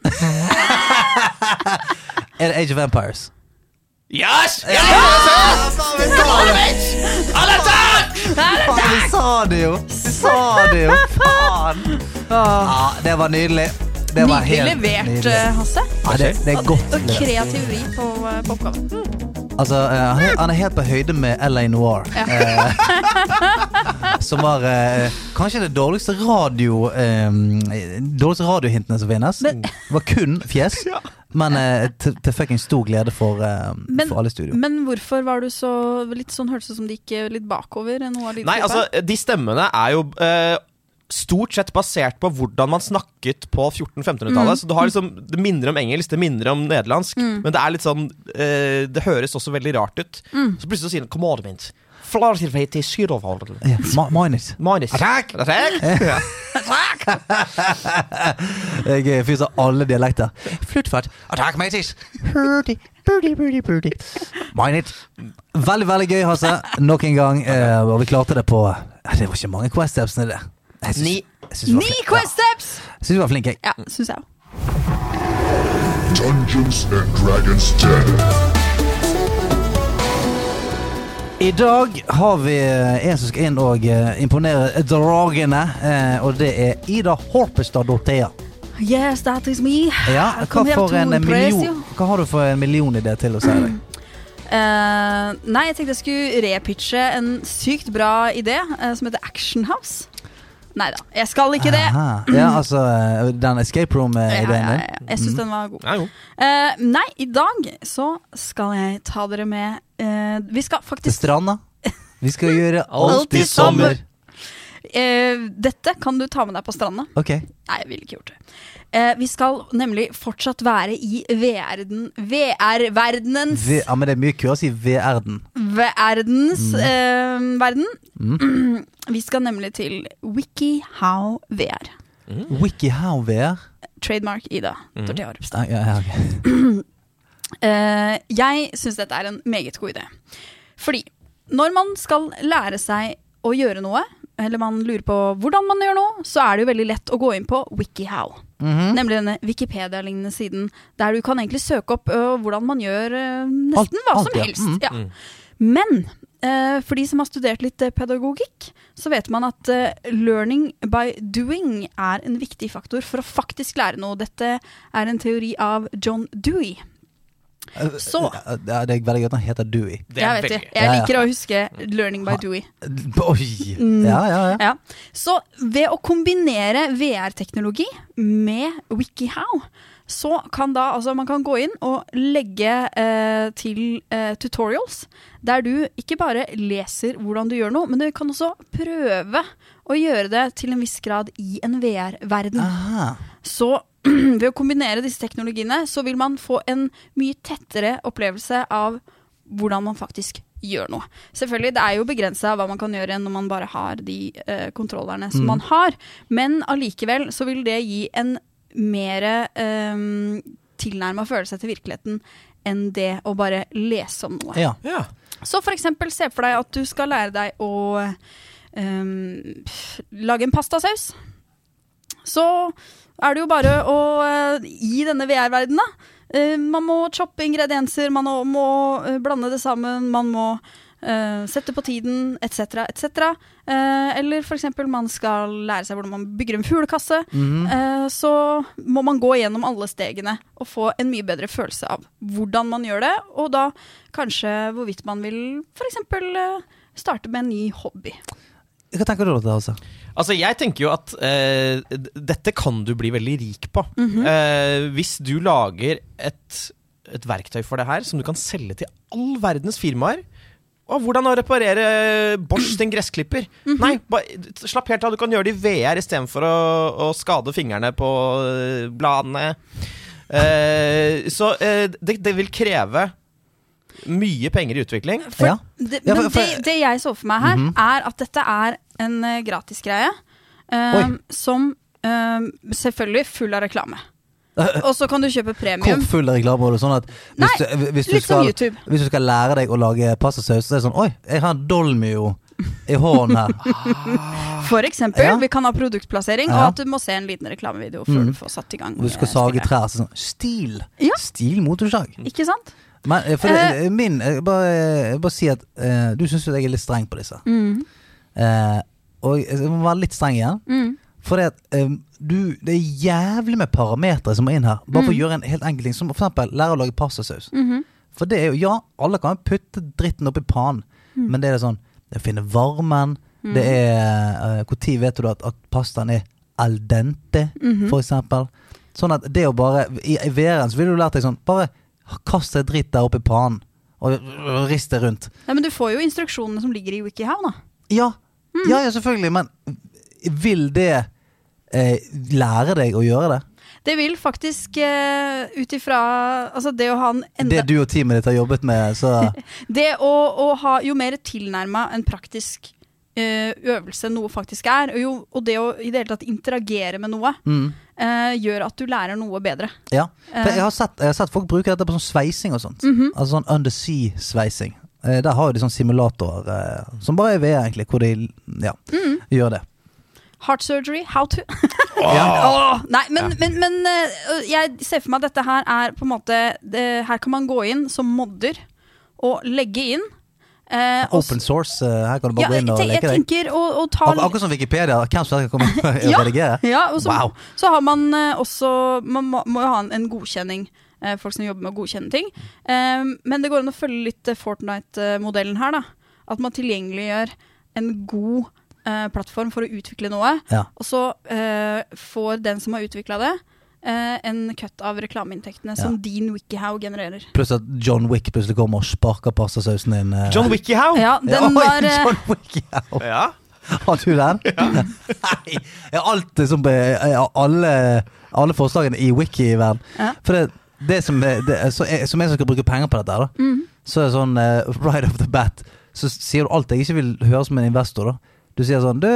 [SPEAKER 3] Er det Age of Empires?
[SPEAKER 2] yes! Yes! Fraudulence! An attack!
[SPEAKER 3] Faen, vi sa det jo! Vi sa det jo! Faen! Ja, det var nydelig. Det var
[SPEAKER 1] Nydelig
[SPEAKER 3] helt
[SPEAKER 1] levert,
[SPEAKER 3] nydelig.
[SPEAKER 1] eh, Hasse.
[SPEAKER 3] Ja, det, det er
[SPEAKER 1] Og-
[SPEAKER 3] godt
[SPEAKER 1] Og
[SPEAKER 3] levert.
[SPEAKER 1] kreativ vri på, eh, på oppgaven.
[SPEAKER 3] Altså, eh, han, er, han er helt på høyde med LA Noir. eh, som var eh, kanskje det dårligste radio eh, Dårligste radiohintene som finnes. var kun fjes, men eh, til, til fucking stor glede for, eh,
[SPEAKER 1] Men,
[SPEAKER 3] for alle i studio.
[SPEAKER 1] men hvorfor var du så litt sånn hørtes ut som det gikk eh, litt bakover? enn noe av
[SPEAKER 2] Nei, altså,
[SPEAKER 1] lydklippet?
[SPEAKER 2] de stemmene er jo eh, stort sett basert på hvordan man snakket på 1400-1500-tallet.
[SPEAKER 1] Mm.
[SPEAKER 2] Så du har liksom, Det minner om engelsk, det minner om nederlandsk,
[SPEAKER 1] Mm.
[SPEAKER 2] men det er litt sånn eh, Det høres også veldig rart ut.
[SPEAKER 1] Mm.
[SPEAKER 2] Så plutselig så sier han 'Kom on, Vint'. Flarsilvei til Sydoverhold.
[SPEAKER 3] Ja, ma- minus.
[SPEAKER 2] Minus.
[SPEAKER 3] Attack!
[SPEAKER 2] Attack! Ja.
[SPEAKER 3] Jeg er en fyr som har alle dialekter. Fluttfart. Attack, mateys! Hurdy, hurdy, hurdy, hurdy. Mine it. Veldig, veldig gøy, Hasse. Nok en gang. eh, og vi klarte det på eh, Det var ikke mange quest steps i det. Jeg syns-
[SPEAKER 1] Ni.
[SPEAKER 3] jeg syns vi var
[SPEAKER 1] Ni
[SPEAKER 3] flin-
[SPEAKER 1] Quest Steps!
[SPEAKER 3] Ja, jeg syns vi var flinke, jeg.
[SPEAKER 1] Ja, syns jeg òg.
[SPEAKER 11] Dungeons and Dragons 10.
[SPEAKER 3] I dag har vi eh, en som skal inn og eh, imponere dragene, eh, og det er Ida Horpestad Dorthea.
[SPEAKER 1] Yes, that is me.
[SPEAKER 3] Ja,
[SPEAKER 1] I
[SPEAKER 3] hva,
[SPEAKER 1] come here
[SPEAKER 3] for
[SPEAKER 1] to Mm,
[SPEAKER 3] en
[SPEAKER 1] impress
[SPEAKER 3] million,
[SPEAKER 1] you.
[SPEAKER 3] hva har du for en million i det til å si deg?
[SPEAKER 1] Eh, nei, jeg tenkte jeg skulle repitche en sykt bra idé eh, som heter Action House. Nei da, jeg skal ikke det.
[SPEAKER 3] Aha. Ja, altså eh, den escape
[SPEAKER 1] Ja,
[SPEAKER 3] room-ideen
[SPEAKER 1] ja,
[SPEAKER 3] din?
[SPEAKER 1] ja. Jeg syns den var god.
[SPEAKER 3] Ja, jo.
[SPEAKER 1] Eh, nei, i dag så skal jeg ta dere med eh, Vi skal
[SPEAKER 3] Til
[SPEAKER 1] faktisk
[SPEAKER 3] stranda? Vi skal gjøre alt i
[SPEAKER 1] Alltid sommer.
[SPEAKER 3] sommer.
[SPEAKER 1] eh, Dette kan du ta med deg på stranda.
[SPEAKER 3] Ok.
[SPEAKER 1] Nei, jeg ville ikke gjort det. Eh, vi skal nemlig fortsatt være i VR-den VR-verdenens
[SPEAKER 3] Vi, ja, men det er mye kurs i VR-den.
[SPEAKER 1] verdens
[SPEAKER 3] Mm.
[SPEAKER 1] eh, verden.
[SPEAKER 3] Mm.
[SPEAKER 1] Vi skal nemlig til WikiHow VR.
[SPEAKER 3] WikiHow VR.
[SPEAKER 1] Trademark Ida Dorthea Horpstad.
[SPEAKER 3] Ah, ja, ja, ok.
[SPEAKER 1] Eh, jeg syns dette er en meget god idé. Fordi når man skal lære seg å gjøre noe, eller man lurer på hvordan man gjør noe, så er det jo veldig lett å gå inn på WikiHow.
[SPEAKER 12] Mhm.
[SPEAKER 1] Nemlig denne Wikipedia-lignende siden der du kan egentlig søke opp øh, hvordan man gjør øh, nesten hva
[SPEAKER 12] alt,
[SPEAKER 1] som
[SPEAKER 12] ja.
[SPEAKER 1] helst.
[SPEAKER 12] Mhm.
[SPEAKER 1] Ja. Men eh, for de som har studert litt eh, pedagogikk, så vet man at eh, learning by doing er en viktig faktor for å faktisk lære noe. Dette er en teori av John Dewey. Så.
[SPEAKER 3] Eh, Ja, det er veldig gøy at han heter Dewey.
[SPEAKER 1] Jeg vet det. Jeg liker å huske learning by doing.
[SPEAKER 3] Oi!
[SPEAKER 1] Mm.
[SPEAKER 3] Ja, ja, ja.
[SPEAKER 1] Ja. Så ved å kombinere VR-teknologi med WikiHow, så kan da altså man kan gå inn og legge eh, til eh, tutorials der du ikke bare leser hvordan du gjør noe, men du kan også prøve å gjøre det til en viss grad i en VR-verden. Så ved å kombinere disse teknologiene, så vil man få en mye tettere opplevelse av hvordan man faktisk gjør noe. Selvfølgelig, det er jo begrensa hva man kan gjøre når man bare har de eh, kontrollerne som
[SPEAKER 12] Mm.
[SPEAKER 1] man har, men allikevel så vil det gi en mer eh, tilnærma følelse til virkeligheten enn det å bare lese om noe.
[SPEAKER 12] Ja.
[SPEAKER 1] Så for eksempel se for deg at du skal lære deg å ehm, pff, lage en pastasaus. Så er det jo bare å eh, i denne VR-verdenen, da. eh, man må choppe ingredienser, man må- må eh, blande det sammen, man må eh, sette på tiden, etc., etc. Uh, eller f.eks. man skal lære seg hvordan man bygger en fuglekasse.
[SPEAKER 12] Mhm.
[SPEAKER 1] eh, så må man gå gjennom alle stegene og få en mye bedre følelse av hvordan man gjør det, og da kanskje hvorvidt man vil f.eks. Uh, starte med en ny hobby.
[SPEAKER 3] Hva tenker du om det, altså?
[SPEAKER 2] Altså, jeg tenker jo at eh, d- dette kan du bli veldig rik på.
[SPEAKER 1] Mhm.
[SPEAKER 2] Eh, hvis du lager et, et verktøy for det her som du kan selge til all verdens firmaer. Og hvordan å reparere Bosch sin gressklipper.
[SPEAKER 1] Mhm.
[SPEAKER 2] Nei, ba, slapp helt av. Du kan gjøre det i VR istedenfor å, å skade fingrene på eh, bladene. Eh, så eh, det, det vil kreve mye penger i utvikling.
[SPEAKER 3] Ja.
[SPEAKER 1] Det,
[SPEAKER 2] Ja, for-
[SPEAKER 1] men
[SPEAKER 2] for-
[SPEAKER 1] det, det jeg så for meg her,
[SPEAKER 2] Mhm.
[SPEAKER 1] er at dette er en eh, gratis greie eh, som eh, selvfølgelig full av reklame. Og så kan du kjøpe premium.
[SPEAKER 3] Eh, Hvor full er reklame var du? Sånn at hvis,
[SPEAKER 1] Nei,
[SPEAKER 3] du, hvis, du
[SPEAKER 1] litt som
[SPEAKER 3] skal,
[SPEAKER 1] YouTube.
[SPEAKER 3] hvis du skal lære deg å lage pastasaus, så er det sånn Oi, jeg har en dolmio i hånden her.
[SPEAKER 1] For eksempel.
[SPEAKER 3] Ja.
[SPEAKER 1] Vi kan ha produktplassering,
[SPEAKER 3] Ja.
[SPEAKER 1] og at du må se en liten reklamevideo før
[SPEAKER 3] Mm.
[SPEAKER 1] du får satt i gang.
[SPEAKER 3] Og du skal
[SPEAKER 1] eh,
[SPEAKER 3] sage
[SPEAKER 1] spillet.
[SPEAKER 3] trær. så Sånn, stil! Stil motorsag.
[SPEAKER 1] Ikke sant?
[SPEAKER 3] Men eh, for det, min jeg bare, jeg bare si at eh, du syns jo jeg er litt streng på disse.
[SPEAKER 1] Mm.
[SPEAKER 3] Eh, og jeg må være litt streng igjen.
[SPEAKER 1] Mm.
[SPEAKER 3] For det, at, eh, du, det er jævlig med parametere som må inn her. Bare for
[SPEAKER 12] Mm.
[SPEAKER 3] å
[SPEAKER 1] Mm-hmm.
[SPEAKER 3] gjøre en helt enkel ting. Som for eksempel lære å lage pastasaus.
[SPEAKER 12] Mhm.
[SPEAKER 3] For det er jo, ja, alle kan jo putte dritten oppi pannen,
[SPEAKER 12] Mm.
[SPEAKER 3] men det er sånn Det å finne varmen,
[SPEAKER 12] Mm.
[SPEAKER 3] det er Når vet du at, at pastaen er al dente,
[SPEAKER 12] Mhm.
[SPEAKER 3] for eksempel? Sånn at det å bare I, i VR-en så ville du lært deg sånn Bare kast deg dritt der oppi pannen, og øh, rist det rundt.
[SPEAKER 1] Nei, men du får jo instruksjonene som ligger i WikiHow, da.
[SPEAKER 3] Ja,
[SPEAKER 12] Mm.
[SPEAKER 3] ja, ja selvfølgelig, men vil det eh, lære deg å gjøre det?
[SPEAKER 1] Det vil faktisk, uh, ut ifra altså det å ha en
[SPEAKER 3] Det du og teamet ditt har jobbet med, så
[SPEAKER 1] Det å, å ha jo mer tilnærma en praktisk eh, øvelse noe faktisk er, og, jo, og det å i det hele tatt interagere med noe,
[SPEAKER 3] mm.
[SPEAKER 1] eh, gjør at du lærer noe bedre.
[SPEAKER 3] Ja. For
[SPEAKER 1] Eh.
[SPEAKER 3] jeg, har sett, jeg har sett folk bruke dette på sånn sveising og sånt.
[SPEAKER 1] Mhm.
[SPEAKER 3] Altså sånn undersea-sveising. Eh, Der har jo de sånn simulatorer eh, som bare er VR, egentlig, hvor de ja,
[SPEAKER 1] Mhm.
[SPEAKER 3] gjør det.
[SPEAKER 1] Heart surgery, how to
[SPEAKER 3] Ja.
[SPEAKER 1] Åh, Nei, men,
[SPEAKER 3] Ja.
[SPEAKER 1] men, men eh, jeg ser for meg at dette her er på en måte det, Her kan man gå inn som modder og legge inn. eh, og s-
[SPEAKER 3] Open source. eh, Her kan du bare
[SPEAKER 1] Ja,
[SPEAKER 3] gå
[SPEAKER 1] jeg,
[SPEAKER 3] inn og
[SPEAKER 1] tenk- jeg
[SPEAKER 3] leke deg.
[SPEAKER 1] tenker å, å ta
[SPEAKER 3] Ak akkurat som Wikipedia. Hvem som helst kan komme og
[SPEAKER 1] Ja,
[SPEAKER 3] redigere.
[SPEAKER 1] Ja, og så,
[SPEAKER 3] wow.
[SPEAKER 1] så har man eh, også Man må, må jo ha en, en godkjenning. eh, Folk som jobber med å godkjenne ting. Ehm, men det går an å følge litt eh, Fortnite-modellen her. da At man tilgjengeliggjør en god eh, plattform for å utvikle noe.
[SPEAKER 3] Ja.
[SPEAKER 1] Og så eh, får den som har utvikla det, eh, en cut av reklameinntektene som din Wikihow genererer.
[SPEAKER 3] Pluss at John Wick plutselig kommer og sparker pastasausen din. eh.
[SPEAKER 1] Wikihow? Ja, den
[SPEAKER 3] Ja, oi,
[SPEAKER 1] var eh,
[SPEAKER 3] John Wikihow. Har du den? Nei. Jeg har alltid som på eh, alle, alle forslagene i wiki-verden.
[SPEAKER 1] Ja.
[SPEAKER 3] For det, det som, er- det, er- så jeg, som jeg som skal bruke penger på dette, her, da,
[SPEAKER 1] Mhm.
[SPEAKER 3] så er det sånn eh, right off the bat Så sier du alt jeg ikke vil høre som en investor. da Du sier sånn Du,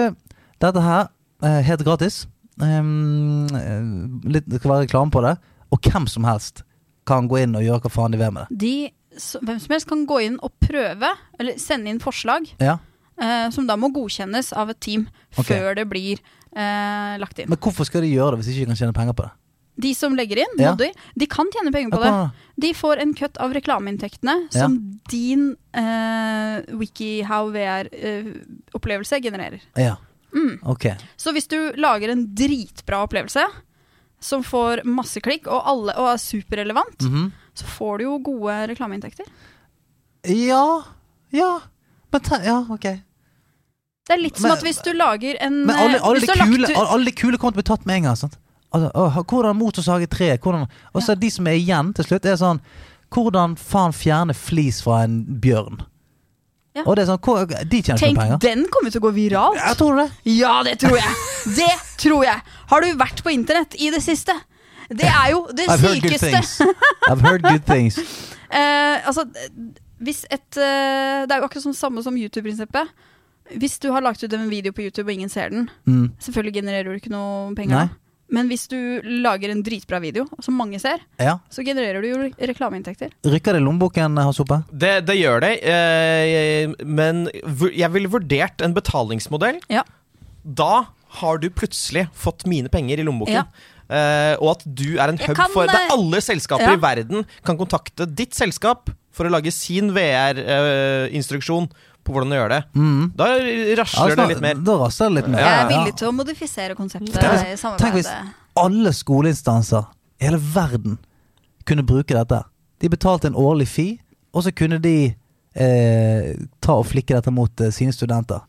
[SPEAKER 3] dette her er helt gratis. Ehm, eh, litt, det skal være reklame på det. Og hvem som helst kan gå inn og gjøre hva faen de vil med det.
[SPEAKER 1] de, s- hvem som helst kan gå inn og prøve, eller sende inn forslag.
[SPEAKER 3] Ja.
[SPEAKER 1] eh, som da må godkjennes av et team
[SPEAKER 3] Ok.
[SPEAKER 1] før det blir eh, lagt inn.
[SPEAKER 3] Men hvorfor skal de gjøre det hvis ikke de kan tjene penger på det?
[SPEAKER 1] De som legger inn,
[SPEAKER 3] Ja.
[SPEAKER 1] modder, de kan tjene penger på
[SPEAKER 3] Ja,
[SPEAKER 1] det.
[SPEAKER 3] bra.
[SPEAKER 1] De får en kutt av reklameinntektene
[SPEAKER 3] Ja.
[SPEAKER 1] som din eh, WikiHow VR-opplevelse genererer.
[SPEAKER 3] Ja,
[SPEAKER 1] Mm.
[SPEAKER 3] ok
[SPEAKER 1] Så hvis du lager en dritbra opplevelse som får masse klikk og, alle, og er superrelevant,
[SPEAKER 3] Mhm.
[SPEAKER 1] så får du jo gode reklameinntekter.
[SPEAKER 3] Ja, ja. Men ta, ja, ok.
[SPEAKER 1] Det er litt som
[SPEAKER 3] Men-
[SPEAKER 1] at hvis du lager en
[SPEAKER 3] Men alle,
[SPEAKER 1] eh,
[SPEAKER 3] alle,
[SPEAKER 1] hvis
[SPEAKER 3] de,
[SPEAKER 1] du har lagt
[SPEAKER 3] kule,
[SPEAKER 1] ut-
[SPEAKER 3] alle, alle de kule kommer til å bli tatt med en gang. Sant? Altså, å, ha- hvordan motorsage tre? Hvordan, og så de som er igjen til slutt, er sånn Hvordan faen fjerne flis fra en bjørn?
[SPEAKER 1] Ja.
[SPEAKER 3] Og det er sånn, hvor, De tjener ikke
[SPEAKER 1] Tenk,
[SPEAKER 3] penger.
[SPEAKER 1] den kommer til å gå viralt.
[SPEAKER 3] Jeg tror det.
[SPEAKER 1] Ja, det tror jeg. Det tror jeg. Har du vært på internett i det siste? Det er jo det
[SPEAKER 3] I've heard good
[SPEAKER 1] sykeste.
[SPEAKER 3] things. I've heard good things.
[SPEAKER 1] Eh, altså, hvis et eh, Det er jo akkurat sånn samme som YouTube-prinsippet. Hvis du har lagt ut en video på YouTube og ingen ser den,
[SPEAKER 3] Mm.
[SPEAKER 1] selvfølgelig genererer du ikke noe penger.
[SPEAKER 3] Nei.
[SPEAKER 1] da. Men hvis du lager en dritbra video som mange ser,
[SPEAKER 3] Ja.
[SPEAKER 1] så genererer du jo re- reklameinntekter.
[SPEAKER 3] Rykker det i lommeboken, eh, Hasope?
[SPEAKER 2] Det, det gjør det, eh, men vu- jeg ville vurdert en betalingsmodell. Da har du plutselig fått mine penger i
[SPEAKER 1] Ja.
[SPEAKER 2] lommeboken. Eh, og at du er en
[SPEAKER 1] Jeg
[SPEAKER 2] hub
[SPEAKER 1] kan,
[SPEAKER 2] for
[SPEAKER 1] eh,
[SPEAKER 2] det alle
[SPEAKER 1] ja.
[SPEAKER 2] selskaper i verden kan kontakte ditt selskap for å lage sin VR-instruksjon på hvordan å gjøre det.
[SPEAKER 3] Mm.
[SPEAKER 2] Da rasler det litt mer.
[SPEAKER 3] Da raser det litt mer.
[SPEAKER 1] Jeg er villig til å modifisere konseptet i
[SPEAKER 3] Tenk, tenk hvis
[SPEAKER 1] samarbeidet.
[SPEAKER 3] alle skoleinstanser i hele verden kunne bruke dette. De betalte en årlig fee, og så kunne de eh, ta og flikke dette mot eh, sine studenter.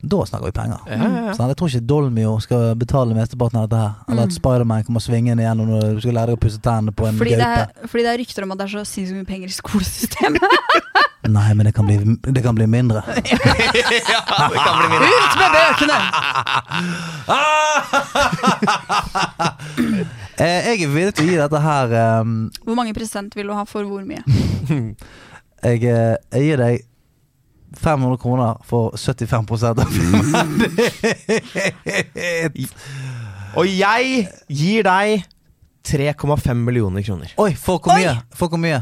[SPEAKER 3] Da snakker vi penger.
[SPEAKER 12] Ja, ja, ja.
[SPEAKER 3] Sånn, jeg tror ikke Dolmio skal betale mesteparten av dette. her Eller at
[SPEAKER 1] Mm.
[SPEAKER 3] Spiderman kommer svingende gjennom når du skal lære deg å pusse tennene på en
[SPEAKER 1] Fordi det,
[SPEAKER 3] gaupe.
[SPEAKER 1] er, fordi det er rykter om at det er så sinnssykt mye penger i skolesystemet.
[SPEAKER 3] Nei, men det kan bli, det kan bli mindre.
[SPEAKER 2] ja, det kan bli min.
[SPEAKER 1] Ut med bøkene!
[SPEAKER 3] Eh, jeg er villig til å gi dette her ehm,
[SPEAKER 1] Hvor mange prosent vil du ha for hvor mye?
[SPEAKER 3] jeg, eh, jeg gir deg 500 kroner for 75 av
[SPEAKER 2] Og jeg gir deg 3,5 millioner kroner.
[SPEAKER 3] Oi, for hvor mye? For hvor mye?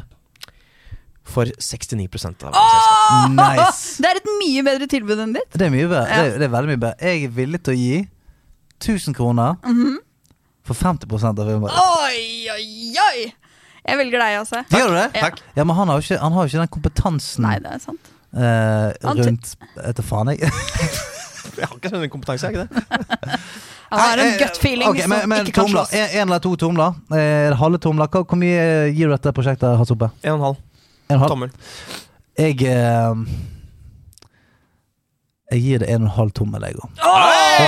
[SPEAKER 2] For 69 av
[SPEAKER 3] Nice.
[SPEAKER 1] Det er et mye bedre tilbud enn ditt.
[SPEAKER 3] Det er mye
[SPEAKER 1] Ja.
[SPEAKER 3] bedre. Det, er, det er veldig mye bedre. Jeg er villig til å gi 1000 kroner
[SPEAKER 1] Mhm.
[SPEAKER 3] for 50 av innvandrere.
[SPEAKER 1] Oi, oi, oi! Jeg velger deg, altså.
[SPEAKER 3] Gjør du det?
[SPEAKER 1] Ja.
[SPEAKER 3] Ja, men han har jo ikke, han har jo ikke den kompetansen
[SPEAKER 1] Nei, det er sant.
[SPEAKER 3] eh,
[SPEAKER 1] Han-
[SPEAKER 3] rundt Etter faen, jeg.
[SPEAKER 2] Jeg har ikke sånn kompetanse, jeg har ikke det?
[SPEAKER 1] Jeg har
[SPEAKER 3] Nei,
[SPEAKER 1] en
[SPEAKER 3] eh,
[SPEAKER 1] gut feeling
[SPEAKER 3] ok, men,
[SPEAKER 1] som
[SPEAKER 3] men,
[SPEAKER 1] ikke kan
[SPEAKER 3] tomler.
[SPEAKER 1] slås.
[SPEAKER 3] En, en eller to tomler. Eh, halve tomler. Hva, hvor mye gir du dette prosjektet, Hans Oppe?
[SPEAKER 2] En og en halv.
[SPEAKER 3] En og en halv?
[SPEAKER 2] Tommel.
[SPEAKER 3] Jeg eh, Jeg gir det en og en halv tommel, jeg òg. Da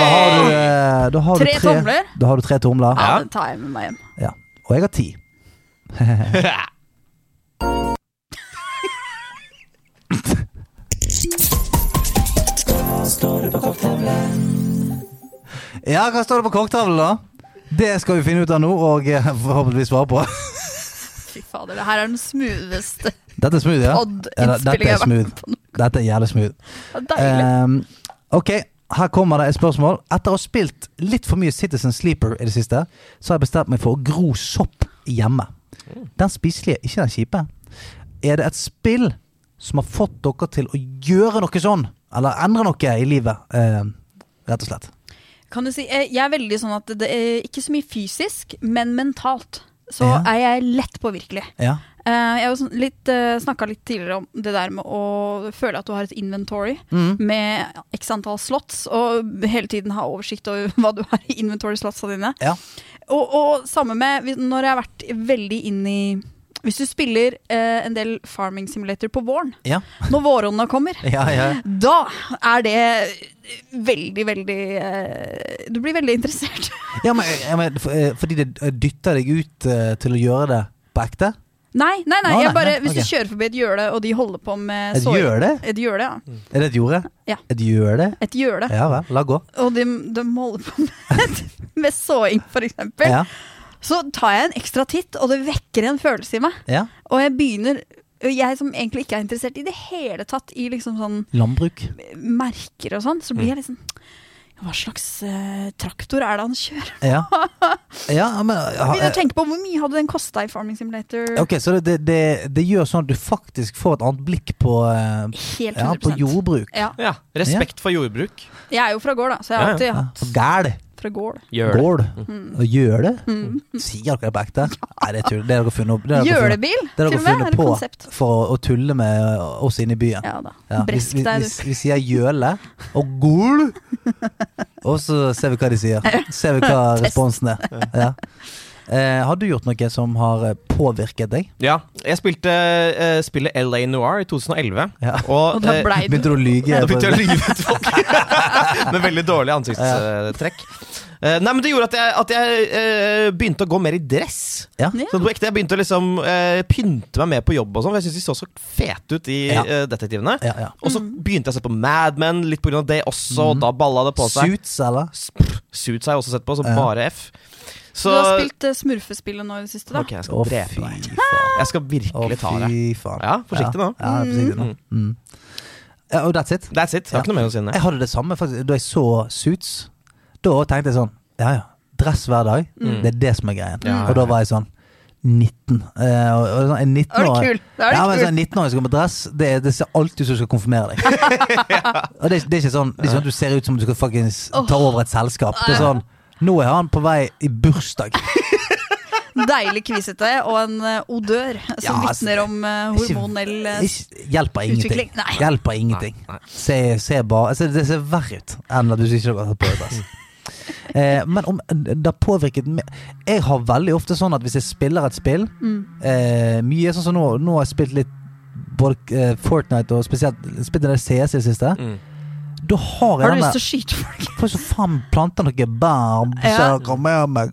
[SPEAKER 3] har du, eh, da har
[SPEAKER 1] Tre
[SPEAKER 3] du tre
[SPEAKER 1] tomler?
[SPEAKER 3] Da har du tre tomler.
[SPEAKER 1] Ja, det tar jeg med meg hjem.
[SPEAKER 3] Ja. Og jeg har ti. ja, hva står det på kokktavlen, da? Det skal vi finne ut av nå, og eh, forhåpentligvis svare på.
[SPEAKER 1] Fy fader, det her er den smootheste.
[SPEAKER 3] Dette er smooth, ja?
[SPEAKER 1] Odd-innspilling
[SPEAKER 3] Eller, dette
[SPEAKER 1] jeg
[SPEAKER 3] er
[SPEAKER 1] har vært
[SPEAKER 3] smooth. Dette er jævlig smooth.
[SPEAKER 1] Det er deilig.
[SPEAKER 3] Ehm, ok, her kommer det et spørsmål. Etter å ha spilt litt for mye Citizen Sleeper i det siste, så har jeg bestemt meg for å gro sopp hjemme. Den spiselige, ikke den kjipe. Er det et spill som har fått dere til å gjøre noe sånn? Eller endre noe i livet, ehm, rett og slett?
[SPEAKER 1] Kan du si, eh, jeg er veldig sånn at det er ikke så mye fysisk, men mentalt. Så
[SPEAKER 3] Ja.
[SPEAKER 1] er jeg lett påvirkelig.
[SPEAKER 3] Ja.
[SPEAKER 1] Eh, Jeg har jo sånn litt, snakka litt tidligere om det der med å føle at du har et inventory
[SPEAKER 3] Mm.
[SPEAKER 1] med x antall slots, og hele tiden ha oversikt over hva du har i inventory-slotsa dine.
[SPEAKER 3] Ja.
[SPEAKER 1] Og, og samme med hvis- når jeg har vært veldig inn i Hvis du spiller eh, en del farming simulator på våren,
[SPEAKER 3] Ja.
[SPEAKER 1] når våronna kommer,
[SPEAKER 3] Ja, ja.
[SPEAKER 1] da er det veldig, veldig eh, Du blir veldig interessert.
[SPEAKER 3] ja, men, ja men, for- eh, fordi det dytter deg ut eh, til å gjøre det på ekte?
[SPEAKER 1] Nei, nei, nei,
[SPEAKER 3] Å,
[SPEAKER 1] jeg
[SPEAKER 3] nei,
[SPEAKER 1] bare,
[SPEAKER 3] nei,
[SPEAKER 1] hvis
[SPEAKER 3] ok.
[SPEAKER 1] du kjører forbi et gjøle, og de holder på med
[SPEAKER 3] Et
[SPEAKER 1] soy-
[SPEAKER 3] gjøle?
[SPEAKER 1] Et gjøle, ja.
[SPEAKER 3] Er det et jorde?
[SPEAKER 1] Ja.
[SPEAKER 3] Et jorde?
[SPEAKER 1] Et gjøle.
[SPEAKER 3] Ja vel, la gå.
[SPEAKER 1] Og de, de holder på med, med såing, for eksempel.
[SPEAKER 3] Ja.
[SPEAKER 1] Så tar jeg en ekstra titt, og det vekker en følelse i meg.
[SPEAKER 3] Ja.
[SPEAKER 1] Og jeg begynner Jeg som egentlig ikke er interessert i det hele tatt i liksom sånn
[SPEAKER 3] Landbruk.
[SPEAKER 1] merker og sånn, så blir
[SPEAKER 3] Mm.
[SPEAKER 1] jeg liksom Hva slags eh, traktor er det han kjører?
[SPEAKER 3] Ja. ja men, ha-
[SPEAKER 1] Begynner å tenke på hvor mye hadde den kosta i Farming Simulator?
[SPEAKER 3] Ah, eh, Ok, Så det, det, det, det gjør sånn at du faktisk får et annet blikk på, eh,
[SPEAKER 1] Helt
[SPEAKER 3] ja, på
[SPEAKER 1] 100%.
[SPEAKER 3] jordbruk.
[SPEAKER 1] Ja.
[SPEAKER 2] Ja, respekt for jordbruk.
[SPEAKER 1] Jeg er jo fra gård, da, så jeg har
[SPEAKER 3] Ja,
[SPEAKER 1] alltid
[SPEAKER 3] ja.
[SPEAKER 1] hatt
[SPEAKER 3] På Gæl.
[SPEAKER 1] fra gård.
[SPEAKER 3] Gård.
[SPEAKER 1] Mm.
[SPEAKER 3] Og gjøle.
[SPEAKER 1] Mm.
[SPEAKER 3] Sier dere det på ekte? Nei, det er tull. Det har dere funnet opp. det har dere funnet-
[SPEAKER 1] Gjølebil,
[SPEAKER 3] det har
[SPEAKER 1] til
[SPEAKER 3] dere
[SPEAKER 1] og med.
[SPEAKER 3] funnet
[SPEAKER 1] Eller konsept.
[SPEAKER 3] på for å- å tulle med eh, oss inne i byen.
[SPEAKER 1] Ja da.
[SPEAKER 3] vi,
[SPEAKER 1] Bresk
[SPEAKER 3] vi,
[SPEAKER 1] deg,
[SPEAKER 3] vi,
[SPEAKER 1] du.
[SPEAKER 3] vi sier gjøle og gol, og så ser vi hva de sier. Ser vi hva
[SPEAKER 2] Test.
[SPEAKER 3] responsen er. Ja. Eh, har du gjort noe som har eh, påvirket deg?
[SPEAKER 2] Ja, jeg spilte eh, spillet LA Noir i 2011. Og,
[SPEAKER 3] Og da
[SPEAKER 2] eh,
[SPEAKER 3] blei du. Begynte du å lyge?
[SPEAKER 2] Da begynte jeg å lyge til folk. Med veldig dårlig ansiktstrekk. Eh, nei, men Det gjorde at jeg, at jeg eh, begynte å gå mer i dress. Sånn på ekte, Jeg begynte å liksom eh, pynte meg mer på jobb, og sånn, for jeg syntes de så så fete ut, de
[SPEAKER 3] Ja.
[SPEAKER 2] eh, detektivene.
[SPEAKER 3] ja.
[SPEAKER 2] Og så
[SPEAKER 1] Mm.
[SPEAKER 2] begynte jeg å se på Mad Men litt pga. det også, og
[SPEAKER 3] Mm.
[SPEAKER 2] da balla det på seg.
[SPEAKER 3] Suits, eller?
[SPEAKER 2] Suits har jeg også sett på, så
[SPEAKER 3] Ja.
[SPEAKER 2] bare F. Så
[SPEAKER 1] Du har spilt eh, smurfespillet nå i det siste, da.
[SPEAKER 2] Ok, jeg skal drepe deg. Jeg skal virkelig ta deg.
[SPEAKER 3] Fy faen.
[SPEAKER 2] Ja, forsiktig nå.
[SPEAKER 3] Ja, ja, forsiktig nå. Mm. Ja, og that's it.
[SPEAKER 2] That's it. Jeg har ikke noe mer å si enn det.
[SPEAKER 3] Jeg hadde det samme faktisk da jeg så Suits. Da tenkte jeg sånn Ja ja, dress hver dag.
[SPEAKER 2] Mm.
[SPEAKER 3] Det er det som er greien.
[SPEAKER 2] Ja, ja,
[SPEAKER 3] Og da var jeg sånn 19. Eh, og, og sånn, en 19
[SPEAKER 1] Da er det kul. Da er det
[SPEAKER 3] ja, men
[SPEAKER 1] kul.
[SPEAKER 3] sånn 19 år som går med dress, det, det ser alltid ut som du skal konfirmere deg. Og det, det er ikke sånn Det er ikke sånn at du ser ut som du skal fuckings ta over et selskap. Det er sånn Nå er han på vei i bursdag.
[SPEAKER 1] Deilig kvisete og en eh, odør som
[SPEAKER 3] Ja, altså,
[SPEAKER 1] vitner om eh,
[SPEAKER 3] ikke-
[SPEAKER 1] hormonell eh,
[SPEAKER 3] Ikke, hjelper ingenting.
[SPEAKER 1] Utvikling, nei.
[SPEAKER 3] Hjelper ingenting. Se, se bare, altså, det ser verre ut enn at du ikke har hatt på deg dress. altså. Eh, men om det har påvirket meg Jeg har veldig ofte sånn at hvis jeg spiller et spill
[SPEAKER 1] Mm.
[SPEAKER 3] eh, Mye sånn som nå, nå har jeg spilt litt både eh, Fortnite og spesielt spilt en del CS i det siste. Da har jeg
[SPEAKER 1] Har du
[SPEAKER 3] den
[SPEAKER 1] lyst
[SPEAKER 3] der-
[SPEAKER 1] til å skyte folk?
[SPEAKER 3] Får så faen planta noen bær
[SPEAKER 1] Ja.
[SPEAKER 3] så kommer jeg meg.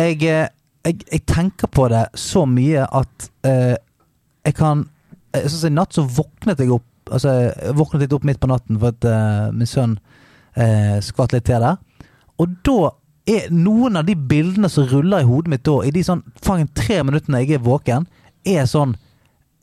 [SPEAKER 3] Jeg, eh, jeg, jeg tenker på det så mye at eh, jeg kan eh, Sånn som i natt så våknet jeg opp Altså jeg våknet litt opp midt på natten for at eh, min sønn eh, skvatt litt til der. Og da er noen av de bildene som ruller i hodet mitt da, i de sånn faen tre minuttene jeg er våken, er sånn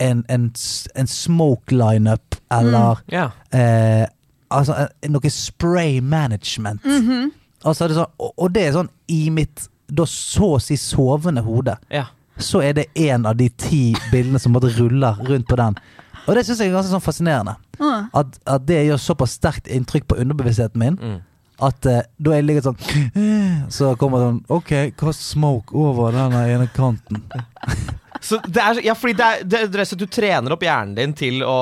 [SPEAKER 3] en, en, s- en smoke lineup eller
[SPEAKER 2] Ja.
[SPEAKER 3] eh, Altså eh, noe spray management.
[SPEAKER 1] Mhm.
[SPEAKER 3] Altså er det sånn, og, og det er sånn i mitt da så å si sovende hode.
[SPEAKER 2] Ja.
[SPEAKER 3] Så er det én av de ti bildene som måtte rulle rundt på den. Og det syns jeg er ganske sånn fascinerende.
[SPEAKER 1] Ah.
[SPEAKER 3] At, at det gjør såpass sterkt inntrykk på underbevisstheten min
[SPEAKER 2] Mm.
[SPEAKER 3] at eh, da jeg ligger sånn Så kommer det sånn OK, hva smoke over den ene kanten?
[SPEAKER 2] Så det er, så- ja, fordi det er, det, det er så at du trener opp hjernen din til å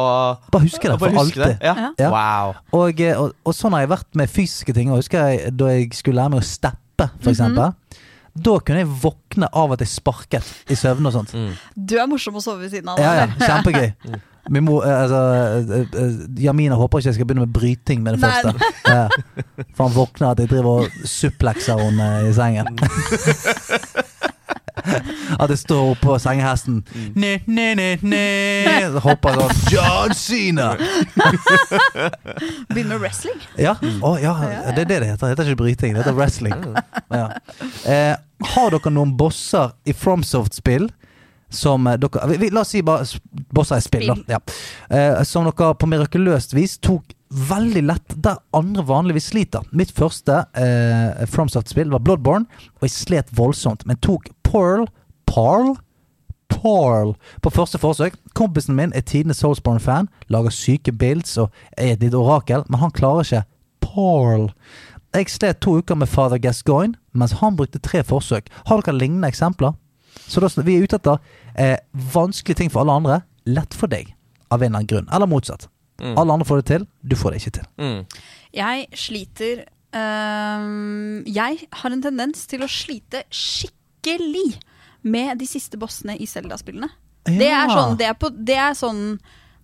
[SPEAKER 3] Bare huske det
[SPEAKER 2] å bare
[SPEAKER 3] for
[SPEAKER 2] huske
[SPEAKER 3] alltid.
[SPEAKER 2] det. Ja.
[SPEAKER 3] Ja.
[SPEAKER 2] Wow.
[SPEAKER 3] Og, eh, og, og sånn har jeg vært med fysiske ting. Og husker jeg Da jeg skulle lære meg å steppe, for eksempel. Da kunne jeg våkne av at jeg sparket i søvne og sånt.
[SPEAKER 1] Du er morsom å sove ved siden av.
[SPEAKER 3] Ja, ja,
[SPEAKER 1] eller?
[SPEAKER 3] Kjempegøy. Min mor, eh, altså, eh, eh, Jamina håper ikke jeg skal begynne med bryting med det
[SPEAKER 1] Nei,
[SPEAKER 3] første. Ja. For han våkner at jeg driver og suplekser henne i sengen. At jeg står oppå sengehesten ne, ne, ne, ne, Så hopper jeg sånn John Cena!
[SPEAKER 1] Begynner med wrestling.
[SPEAKER 3] Ja, å, ja, det er det det heter. Det heter ikke bryting, det heter wrestling. Ja. Eh, har dere noen bosser i Fromsoft-spill som eh, dere vi- vi, La oss si bare s- bosser i spill, da.
[SPEAKER 1] Spill.
[SPEAKER 3] Ja. Eh, som dere på mirakuløst vis tok veldig lett der andre vanligvis sliter. Mitt første eh, Fromsoft-spill var Bloodborne, og jeg slet voldsomt, men tok Pearl Parl? Paul på første forsøk. Kompisen min er tidenes Soulsborne-fan, lager syke builds og er et lite orakel, men han klarer ikke Paul. Jeg slet to uker med Father Gascoigne, mens han brukte tre forsøk. Har dere lignende eksempler? Så da, vi er ute etter eh, vanskelige ting for alle andre, lett for deg, av en eller annen grunn. Eller motsatt.
[SPEAKER 2] Mm.
[SPEAKER 3] Alle andre får det til, du får det ikke til.
[SPEAKER 2] Mm.
[SPEAKER 1] Jeg sliter øhm, Jeg har en tendens til å slite skikkelig med de siste bossene i Zelda-spillene. Det, er
[SPEAKER 3] Ja.
[SPEAKER 1] sånn, det, er på, det er sånn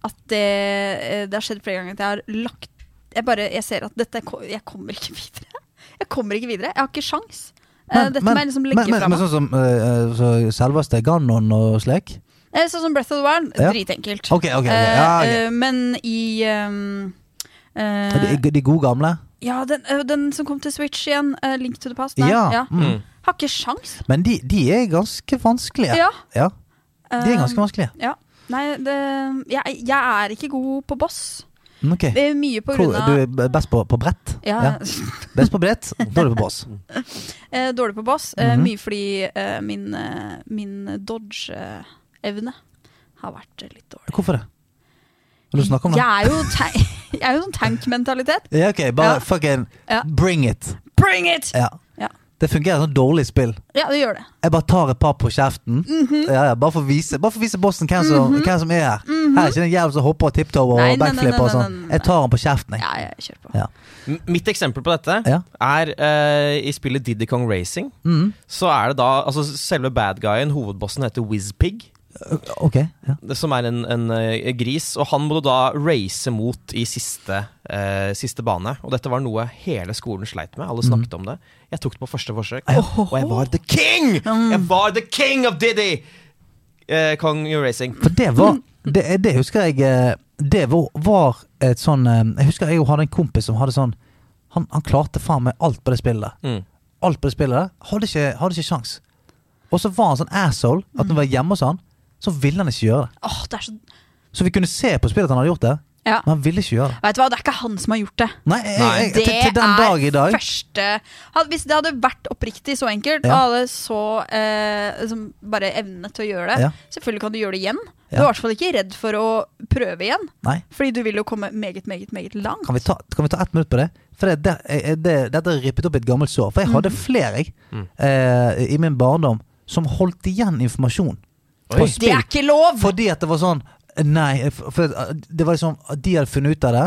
[SPEAKER 1] at det, det har skjedd flere ganger at jeg har lagt Jeg bare jeg ser at dette ko- Jeg kommer ikke videre. Jeg kommer ikke videre. Jeg har ikke sjans. Eh, dette må jeg liksom legge
[SPEAKER 3] men,
[SPEAKER 1] fra
[SPEAKER 3] men
[SPEAKER 1] meg.
[SPEAKER 3] sånn som eh, så selveste Ganon og slik?
[SPEAKER 1] Eh, Sånn som Breath of the Wild,
[SPEAKER 3] Ja.
[SPEAKER 1] dritenkelt.
[SPEAKER 3] Ok, ok, ok.
[SPEAKER 1] Eh,
[SPEAKER 3] Ja, ok.
[SPEAKER 1] eh, Men i ehm, eh,
[SPEAKER 3] De, de gode gamle?
[SPEAKER 1] Ja, den, eh, den som kom til Switch igjen, eh, Link to the Past. Nei,
[SPEAKER 3] Ja.
[SPEAKER 1] ja.
[SPEAKER 3] Mm.
[SPEAKER 1] Har ikke sjans.
[SPEAKER 3] Men de, de er ganske vanskelige.
[SPEAKER 1] Ja.
[SPEAKER 3] ja. De er ganske
[SPEAKER 1] Eh,
[SPEAKER 3] vanskelige.
[SPEAKER 1] Ja. Nei, det, jeg, jeg er ikke god på boss.
[SPEAKER 3] Mm, ok.
[SPEAKER 1] Det er mye på
[SPEAKER 3] Hvor-
[SPEAKER 1] grunn av
[SPEAKER 3] Du er best på, på brett?
[SPEAKER 1] Ja.
[SPEAKER 3] Best på brett, dårlig på boss.
[SPEAKER 1] eh, dårlig på boss. eh,
[SPEAKER 3] Mhm.
[SPEAKER 1] Mye fordi eh, min, eh, min dodge-evne har vært eh, litt dårlig.
[SPEAKER 3] Hvorfor det? Vil du snakke om det?
[SPEAKER 1] Jeg er jo, ta- jeg er jo sånn tank-mentalitet.
[SPEAKER 3] Ja, ok, bare
[SPEAKER 1] Ja.
[SPEAKER 3] fucking
[SPEAKER 1] Ja.
[SPEAKER 3] bring it.
[SPEAKER 1] Bring it!
[SPEAKER 3] Ja.
[SPEAKER 1] Ja.
[SPEAKER 3] Det fungerer som dårlig spill.
[SPEAKER 1] Ja, det gjør det.
[SPEAKER 3] Jeg bare tar et par på kjeften.
[SPEAKER 1] Mhm.
[SPEAKER 3] ja, ja, bare for å vise, bare for å vise bossen hvem som, hvem som er her. Her er ikke den jævelen som hopper og tiptoe og
[SPEAKER 1] Mhm. Nei, nei, nei,
[SPEAKER 3] backflipper og
[SPEAKER 1] nei, nei,
[SPEAKER 3] sånn.
[SPEAKER 1] nei,
[SPEAKER 3] Jeg tar han på kjeften, jeg.
[SPEAKER 1] Ja, jeg kjører på.
[SPEAKER 3] Ja.
[SPEAKER 2] M- Mitt eksempel på dette
[SPEAKER 3] Ja.
[SPEAKER 2] er eh, i spillet Diddy Kong Racing.
[SPEAKER 3] Mm.
[SPEAKER 2] Så er det da altså Selve bad guyen, hovedbossen, heter Whizpig.
[SPEAKER 3] Ok. Ja.
[SPEAKER 2] det- som er en, en eh, gris, og han må du da race mot i siste, eh, siste bane. Og dette var noe hele skolen sleit med,
[SPEAKER 3] Mhm.
[SPEAKER 2] alle snakket om det. Jeg tok det på første forsøk, og jeg var the king!
[SPEAKER 3] Mm.
[SPEAKER 2] Jeg var the king of Diddy! Eh, Kong Racing.
[SPEAKER 3] For det var
[SPEAKER 1] Mm.
[SPEAKER 3] Det, det husker jeg eh, Det var, var et sånn eh, Jeg husker jeg hadde en kompis som hadde sånn Han, han klarte faen meg alt på det spillet. der.
[SPEAKER 2] Mm.
[SPEAKER 3] Alt på det spillet der. Hadde ikke, hadde ikke sjans. Og så var han sånn asshole at når vi var hjemme hos han, så ville han ikke gjøre det.
[SPEAKER 1] Åh, det er så
[SPEAKER 3] Så vi kunne se på spillet at han hadde gjort det,
[SPEAKER 1] Ja.
[SPEAKER 3] men han ville ikke gjøre det.
[SPEAKER 1] Vet du hva, det er ikke han som har gjort det.
[SPEAKER 3] Nei, jeg, jeg,
[SPEAKER 1] Det
[SPEAKER 3] til, til den dag i dag
[SPEAKER 1] er første Had- Hvis det hadde vært oppriktig så enkelt,
[SPEAKER 3] Ja.
[SPEAKER 1] og hadde så eh, liksom bare evne til å gjøre det
[SPEAKER 3] Ja.
[SPEAKER 1] Selvfølgelig kan du gjøre det igjen. Du
[SPEAKER 3] Ja.
[SPEAKER 1] er i hvert fall ikke redd for å prøve igjen.
[SPEAKER 3] Nei.
[SPEAKER 1] Fordi du vil jo komme meget, meget, meget langt.
[SPEAKER 3] Kan vi, ta, kan vi ta ett minutt på det? For det, det, eh, det, Dette har rippet opp et gammelt sår. For jeg
[SPEAKER 1] Mm.
[SPEAKER 3] hadde flere jeg, eh, i min barndom som holdt igjen informasjon. På spill.
[SPEAKER 1] Det er ikke lov!
[SPEAKER 3] Fordi at det var sånn Nei, for for det var liksom at De hadde funnet ut av det.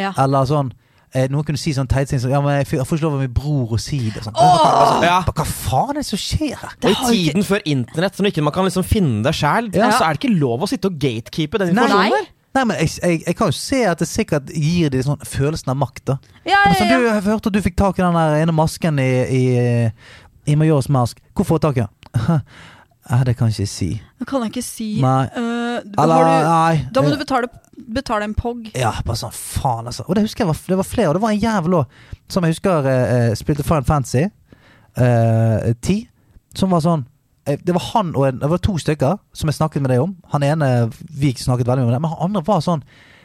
[SPEAKER 1] Ja.
[SPEAKER 3] Eller sånn eh, Noen kunne si sånn teite ting som Ja, men jeg får jeg får ikke lov av min bror å si det. Sånn.
[SPEAKER 1] Åh!
[SPEAKER 2] Ja.
[SPEAKER 3] Hva faen er det som skjer her?
[SPEAKER 2] Og
[SPEAKER 1] har
[SPEAKER 2] i
[SPEAKER 1] ikke-
[SPEAKER 2] tiden før internett, når ikke man kan liksom finne det sjæl,
[SPEAKER 3] Ja.
[SPEAKER 2] så er det ikke lov å sitte og gatekeepe den
[SPEAKER 3] Nei.
[SPEAKER 2] informasjonen. der.
[SPEAKER 3] Nei, men jeg, jeg, jeg kan jo se at det sikkert gir de sånn følelsen av makt, da.
[SPEAKER 1] Ja,
[SPEAKER 3] Men
[SPEAKER 1] ja,
[SPEAKER 3] sånn,
[SPEAKER 1] ja.
[SPEAKER 3] du, jeg hørte at du fikk tak i den der ene masken i, i, i Majors mask. Hvor får du tak i den? Nei, det kan jeg ikke si.
[SPEAKER 1] Det kan jeg ikke si.
[SPEAKER 3] Nei.
[SPEAKER 1] Eh,
[SPEAKER 3] Eller,
[SPEAKER 1] har du,
[SPEAKER 3] nei.
[SPEAKER 1] da må du betale, betale en POG.
[SPEAKER 3] Ja, bare sånn faen, altså. Og det husker jeg var, det var flere, og det var en jævel òg, som jeg husker eh, eh, spilte Final Fantasy eh, 10, som var sånn eh, det var han og en, det var to stykker som jeg snakket med deg om. Han ene vi ikke snakket veldig mye om det, men han andre var sånn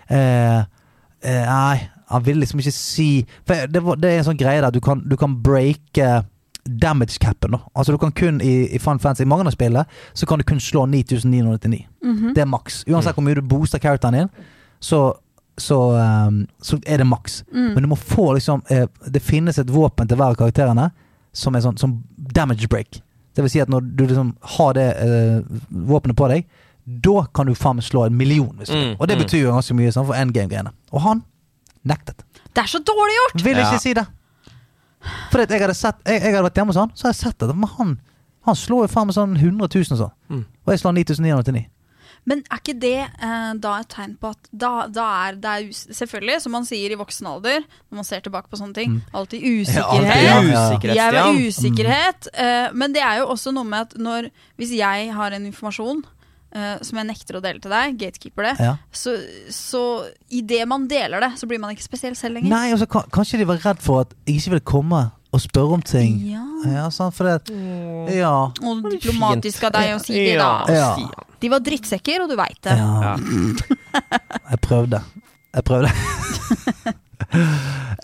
[SPEAKER 3] eh, eh, Nei, han ville liksom ikke si For det, var, det er en sånn greie der du kan, du kan breake damage capen. da. Altså du kan kun i, i Final Fantasy, i mange av spillene, så kan du kun slå 9999. Det er maks. Uansett hvor mye du booster characteren din, så, så, ehm, så er det maks. Men du må få liksom eh, Det finnes et våpen til hver av karakterene som er sånn som damage break. Det vil si at når du liksom har det eh, våpenet på deg, da kan du faen meg slå en million. Hvis du vil.
[SPEAKER 12] Mm,
[SPEAKER 3] Og det
[SPEAKER 12] mm.
[SPEAKER 3] betyr jo ganske mye sånn for endgame-greiene. Og han nektet.
[SPEAKER 1] Det er så dårlig gjort!
[SPEAKER 3] Vil ikke si det. Fordi at jeg hadde, sett, jeg, jeg hadde vært hjemme hos han, så hadde jeg sett det. Men han, han slår jo faen meg sånn 100 000 sånn. Og jeg slår 9999.
[SPEAKER 1] Men er ikke det eh, da et tegn på at da, da er det er us Selvfølgelig, som man sier i voksen alder, når man ser tilbake på sånne ting,
[SPEAKER 3] Mm.
[SPEAKER 1] alltid
[SPEAKER 3] Ja,
[SPEAKER 1] usikkerhet.
[SPEAKER 3] alltid, ja, ja. Usikkerhet,
[SPEAKER 1] Jeg var
[SPEAKER 3] Stian.
[SPEAKER 1] usikkerhet. eh, men det er jo også noe med at når, hvis jeg har en informasjon eh, som jeg nekter å dele til deg, gatekeeper det,
[SPEAKER 3] Ja.
[SPEAKER 1] så, så idet man deler det, så blir man ikke spesiell selv lenger.
[SPEAKER 3] Nei, altså, ka- kanskje de var redd for at jeg ikke ville komme og spørre om ting.
[SPEAKER 1] Ja.
[SPEAKER 3] Ja, sant, for det Ja.
[SPEAKER 1] Og diplomatisk av deg å si det,
[SPEAKER 3] Ja,
[SPEAKER 1] da.
[SPEAKER 3] ja.
[SPEAKER 1] De var drittsekker, og du veit det.
[SPEAKER 3] Ja. Jeg prøvde. Jeg prøvde.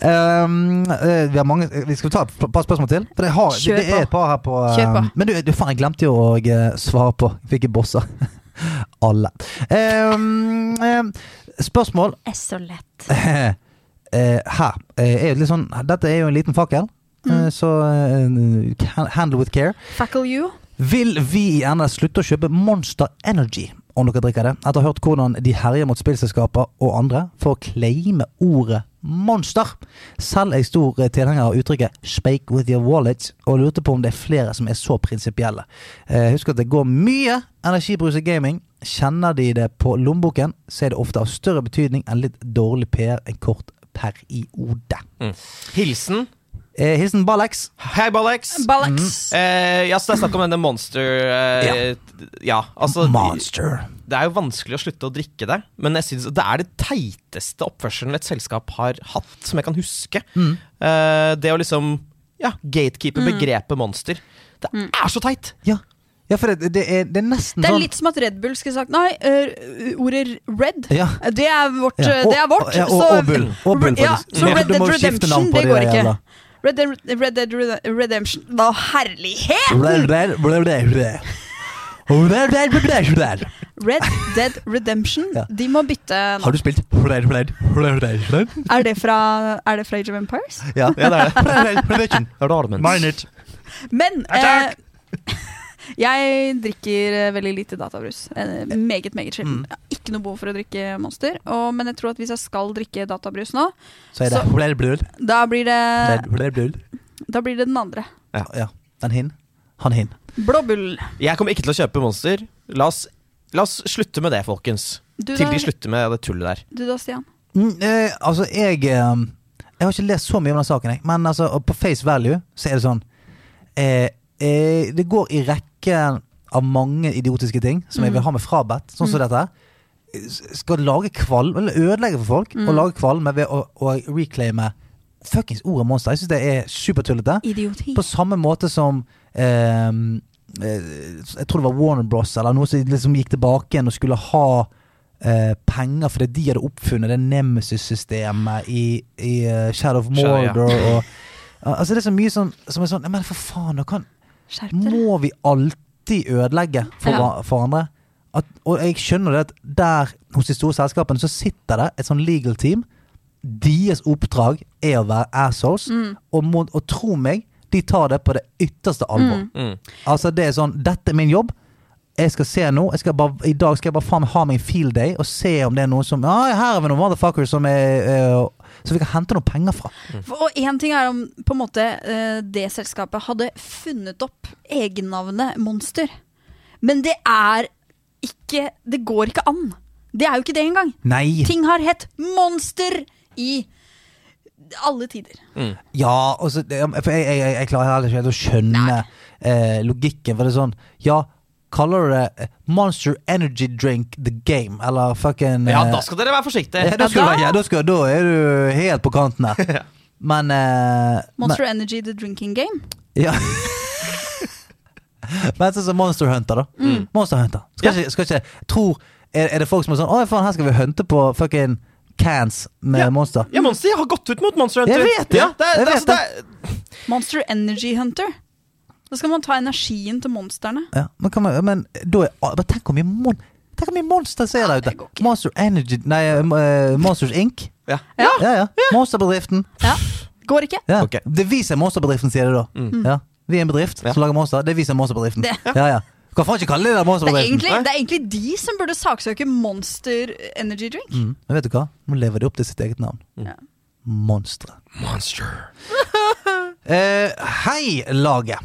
[SPEAKER 3] um, eh, vi har mange eh, Vi skal ta et p- par spørsmål til. For det, har,
[SPEAKER 12] Kjør
[SPEAKER 3] det
[SPEAKER 12] på.
[SPEAKER 3] er et par her på,
[SPEAKER 12] Kjør på.
[SPEAKER 3] um, Men du, du faen, jeg glemte jo å eh, svare på hvilke bosser. Alle. Um, um, spørsmål
[SPEAKER 1] Er så lett.
[SPEAKER 3] Eh, her. eh, er jo litt sånn, dette er jo en liten fakkel,
[SPEAKER 12] Mm.
[SPEAKER 3] eh, så eh, can- handle with care.
[SPEAKER 1] Fackle you.
[SPEAKER 3] Vil vi i NS slutte å kjøpe Monster Energy om dere drikker det? Etter å ha hørt hvordan de herjer mot spillselskaper og andre for å claime ordet monster. Selv er jeg stor tilhenger av uttrykket 'spake with your wallet', og lurte på om det er flere som er så prinsipielle. Eh, Husk at det går mye energibrus i gaming. Kjenner de det på lommeboken, så er det ofte av større betydning enn litt dårlig PR en kort periode.
[SPEAKER 2] Mm. Hilsen
[SPEAKER 3] Eh, Hilsen Balex.
[SPEAKER 2] Hei, Balex.
[SPEAKER 3] Mm.
[SPEAKER 1] Balex.
[SPEAKER 2] Eh, ja, så det er snakk om denne monster eh, ja. altså
[SPEAKER 3] Monster.
[SPEAKER 2] Det er jo vanskelig å slutte å drikke det, men jeg synes det er det teiteste oppførselen et selskap har hatt, som jeg kan huske.
[SPEAKER 3] Mm.
[SPEAKER 2] Eh, det å liksom ja, gatekeepe
[SPEAKER 1] Mm.
[SPEAKER 2] begrepet monster. Det er så teit!
[SPEAKER 3] Ja, ja for det, det, er, det er nesten
[SPEAKER 1] Det er
[SPEAKER 3] sånn
[SPEAKER 1] litt som at Red Bull skulle sagt Nei, ø, ordet red,
[SPEAKER 3] Ja.
[SPEAKER 1] det er vårt.
[SPEAKER 3] Ja,
[SPEAKER 1] ø,
[SPEAKER 3] og-
[SPEAKER 1] det er vårt
[SPEAKER 3] ja, og-
[SPEAKER 1] så-
[SPEAKER 3] og Bull. Og Bull,
[SPEAKER 1] ja,
[SPEAKER 3] faktisk.
[SPEAKER 1] så
[SPEAKER 3] Ja.
[SPEAKER 1] Red
[SPEAKER 3] Du må
[SPEAKER 1] Dead
[SPEAKER 3] jo skifte
[SPEAKER 1] Redemption,
[SPEAKER 3] navn på
[SPEAKER 1] det
[SPEAKER 3] det
[SPEAKER 1] går ikke.
[SPEAKER 3] jævla.
[SPEAKER 1] Red Dead, Red Dead Red- Redemption Da herlighet!
[SPEAKER 3] Blæ, blæ, blæ, blæ, blæ. Og blæ, blæ, blæ, blæ, blæ.
[SPEAKER 1] Red Dead Redemption, de må bytte navn.
[SPEAKER 3] Har du spilt blæ, blæ, blæ, blæ, blæ?
[SPEAKER 1] Er det fra, er det fra Age of Empires?
[SPEAKER 3] Ja, ja, det er det.
[SPEAKER 2] Mine
[SPEAKER 3] it.
[SPEAKER 1] Men eh, jeg drikker eh, veldig lite databrus. Eh, Meget, meget
[SPEAKER 3] Mm.
[SPEAKER 1] sjelden. Jeg har Ikke noe behov for å drikke Monster. Og, men jeg tror at hvis jeg skal drikke databrus nå,
[SPEAKER 3] Så er det blæ, blæ,
[SPEAKER 1] da blir
[SPEAKER 3] blæ,
[SPEAKER 1] det,
[SPEAKER 3] blæ, blæ.
[SPEAKER 1] da blir det den andre.
[SPEAKER 3] Ja. ja. Den hin. Han hin.
[SPEAKER 1] Blåbull.
[SPEAKER 2] Jeg kommer ikke til å kjøpe monster. La oss, la oss slutte med det, folkens.
[SPEAKER 1] Du
[SPEAKER 2] Til
[SPEAKER 1] da-
[SPEAKER 2] de slutter med det tullet der.
[SPEAKER 1] Du da, Stian?
[SPEAKER 3] Mm, eh, altså, jeg eh, Jeg har ikke lest så mye om den saken, jeg. Men altså, og på face value så er det sånn eh, eh, Det går i rekken av mange idiotiske ting som jeg vil ha med frabedt, sånn som
[SPEAKER 12] Mm.
[SPEAKER 3] dette. Eh, s- Skal lage kvalm, eller ødelegge for folk, og lage kvalme ved å, å reclaime fuckings ordet monster. Jeg syns det er supertullete.
[SPEAKER 1] Idioti.
[SPEAKER 3] På samme måte som eh, eh, Jeg tror det var Warner Bros. eller noe som liksom gikk tilbake igjen og skulle ha eh, penger fordi de hadde oppfunnet det Nemesis-systemet i, i eh, Shadow of
[SPEAKER 12] Shadow, ja.
[SPEAKER 3] Mordor. og, Al- altså det er så mye sånn, som er sånn «Nei, Men for faen, da kan Må vi alltid ødelegge for,
[SPEAKER 12] Ja.
[SPEAKER 3] hva- for andre? At, og jeg skjønner det at der hos de store selskapene så sitter det et sånn legal team. Deres oppdrag er å være assholes,
[SPEAKER 12] Mm.
[SPEAKER 3] og, må, og tro meg, de tar det på det ytterste alvor.
[SPEAKER 12] Mm. Mm.
[SPEAKER 3] Altså det er sånn, dette er min jobb. Jeg skal se nå. Jeg skal bare, I dag skal jeg bare faen meg ha meg en field day og se om det er noen som Ja, her er vi noen motherfuckers som er eh, Som vi kan hente noen penger fra.
[SPEAKER 1] For- Og én ting er om på en måte eh, det selskapet hadde funnet opp egennavnet Monster. Men det er ikke Det går ikke an. Det er jo ikke det engang.
[SPEAKER 3] Nei.
[SPEAKER 1] Ting har hett Monster i alle tider.
[SPEAKER 3] Ja, og så, ja, for jeg, jeg, jeg- jeg klarer heller ikke helt å skjønne eh, logikken. For det er sånn Ja, kaller du det eh, Monster Energy Drink The Game? Eller fucking
[SPEAKER 2] Ja,
[SPEAKER 3] eh,
[SPEAKER 2] da skal dere være forsiktige.
[SPEAKER 3] ja, da, skal du, være- ja, da, skal, da er du helt på kanten her. Men eh,
[SPEAKER 1] Monster Energy The Drinking Game.
[SPEAKER 3] men, ja. men sånn som Monster Hunter, da.
[SPEAKER 1] Mm.
[SPEAKER 3] Monster Hunter. Skal ikke, skal ikke tror, er, er det folk som er sånn Å, faen, her skal vi hunte på fucking cans med monster?
[SPEAKER 2] Ja, Monster har gått ut mot Monster Hunter.
[SPEAKER 3] Jeg vet det!
[SPEAKER 2] Ja, det, er- det, er-
[SPEAKER 3] jeg vet
[SPEAKER 2] altså, det er-
[SPEAKER 1] Monster Energy Hunter. Da skal man ta energien til monstrene.
[SPEAKER 3] Ja, men, kan man, men, da er, men tenk hvor mye mon Tenk hvor mye monster ser der ute! Monster Energy Nei, eh, Monsters Inc.
[SPEAKER 2] Ja.
[SPEAKER 3] Ja, ja. Monsterbedriften.
[SPEAKER 1] Går ikke.
[SPEAKER 3] Ja. Det viser monsterbedriften, sier det da.
[SPEAKER 1] Mm.
[SPEAKER 3] Ja. Vi er en bedrift som lager monster. Det er vi som er monsterbedriften. Ja, ja. Hva faen ikke kalle det der
[SPEAKER 1] Det er,
[SPEAKER 3] monsterbedriften?
[SPEAKER 1] egentlig, det er egentlig de som burde saksøke Monster Energy Drink.
[SPEAKER 3] Mm. Men vet du hva? Nå lever de opp til sitt eget navn.
[SPEAKER 1] Ja.
[SPEAKER 3] Monstre. Eh, hei, laget.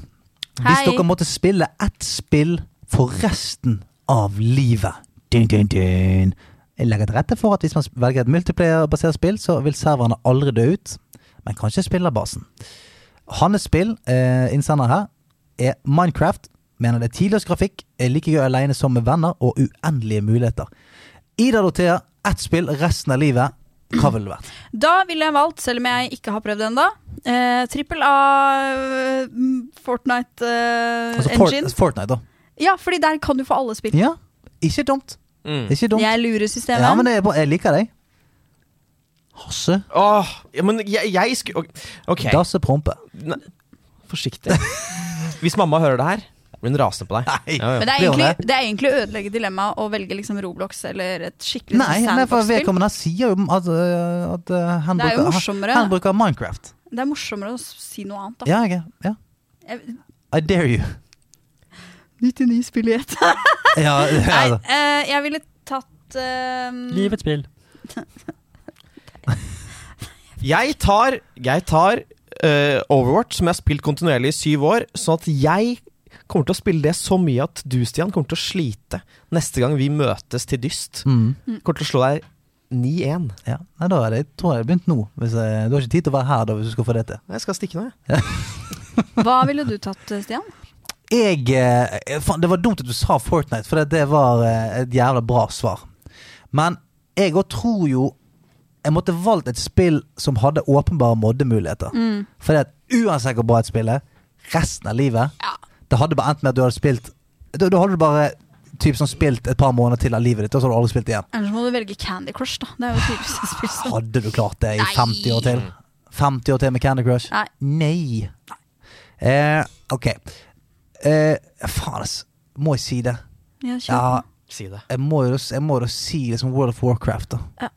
[SPEAKER 3] Hvis
[SPEAKER 1] Hei.
[SPEAKER 3] dere måtte spille ett spill for resten av livet dun, dun, dun. Jeg legger til rette for at hvis man velger et multiplayer-basert spill, så vil serverne aldri dø ut. Men kanskje spillerbasen. Hans spill, eh, innsender her, er Minecraft. Mener det er tidløs grafikk, er like gøy alene som med venner, og uendelige muligheter. Ida Dothea, ett spill resten av livet. Hva ville det vært?
[SPEAKER 1] Da ville jeg valgt, selv om jeg ikke har prøvd det ennå, eh, trippel A eh, Fortnite eh,
[SPEAKER 3] Altså Fort-
[SPEAKER 1] Engine.
[SPEAKER 3] Fortnite, da.
[SPEAKER 1] Ja, fordi der kan du få alle spill.
[SPEAKER 3] Ja, ikke dumt.
[SPEAKER 2] Mm.
[SPEAKER 3] Ikke dumt.
[SPEAKER 1] Jeg lurer systemet.
[SPEAKER 3] Ja, men det er bra. Jeg liker deg. Hasse.
[SPEAKER 2] Åh, ja, men jeg, jeg skulle Ok.
[SPEAKER 3] Dasse Prompe.
[SPEAKER 2] Nei, forsiktig. Hvis mamma hører det her, blir hun rasende på deg. Ja, ja.
[SPEAKER 1] Men det er, egentlig, det er egentlig å ødelegge dilemmaet å velge liksom Roblox eller et skikkelig sånn
[SPEAKER 3] Nei, men for
[SPEAKER 1] sandbox-spill.
[SPEAKER 3] vedkommende sier jo at, øh, at øh, han,
[SPEAKER 1] Det er jo
[SPEAKER 3] bruker,
[SPEAKER 1] morsommere.
[SPEAKER 3] han, han bruker Minecraft.
[SPEAKER 1] Det er morsommere å si noe annet, da.
[SPEAKER 3] Ja, jeg er- ja.
[SPEAKER 1] Jeg-
[SPEAKER 3] I dare you.
[SPEAKER 1] 99 spill i ett.
[SPEAKER 3] Ja,
[SPEAKER 1] Nei,
[SPEAKER 3] altså.
[SPEAKER 1] eh, jeg ville tatt eh,
[SPEAKER 3] spill.
[SPEAKER 2] Jeg tar, jeg tar eh, Overwatch, som jeg har spilt kontinuerlig i syv år, sånn at jeg kommer til å spille det så mye at du, Stian, kommer til å slite neste gang vi møtes til dyst.
[SPEAKER 3] Mm.
[SPEAKER 2] Kommer til å slå deg 9-1.
[SPEAKER 3] Ja. Nei, da er det, tror jeg det begynt nå. Hvis jeg, du har ikke tid til å være her da, hvis du skal få det til.
[SPEAKER 2] Jeg skal stikke nå, jeg.
[SPEAKER 1] Hva ville du tatt, Stian?
[SPEAKER 3] Jeg eh, faen, Det var dumt at du sa Fortnite, for det, det var eh, et jævla bra svar. Men jeg òg tror jo Jeg måtte valgt et spill som hadde åpenbare moddemuligheter.
[SPEAKER 1] Mm.
[SPEAKER 3] Fordi at uansett hvor bra et spill er, resten av livet Det hadde bare endt med at du hadde spilt Da, da hadde du bare typ, sånn, spilt et par måneder til av livet ditt, og så hadde du aldri spilt igjen.
[SPEAKER 1] Ellers må du velge Candy Crush, da. Det er jo tydeligvis et spill som
[SPEAKER 3] Hadde du klart det i 50 år til? 50 år til med Candy Crush?
[SPEAKER 1] Nei.
[SPEAKER 3] Nei. Eh, ok. Eh, faen, ass. Må jeg si det?
[SPEAKER 1] Ja, kjør
[SPEAKER 3] Ja,
[SPEAKER 2] Si det.
[SPEAKER 3] jeg må jo, jeg må jo si liksom World of Warcraft, da.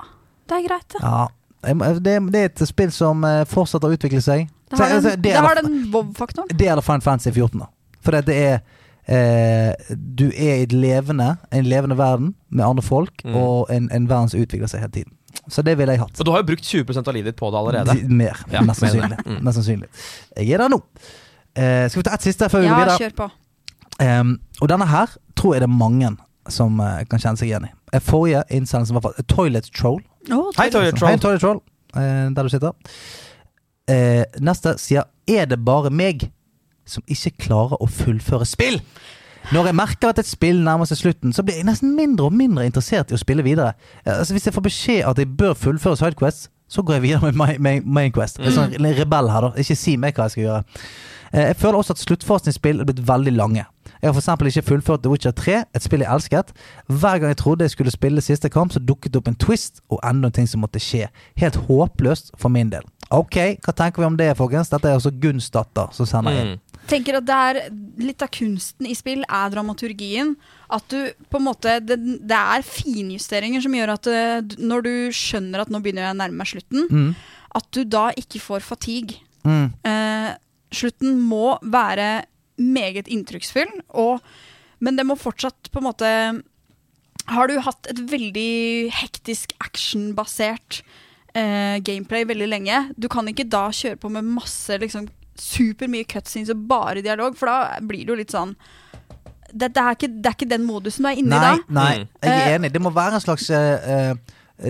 [SPEAKER 1] Det er greit, det.
[SPEAKER 3] Ja. Jeg må- Det, det er et spill som eh, fortsetter å utvikle seg.
[SPEAKER 1] Det har
[SPEAKER 3] Så-
[SPEAKER 1] den,
[SPEAKER 3] altså,
[SPEAKER 1] det
[SPEAKER 3] er
[SPEAKER 1] har
[SPEAKER 3] da-
[SPEAKER 1] den wow-faktoren.
[SPEAKER 3] det eller Final Fantasy 14 da. For det, det er eh, Du er i et levende en levende verden med andre folk,
[SPEAKER 2] Mm.
[SPEAKER 3] og en, en verden som utvikler seg hele tiden. Så det ville jeg hatt.
[SPEAKER 2] Og du har jo brukt 20 av livet ditt på det allerede.
[SPEAKER 3] D- Mer,
[SPEAKER 2] Ja,
[SPEAKER 3] mest,
[SPEAKER 2] mener
[SPEAKER 3] sannsynlig.
[SPEAKER 2] det. Mm.
[SPEAKER 3] mest sannsynlig. Jeg er der nå. Eh, skal vi ta ett siste før vi
[SPEAKER 1] Ja,
[SPEAKER 3] går videre?
[SPEAKER 1] kjør på.
[SPEAKER 3] Ehm, og denne her tror jeg det er mange som eh, kan kjenne seg igjen i. Eh, Forrige innsendelse var fra Toilet Troll.
[SPEAKER 1] Å,
[SPEAKER 2] Hei, Toilet Troll.
[SPEAKER 3] Hei, Toilet Troll. eh, der du sitter. Eh, neste sier Er det bare meg som ikke klarer å fullføre spill? Når jeg merker at et spill nærmer seg slutten, så blir jeg nesten mindre og mindre interessert i å spille videre. Eh, altså, hvis jeg får beskjed at jeg bør fullføre Sidequest, så går jeg videre med Mi- Mi- Mainquest. Jeg er sånn en rebell her, da. Ikke si meg hva jeg skal gjøre. Eh, Jeg føler også at sluttfasen i spill er blitt veldig lange. Jeg har f.eks. ikke fullført The Witcher 3, et spill jeg elsket. Hver gang jeg trodde jeg skulle spille siste kamp, så dukket det opp en twist og enda en ting som måtte skje. Helt håpløst for min del. Ok, hva tenker vi om det, folkens? Dette er altså Gunsdatter som sender inn.
[SPEAKER 1] Tenker at det er Litt av kunsten i spill er dramaturgien. At du på en måte Det, det er finjusteringer som gjør at eh, d- når du skjønner at nå begynner jeg å nærme meg slutten,
[SPEAKER 3] Mm.
[SPEAKER 1] at du da ikke får fatigue.
[SPEAKER 3] Mm.
[SPEAKER 1] Eh, slutten må være meget inntrykksfull, og, men det må fortsatt på en måte Har du hatt et veldig hektisk actionbasert eh, gameplay veldig lenge, du kan ikke da kjøre på med masse liksom, supermye cutscenes og bare dialog, for da blir det jo litt sånn det, det, er ikke, det er ikke den modusen du er inne
[SPEAKER 3] Nei,
[SPEAKER 1] i da.
[SPEAKER 3] nei,
[SPEAKER 2] Mm.
[SPEAKER 3] jeg
[SPEAKER 1] Eh,
[SPEAKER 3] er enig. Det må være en slags eh, eh,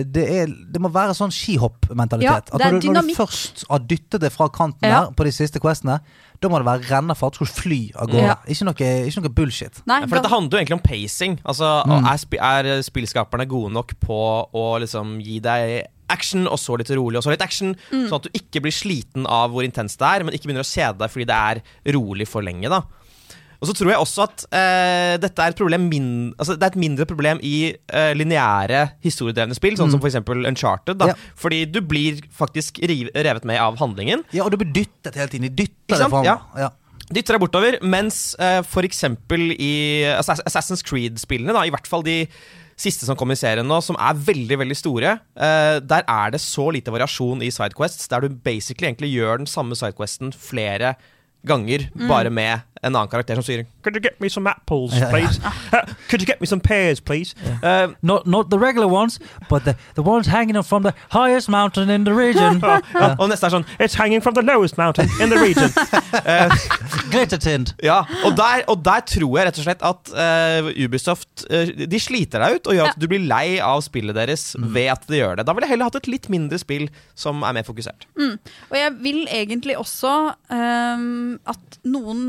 [SPEAKER 3] det, er, det må være sånn
[SPEAKER 1] Ja,
[SPEAKER 3] skihopp-mentalitet.
[SPEAKER 1] det er
[SPEAKER 3] At når du, når du
[SPEAKER 1] dynamikk.
[SPEAKER 3] først har dyttet det fra kanten
[SPEAKER 1] Ja.
[SPEAKER 3] der på de siste questene, da må det være rennefart. Du skal fly av gårde.
[SPEAKER 1] Ja.
[SPEAKER 3] Ikke, noe, ikke noe bullshit.
[SPEAKER 1] Nei,
[SPEAKER 2] Ja, For dette
[SPEAKER 1] da,
[SPEAKER 2] handler jo egentlig om pacing. Altså, er, spi- er spillskaperne gode nok på å liksom gi deg action, og så litt rolig, og så litt action?
[SPEAKER 1] Mm.
[SPEAKER 2] Sånn at du ikke blir sliten av hvor intenst det er, men ikke begynner å kjede deg fordi det er rolig for lenge. da og så tror jeg også at eh, dette er et problem min, altså, Det er et mindre problem i eh, lineære historiedrevne spill, sånn som for eksempel Uncharted. Da.
[SPEAKER 3] Ja.
[SPEAKER 2] Fordi du blir faktisk riv, revet med av handlingen.
[SPEAKER 3] Ja, og du blir dyttet hele tiden. De
[SPEAKER 2] Ikke
[SPEAKER 3] dytter det
[SPEAKER 2] sant?
[SPEAKER 3] fram.
[SPEAKER 2] Ja.
[SPEAKER 3] Ja.
[SPEAKER 2] dytter deg bortover, mens eh, for eksempel i Ass- Assassin's Creed-spillene, da, i hvert fall de siste som kom i serien nå, som er veldig veldig store, eh, der er det så lite variasjon i sidequests, der du basically egentlig gjør den samme sidequesten flere ganger,
[SPEAKER 1] Mm.
[SPEAKER 2] bare med en annen karakter som sier Could you get me some apples,
[SPEAKER 3] Ja, ja.
[SPEAKER 2] please? Uh, Could you get me some pears, please? Uh,
[SPEAKER 12] Not not the regular ones, but the, the ones hanging up from the highest mountain in the region.
[SPEAKER 2] Ja, Og neste er sånn It's hanging from the lowest mountain in the region.
[SPEAKER 3] Glittertint.
[SPEAKER 2] Ja, og der, og der tror jeg rett og slett at eh, Ubisoft eh, De sliter deg ut og gjør at du blir lei av spillet deres ved at de gjør det. Da ville jeg heller hatt et litt mindre spill som er mer fokusert.
[SPEAKER 1] Mm. Og jeg vil egentlig også ehm, at noen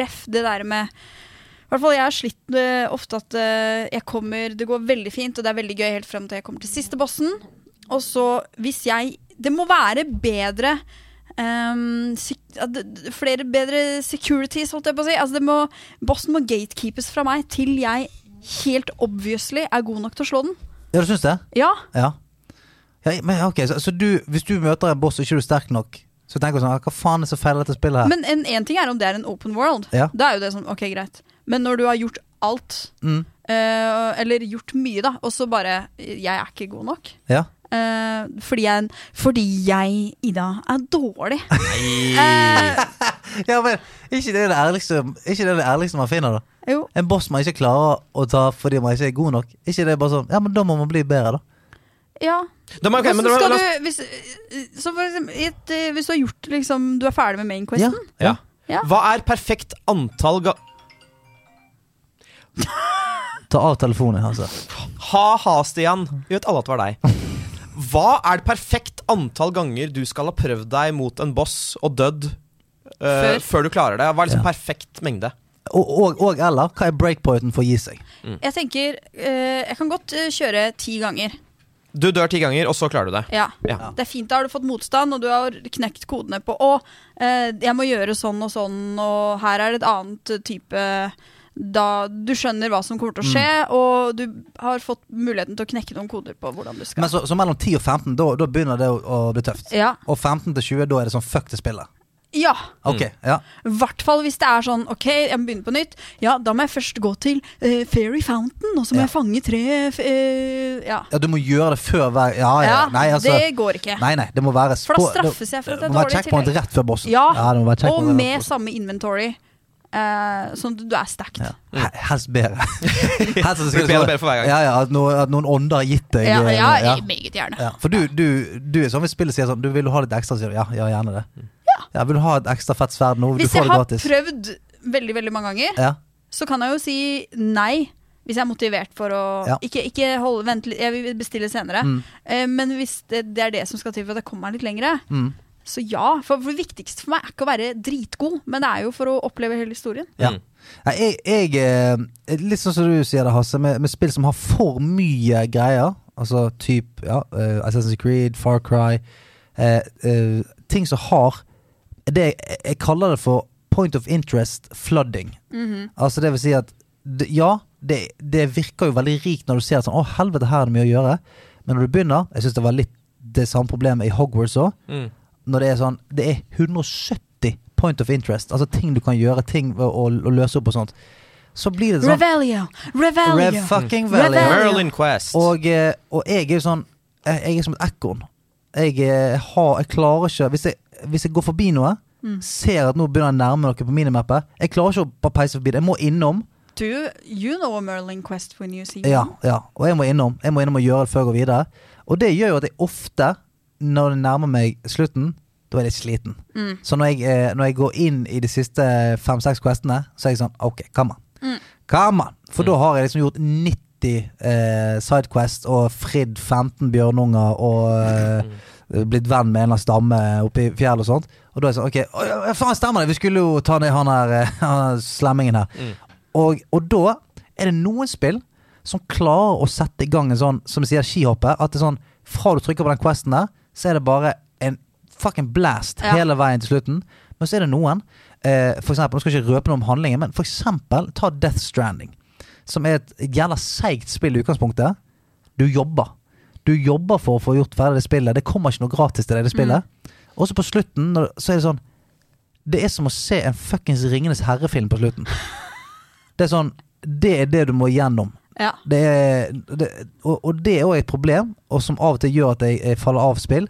[SPEAKER 1] ref det der med i hvert fall Jeg har slitt med ofte at eh, jeg kommer, det går veldig fint, og det er veldig gøy helt frem til jeg kommer til siste bossen. Og så, hvis jeg Det må være bedre ehm, sik at det- Flere bedre securities, holdt jeg på å si. Altså, det må, bossen må gatekeepes fra meg til jeg helt obviously er god nok til å slå den.
[SPEAKER 3] Ja, du syns det?
[SPEAKER 1] Ja.
[SPEAKER 3] Ja. ja men ok, så, så du, hvis du møter en boss og ikke er du sterk nok, så tenker du sånn Hva faen er så feil i dette spillet her?
[SPEAKER 1] Men en, en ting er om det er en open world.
[SPEAKER 3] Ja.
[SPEAKER 1] Da er jo det sånn, ok, greit. Men når du har gjort alt,
[SPEAKER 3] mm.
[SPEAKER 1] eh, eller gjort mye, da, og så bare Jeg er ikke god nok.
[SPEAKER 3] Ja.
[SPEAKER 1] Eh, fordi, jeg, fordi jeg, Ida, er dårlig.
[SPEAKER 3] ja, men ikke det er det ærligste, ikke det er det ærligste man finner, da?
[SPEAKER 1] Jo.
[SPEAKER 3] En boss man ikke klarer å ta fordi man ikke er god nok. Ikke det er bare sånn Ja, men da må man bli bedre, da.
[SPEAKER 1] Ja.
[SPEAKER 2] Da må- ok, men
[SPEAKER 1] Hvordan skal
[SPEAKER 2] da- la
[SPEAKER 1] du,
[SPEAKER 2] oss-
[SPEAKER 1] hvis, eh, så for eksempel, i et, eh, hvis du har gjort liksom, Du er ferdig med main questen,
[SPEAKER 2] Ja.
[SPEAKER 1] Ja.
[SPEAKER 2] Hva er perfekt antall ga...
[SPEAKER 3] Ta av telefonen, altså.
[SPEAKER 2] Ha-ha, Stian. Vi vet alle at det var deg. Hva er det perfekt antall ganger du skal ha prøvd deg mot en boss og dødd eh,
[SPEAKER 3] Før.
[SPEAKER 2] før du klarer det? Hva er liksom perfekt mengde?
[SPEAKER 3] Og, og, og eller hva er breakpointen for å gi seg?
[SPEAKER 1] Jeg tenker eh, Jeg kan godt eh, kjøre ti ganger.
[SPEAKER 2] Du dør ti ganger, og så klarer du det.
[SPEAKER 1] Ja.
[SPEAKER 2] Ja.
[SPEAKER 1] Det er fint, da har du fått motstand, og du har knekt kodene på Å, eh, jeg må gjøre sånn og sånn, og her er det et annet type da Du skjønner hva som kommer til å skje,
[SPEAKER 3] Mm.
[SPEAKER 1] og du har fått muligheten til å knekke noen koder på hvordan du skal.
[SPEAKER 3] Men så, så mellom 10 og 15, da, da begynner det å, å bli tøft.
[SPEAKER 1] Ja.
[SPEAKER 3] Og 15 til 20, da er det sånn fuck til spillet.
[SPEAKER 1] Ja.
[SPEAKER 3] Ok, ja.
[SPEAKER 1] I hvert fall hvis det er sånn OK, jeg må begynne på nytt. Ja, da må jeg først gå til eh, Fairy Fountain, og så må jeg fange tre f- eh, Ja.
[SPEAKER 3] ja. Du må gjøre det før hver Ja, ja.
[SPEAKER 1] Ja,
[SPEAKER 3] nei, altså,
[SPEAKER 1] det går ikke.
[SPEAKER 3] Nei, nei, det må være
[SPEAKER 1] For da
[SPEAKER 3] spå- det-
[SPEAKER 1] straffes jeg for at
[SPEAKER 3] det
[SPEAKER 1] jeg er
[SPEAKER 3] må være
[SPEAKER 1] dårlig i
[SPEAKER 3] checkpoint
[SPEAKER 1] tillegg.
[SPEAKER 3] rett før bossen.
[SPEAKER 1] Ja,
[SPEAKER 3] det må være checkpoint
[SPEAKER 1] og
[SPEAKER 3] rett
[SPEAKER 1] med samme inventory, eh, sånn at du er stacked.
[SPEAKER 3] før- He- Helst bedre. Helst at det
[SPEAKER 2] Blir bedre og bedre for hver gang.
[SPEAKER 3] Ja, ja, at, noen, at noen ånder har gitt deg
[SPEAKER 1] Ja,
[SPEAKER 3] eh,
[SPEAKER 1] ja,
[SPEAKER 3] ja.
[SPEAKER 1] meget gjerne.
[SPEAKER 3] Ja, For du, du, du er sånn hvis spillet sier sånn Du vil du ha litt ekstra, sier du. Ja, ja, gjerne det. Ja. Vil du ha et ekstra fett sverd nå?
[SPEAKER 1] Hvis
[SPEAKER 3] du får
[SPEAKER 1] jeg
[SPEAKER 3] det
[SPEAKER 1] har
[SPEAKER 3] gratis.
[SPEAKER 1] prøvd veldig veldig mange ganger,
[SPEAKER 3] Ja.
[SPEAKER 1] så kan jeg jo si nei. Hvis jeg er motivert for å
[SPEAKER 3] Ja.
[SPEAKER 1] Ikke, ikke holde, vent litt, jeg vil bestille senere.
[SPEAKER 3] Mm.
[SPEAKER 1] Eh, men hvis det, det er det som skal til for at jeg kommer meg litt lengre,
[SPEAKER 3] Mm.
[SPEAKER 1] så ja. For, for det viktigste for meg er ikke å være dritgod, men det er jo for å oppleve hele historien.
[SPEAKER 3] Ja. Nei, jeg, jeg eh, Litt sånn som du sier det, Hasse, med, med spill som har for mye greier. Altså typ ja, eh, Assassin's Creed, Far Cry. eh, eh, ting som har det jeg, jeg kaller det for point of interest flooding.
[SPEAKER 10] Mhm.
[SPEAKER 3] Altså det vil si at d- ja, det, det virker jo veldig rikt når du ser at sånn, å helvete, her er det mye å gjøre. Men når du begynner, jeg syns det var litt det samme problemet i Hogwarts òg.
[SPEAKER 2] Mm.
[SPEAKER 3] Når det er sånn Det er 170 point of interest, altså ting du kan gjøre, ting å, å, å løse opp og sånt. Så blir det sånn
[SPEAKER 1] Revelio! Revelio!
[SPEAKER 3] Rev fucking Valley. Og, eh, og jeg er jo sånn Jeg jeg er som et ekorn. Jeg, eh, har- jeg klarer ikke hvis jeg, hvis jeg går forbi noe,
[SPEAKER 1] Mm.
[SPEAKER 3] ser at nå begynner jeg å nærme noe på minimappet Jeg klarer ikke å bare peise forbi det. Jeg må innom.
[SPEAKER 1] Do you know a Merlin Quest when you see
[SPEAKER 3] Ja,
[SPEAKER 1] one?
[SPEAKER 3] ja, og jeg må innom Jeg må innom og gjøre det før jeg går videre. Og det gjør jo at jeg ofte, når det nærmer meg slutten, da er jeg litt sliten.
[SPEAKER 10] Mm.
[SPEAKER 3] Så når jeg, eh, når jeg går inn i de siste fem-seks questene, så er jeg sånn OK, come on. Come on! For da har jeg liksom gjort 90 eh, Sidequest og fridd 15 bjørnunger og eh, blitt venn med en eller annen stamme oppe i fjellet og sånt. Og da er jeg sånn OK, å, ja, ja, faen stemmer det! Vi skulle jo ta ned han her eh, han slemmingen her. Og, og da er det noen spill som klarer å sette i gang en sånn, som de sier, skihoppet. At det er sånn fra du trykker på den questen der, så er det bare en fucking blast
[SPEAKER 12] Ja.
[SPEAKER 3] hele veien til slutten. Men så er det noen, eh, for eksempel, nå skal jeg ikke røpe noe om handlingen, men for eksempel ta Death Stranding. Som er et jævla seigt spill i utgangspunktet. Du jobber. Du jobber for å få gjort ferdig det spillet. Det kommer ikke noe gratis til deg, det spillet. Og så på slutten, når- så er det sånn Det er som å se en fuckings Ringenes herre-film på slutten. Det er sånn Det er det du må gjennom.
[SPEAKER 1] Ja.
[SPEAKER 3] Det er, det, og, og det er òg et problem, og som av og til gjør at jeg, jeg faller av spill.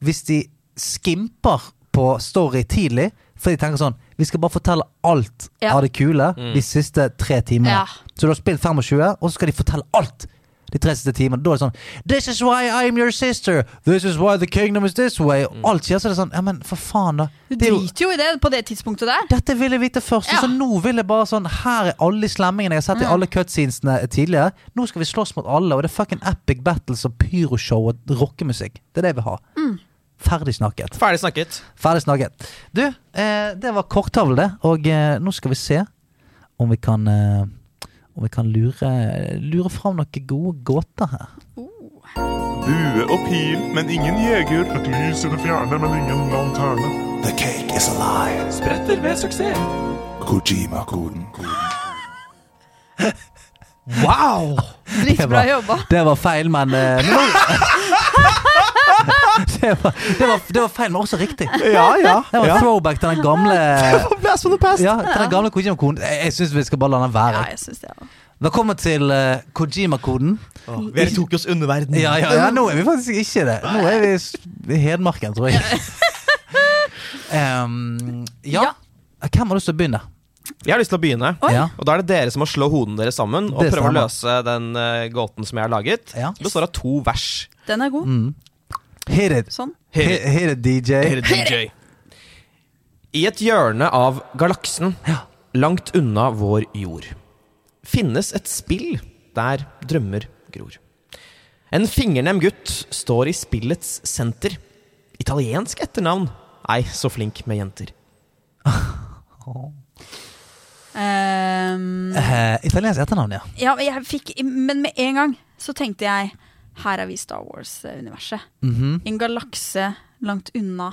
[SPEAKER 3] Hvis de skimper på story tidlig For jeg tenker sånn Vi skal bare fortelle alt
[SPEAKER 1] Ja.
[SPEAKER 3] av det kule
[SPEAKER 1] Mm.
[SPEAKER 3] de siste tre timene.
[SPEAKER 1] Ja.
[SPEAKER 3] Så du har spilt 25, og så skal de fortelle alt de tre siste timene. Da er det sånn This is why I'm your sister. This is why the kingdom is this way. Og alt skjer, så er det sånn Ja, men for faen, da.
[SPEAKER 1] Du
[SPEAKER 3] Det er jo
[SPEAKER 1] driter jo i det på det tidspunktet der.
[SPEAKER 3] Dette ville jeg vite først. Så nå vil jeg bare sånn Her er alle de slemmingene jeg har sett i
[SPEAKER 1] Mm.
[SPEAKER 3] alle cutscenesene eh, tidligere. Nå skal vi slåss mot alle, og det er fucking epic battles og pyroshow og rockemusikk. Det er det jeg vil ha.
[SPEAKER 1] Mm.
[SPEAKER 3] Ferdig snakket.
[SPEAKER 2] Ferdig snakket.
[SPEAKER 3] Ferdig snakket. Du, eh, det var korttavle, det. Og eh, nå skal vi se om vi kan eh, om vi kan lure, lure fram noen gode gåter her.
[SPEAKER 13] Bue og pil, men ingen jeger. Et lys i det fjerne, men ingen lanterne.
[SPEAKER 14] The cake is a lie.
[SPEAKER 13] Spretter ved suksess.
[SPEAKER 14] Kojima-koden.
[SPEAKER 3] Wow!
[SPEAKER 1] Dritbra jobba.
[SPEAKER 3] Det var feil, men eh, men nå- det, var, det, var, det var feil, men også riktig.
[SPEAKER 4] Ja, ja,
[SPEAKER 3] Det var
[SPEAKER 4] ja.
[SPEAKER 3] throwback til den gamle
[SPEAKER 4] Blast from the past.
[SPEAKER 3] Ja, til den gamle Kojima-koden. Jeg, jeg syns vi skal bare la den være.
[SPEAKER 1] Ja, jeg synes det ja.
[SPEAKER 3] Velkommen til eh, Kojima-koden.
[SPEAKER 4] vi er i Tokyos underverden.
[SPEAKER 3] Ja, ja, ja, nå er vi faktisk ikke det. Nå er vi i s- i Hedmarken, tror jeg. Em, ja. Hvem har lyst til å begynne?
[SPEAKER 2] Jeg har lyst til å begynne.
[SPEAKER 3] Oi. Ja.
[SPEAKER 2] Og Da er det dere som må slå hodene deres sammen og
[SPEAKER 3] Det
[SPEAKER 2] prøve å
[SPEAKER 3] stemmer.
[SPEAKER 2] løse den eh, gåten som jeg har laget. Det består av to vers.
[SPEAKER 1] Den er god.
[SPEAKER 3] Mm. Hit it.
[SPEAKER 1] Sånn.
[SPEAKER 2] Hit
[SPEAKER 3] Hit,
[SPEAKER 2] it.
[SPEAKER 3] hit it, DJ.
[SPEAKER 2] Her er DJ. I et hjørne av galaksen, langt unna vår jord, finnes et spill der drømmer gror. En fingernem gutt står i spillets senter. Italiensk etternavn. Ei, så flink med jenter.
[SPEAKER 1] Ehm,
[SPEAKER 3] Eh, italiensk etternavn, ja.
[SPEAKER 1] ja, men jeg fikk Men med en gang så tenkte jeg her er vi i Star Wars-universet.
[SPEAKER 3] Mhm.
[SPEAKER 1] I en galakse langt unna.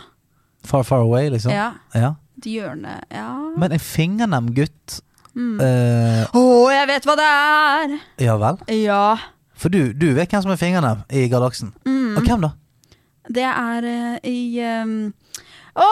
[SPEAKER 3] Far, far away, liksom.
[SPEAKER 1] Ja.
[SPEAKER 3] ja.
[SPEAKER 1] Et hjørne Ja.
[SPEAKER 3] Men en fingernem gutt
[SPEAKER 1] Mm.
[SPEAKER 3] eh,
[SPEAKER 1] Å, jeg vet hva det er!
[SPEAKER 3] Ja vel?
[SPEAKER 1] Ja.
[SPEAKER 3] For du, du vet hvem som er fingernem i galaksen?
[SPEAKER 1] Mm.
[SPEAKER 3] Og hvem da?
[SPEAKER 1] Det er eh, i ehm, Å,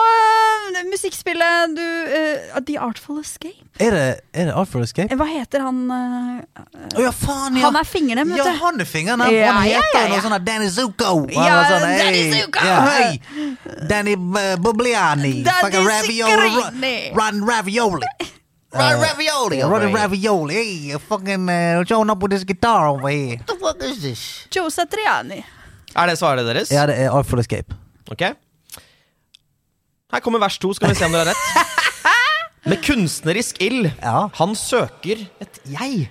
[SPEAKER 1] musikkspillet du eh, The Artful Escape.
[SPEAKER 3] Er det, er det Art for Escape?
[SPEAKER 1] Eh, Hva heter han eh,
[SPEAKER 3] Å ja, faen, ja!
[SPEAKER 1] Han er fingernem, vet
[SPEAKER 3] Ja,
[SPEAKER 1] du.
[SPEAKER 3] han er fingernem. og
[SPEAKER 1] Ja,
[SPEAKER 3] han
[SPEAKER 1] ja,
[SPEAKER 3] heter
[SPEAKER 1] ja, ja.
[SPEAKER 3] noe sånn her Danny Zuko. Og han
[SPEAKER 1] Ja,
[SPEAKER 3] var sånn,
[SPEAKER 1] Danny
[SPEAKER 3] «Hey,
[SPEAKER 1] Zuko!»
[SPEAKER 3] Ja, hei. Danny eh, Bubliani.
[SPEAKER 1] Danny
[SPEAKER 3] Fucking ravioli.
[SPEAKER 1] Sikrini.
[SPEAKER 3] Ru- Run ravioli.
[SPEAKER 14] Run
[SPEAKER 3] Eh,
[SPEAKER 14] ravioli over
[SPEAKER 3] Run
[SPEAKER 14] here.
[SPEAKER 3] ravioli. Hey, you're fucking uh, showing up with this guitar over here.
[SPEAKER 1] What is this? Joe Satriani.
[SPEAKER 2] Er det svaret deres?
[SPEAKER 3] Ja, det er Art for Escape.
[SPEAKER 2] Ok Her kommer vers to, skal vi se om dere har rett Med kunstnerisk ild Han søker et jeg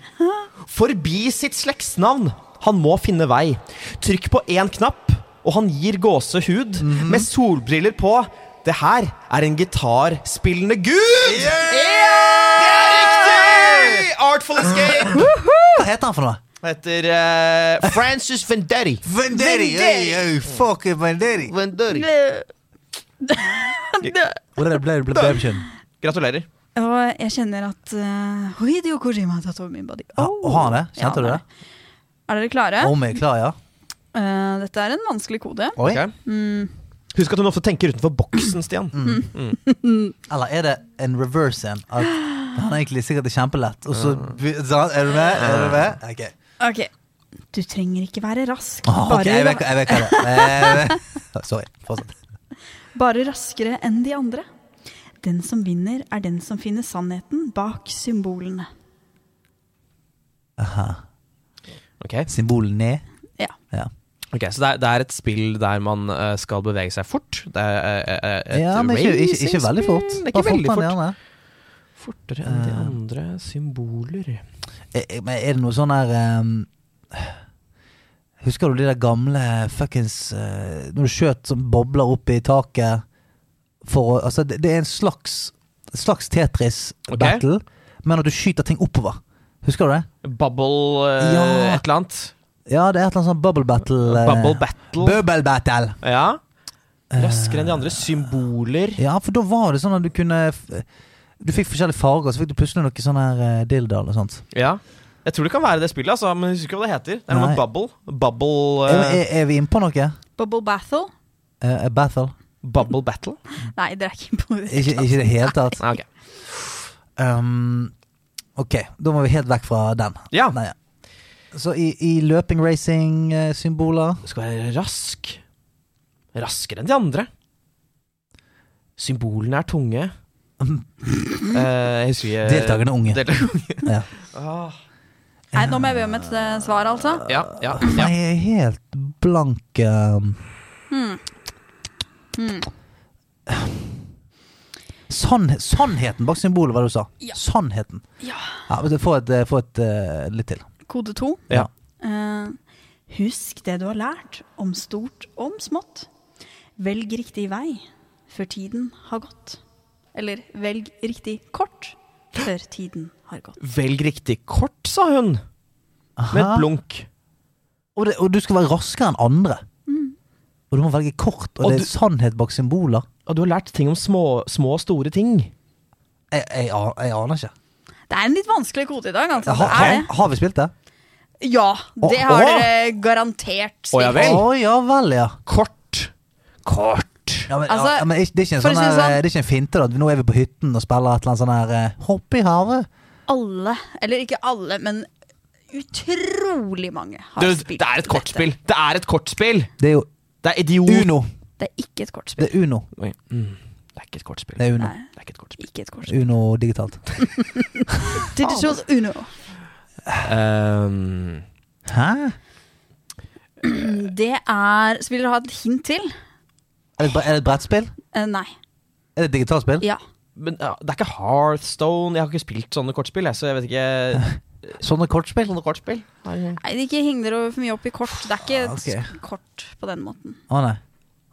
[SPEAKER 2] Forbi sitt slektsnavn Han må finne vei Trykk på en knapp Og han gir gåsehud Med solbriller på Det her er en gitarspillende Gud Det er riktig Artful Escape
[SPEAKER 3] Hva heter han for noe?
[SPEAKER 2] Han heter eh, Francis Vendetti
[SPEAKER 3] Vendetti, hey, hey, fucking Vendetti.
[SPEAKER 2] Vendetti Gratulerer
[SPEAKER 1] Og jeg kjenner at uh, Hideo Kojima har tatt over min body.
[SPEAKER 3] Å, har han det? Kjente du det?
[SPEAKER 1] Er dere klare?
[SPEAKER 3] Om jeg er klar, ja.
[SPEAKER 1] Eh, dette er en vanskelig kode.
[SPEAKER 3] Oi.
[SPEAKER 1] Mm.
[SPEAKER 2] Husk at hun ofte tenker utenfor boksen, Stian.
[SPEAKER 3] Eller er det en reverse en? At han er egentlig sikkert er kjempelett, og så sånn, Er du med? Er du med? Ok.
[SPEAKER 1] Ok. Du trenger ikke være rask.
[SPEAKER 3] Åh, ok, jeg vet, hva- jeg vet hva det er. Eh, Sorry. Fortsett.
[SPEAKER 1] Bare raskere enn de andre. Den som vinner, er den som finner sannheten bak symbolene.
[SPEAKER 3] Aha.
[SPEAKER 2] Okay.
[SPEAKER 3] Symbolet ned.
[SPEAKER 1] Ja.
[SPEAKER 2] Ok, Så det er, det er et spill der man eh, skal bevege seg fort? Det er eh, eh, et
[SPEAKER 3] Ja, men ikke, ikke, ikke veldig
[SPEAKER 2] racing-spill.
[SPEAKER 3] fort.
[SPEAKER 2] Det er
[SPEAKER 3] Bare
[SPEAKER 2] ikke veldig
[SPEAKER 3] fortere
[SPEAKER 2] fort.
[SPEAKER 3] enn gjerne.
[SPEAKER 2] Fortere enn de
[SPEAKER 3] Eh.
[SPEAKER 2] andre symboler.
[SPEAKER 3] Eh, eh, Men er det noe sånn her ehm, Husker du de der gamle fuckings eh, Når du skjøt som bobler opp i taket for å Altså, det, det er en slags, slags
[SPEAKER 2] Ok.
[SPEAKER 3] Tetris-battle, men at du skyter ting oppover. Husker du det?
[SPEAKER 2] Bubble eh,
[SPEAKER 3] Ja.
[SPEAKER 2] et eller annet.
[SPEAKER 3] Ja, det er et eller Eh. annet sånn bubble battle. eh,
[SPEAKER 2] Bubble battle.
[SPEAKER 3] Bubble battle.
[SPEAKER 2] Ja. Raskere enn de andre symboler.
[SPEAKER 3] Ja, for da var det sånn at du kunne f- Du fikk forskjellige farger, så fikk du plutselig noe sånn her eh, dildo og sånt.
[SPEAKER 2] Ja. Jeg tror det kan være det spillet, altså, men jeg husker ikke hva det heter. Det er noe med
[SPEAKER 3] Nei.
[SPEAKER 2] bubble. Bubble,
[SPEAKER 3] Er,
[SPEAKER 2] eh,
[SPEAKER 3] er, er vi inne på noe?
[SPEAKER 1] Bubble Battle?
[SPEAKER 3] Eh, eh, battle?
[SPEAKER 2] bubble battle?
[SPEAKER 1] Nei, dere er ikke på
[SPEAKER 3] Ikke ikke i det hele tatt.
[SPEAKER 2] Nei, ok.
[SPEAKER 3] Um, ok, da må vi helt vekk fra den.
[SPEAKER 2] Ja.
[SPEAKER 3] Nei, Så i, i løping, racing, eh, symboler
[SPEAKER 2] Du skal være rask. Raskere enn de andre. Symbolene er tunge. Eh, jeg husker ikke
[SPEAKER 3] Deltakerne unge.
[SPEAKER 2] Deltakerne.
[SPEAKER 3] Ja.
[SPEAKER 2] Ah.
[SPEAKER 1] Nei, nå må jeg be om et eh, svar, altså.
[SPEAKER 2] Ja, ja,
[SPEAKER 3] Ah, Nei, jeg er helt blank um,
[SPEAKER 1] Hmm. Hmm.
[SPEAKER 3] sann, Sånn, Sannheten bak symbolet, hva du sa. Sannheten.
[SPEAKER 1] Ja.
[SPEAKER 3] men du, Få et, eh, få et eh, litt til.
[SPEAKER 1] Kode to.
[SPEAKER 3] Ja.
[SPEAKER 1] Eh, husk det du har lært, om stort og om smått. Velg riktig vei før tiden har gått. Eller velg riktig kort før tiden har gått.
[SPEAKER 2] Velg riktig kort, sa hun. Med et blunk.
[SPEAKER 3] Og, det, og du skal være raskere enn andre.
[SPEAKER 1] Hmm.
[SPEAKER 3] Og du må velge kort, og,
[SPEAKER 2] Og
[SPEAKER 3] det
[SPEAKER 2] du-
[SPEAKER 3] er sannhet bak symboler.
[SPEAKER 2] Og du har lært ting om små små og store ting.
[SPEAKER 3] Jeg, jeg, an- jeg aner ikke.
[SPEAKER 1] Det er en litt vanskelig kode i dag, altså.
[SPEAKER 3] Har,
[SPEAKER 1] det er
[SPEAKER 3] har, har vi spilt det?
[SPEAKER 1] det. Ja, det
[SPEAKER 3] Å,
[SPEAKER 1] har
[SPEAKER 3] å.
[SPEAKER 1] dere garantert spilt.
[SPEAKER 3] Å ja vel, ja.
[SPEAKER 2] Kort. Kort.
[SPEAKER 3] Ja, men,
[SPEAKER 1] Altså,
[SPEAKER 3] ja, men ikke- det, er ikke en
[SPEAKER 1] for å
[SPEAKER 3] sånn
[SPEAKER 1] si det
[SPEAKER 3] her,
[SPEAKER 1] sånn-
[SPEAKER 3] eh, det er ikke en finte, da. at Nå er vi på hytten og spiller et eller annet sånn her eh, Hopp i havet.
[SPEAKER 1] Alle, eller ikke alle, men utrolig mange har
[SPEAKER 2] Du,
[SPEAKER 1] spilt.
[SPEAKER 2] det er et kortspill. Det er et kortspill!
[SPEAKER 3] Det er jo
[SPEAKER 2] Det er idiot.
[SPEAKER 3] Uno.
[SPEAKER 1] Det er ikke et kortspill.
[SPEAKER 3] Det er Uno.
[SPEAKER 2] Oi. Mm. Det er ikke et kortspill.
[SPEAKER 3] Det er Uno.
[SPEAKER 2] Det er ikke et kortspill.
[SPEAKER 1] Ikke et kortspill.
[SPEAKER 3] Uno digitalt.
[SPEAKER 1] Digital Uno.
[SPEAKER 2] Ehm,
[SPEAKER 3] Hæ?
[SPEAKER 1] Mm, Det er Så vil dere ha et hint til?
[SPEAKER 3] Er det, et bre- er det et brettspill?
[SPEAKER 1] Eh, nei.
[SPEAKER 3] Er det et digitalt spill?
[SPEAKER 1] Ja.
[SPEAKER 2] men ja, det er ikke Hearthstone. Jeg har ikke spilt sånne kortspill, jeg, så jeg vet ikke
[SPEAKER 3] Sånne kortspill?
[SPEAKER 2] Sånne kortspill.
[SPEAKER 1] Nei, det ikke heng dere for mye opp i kort. Det er ikke et
[SPEAKER 2] Ah,
[SPEAKER 1] s- kort på den måten.
[SPEAKER 3] Å nei.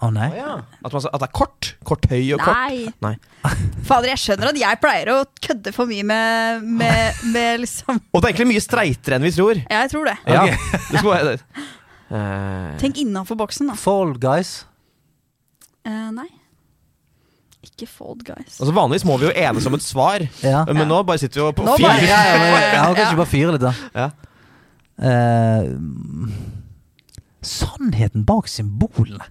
[SPEAKER 3] Å nei.
[SPEAKER 2] At, man, at det er kort? Kort høy og
[SPEAKER 1] Nei.
[SPEAKER 2] kort? Nei.
[SPEAKER 1] Fader, jeg skjønner at jeg pleier å kødde for mye med, med, med liksom
[SPEAKER 2] Og det er egentlig mye streitere enn vi tror.
[SPEAKER 1] Ja, jeg tror det.
[SPEAKER 2] Ja, det skal være det. Eh,
[SPEAKER 1] Tenk innafor boksen, da.
[SPEAKER 3] Fall Guys.
[SPEAKER 1] Eh, nei. Ikke Fold Guys.
[SPEAKER 2] altså Vanligvis må vi jo enes om et svar, men nå bare sitter vi og på
[SPEAKER 1] Nå bare-
[SPEAKER 2] fyr.
[SPEAKER 1] Ja, ja,
[SPEAKER 3] Jeg har kanskje bare fyre litt, da.
[SPEAKER 2] Ja.
[SPEAKER 3] Eh, sannheten bak symbolene.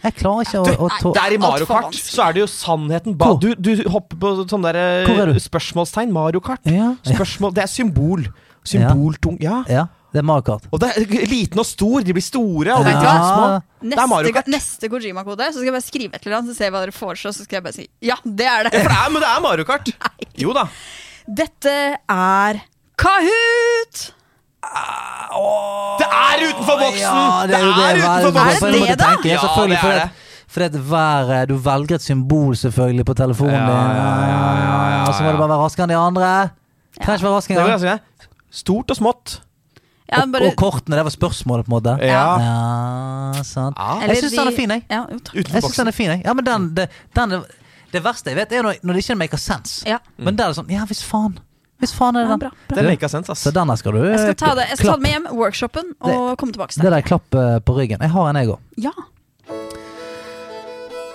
[SPEAKER 3] Jeg klarer ikke å, å tå-
[SPEAKER 2] Der i Mario Kart så er det jo sannheten ba du, du hopper på sånne
[SPEAKER 3] Hvor er
[SPEAKER 2] der
[SPEAKER 3] du?
[SPEAKER 2] eh, spørsmålstegn. Mario Kart. Spørsmål, det er symbol.
[SPEAKER 3] Ja.
[SPEAKER 2] Symboltung. Ja.
[SPEAKER 3] Ja, det er Mario Kart.
[SPEAKER 2] Og det er liten og stor. De blir store. Og
[SPEAKER 3] Ja.
[SPEAKER 2] de blir små. Det er
[SPEAKER 1] Neste,
[SPEAKER 2] Mario Kart.
[SPEAKER 1] ga- neste Kojima-kode, så skal jeg bare skrive et eller annet, så ser jeg hva dere foreslår, så skal jeg bare si ja, det er
[SPEAKER 2] Ja,
[SPEAKER 1] det.
[SPEAKER 2] for det er, men det er Mario Kart. Jo da.
[SPEAKER 1] Dette er Kahoot!
[SPEAKER 2] Det er utenfor boksen!
[SPEAKER 3] Ja, det er jo det.
[SPEAKER 2] utenfor
[SPEAKER 3] hver-
[SPEAKER 2] boksen!
[SPEAKER 3] på en måte tenker jeg,
[SPEAKER 2] Ja,
[SPEAKER 3] selvfølgelig,
[SPEAKER 2] det er
[SPEAKER 3] fordi
[SPEAKER 2] det.
[SPEAKER 3] at- Fordi at hver, eh, du velger et symbol selvfølgelig på telefonen din, og så må du bare være raskere enn de andre. Kan ikke være raskere
[SPEAKER 2] Det altså. var
[SPEAKER 3] engang.
[SPEAKER 2] ganske greit. Stort og smått.
[SPEAKER 1] Ja,
[SPEAKER 3] Og,
[SPEAKER 1] bare-
[SPEAKER 3] og kortene, det var spørsmålet, på en måte.
[SPEAKER 2] Ja.
[SPEAKER 3] Ja, sant.
[SPEAKER 1] Eller
[SPEAKER 3] Jeg syns den er
[SPEAKER 1] de-
[SPEAKER 3] fin, jeg.
[SPEAKER 1] Ja, jo, takk.
[SPEAKER 3] Jeg synes den er fin, jeg. Ja, men den, det, den er- det verste jeg vet, er når, når det ikke maker sense.
[SPEAKER 1] Ja.
[SPEAKER 3] Men der er det sånn Ja, hvis faen. Hvis faen er det den.
[SPEAKER 2] Mm. Det make a sense, ass.
[SPEAKER 3] Så denne skal du eh,
[SPEAKER 1] Jeg skal ta det, jeg skal ta det
[SPEAKER 3] klapp.
[SPEAKER 1] med hjem, workshopen, og komme tilbake til
[SPEAKER 3] Det der klappet på ryggen. Jeg har en, jeg òg.
[SPEAKER 1] Ja.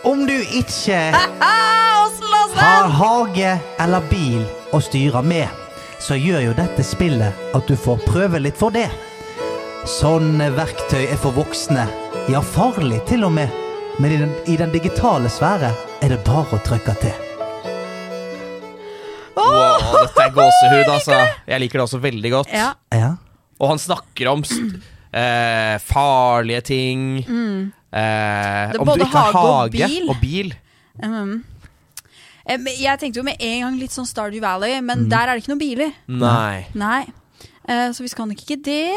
[SPEAKER 3] Om du ikke
[SPEAKER 1] Åssen låser
[SPEAKER 3] har
[SPEAKER 1] den?
[SPEAKER 3] hage eller bil å styre med, så gjør jo dette spillet at du får prøve litt for det. Sånne verktøy er for voksne, ja farlig til og med. Men i den, i den digitale sfære er det bare å trykke til.
[SPEAKER 2] Wow, dette er gåsehud, altså. Jeg liker det også veldig godt.
[SPEAKER 1] Ja.
[SPEAKER 2] Og han snakker om st- eh, farlige ting.
[SPEAKER 1] Mm.
[SPEAKER 2] Eh,
[SPEAKER 1] Det er
[SPEAKER 2] om du
[SPEAKER 1] både
[SPEAKER 2] ikke har
[SPEAKER 1] hage og
[SPEAKER 2] hage
[SPEAKER 1] bil.
[SPEAKER 2] og bil.
[SPEAKER 1] Mm. Eh, men Jeg tenkte jo med en gang litt sånn Stardew Valley,
[SPEAKER 3] Mm.
[SPEAKER 1] men der er det ikke noen biler.
[SPEAKER 2] Nei.
[SPEAKER 1] Nei. Eh, Så vi skal nok ikke det.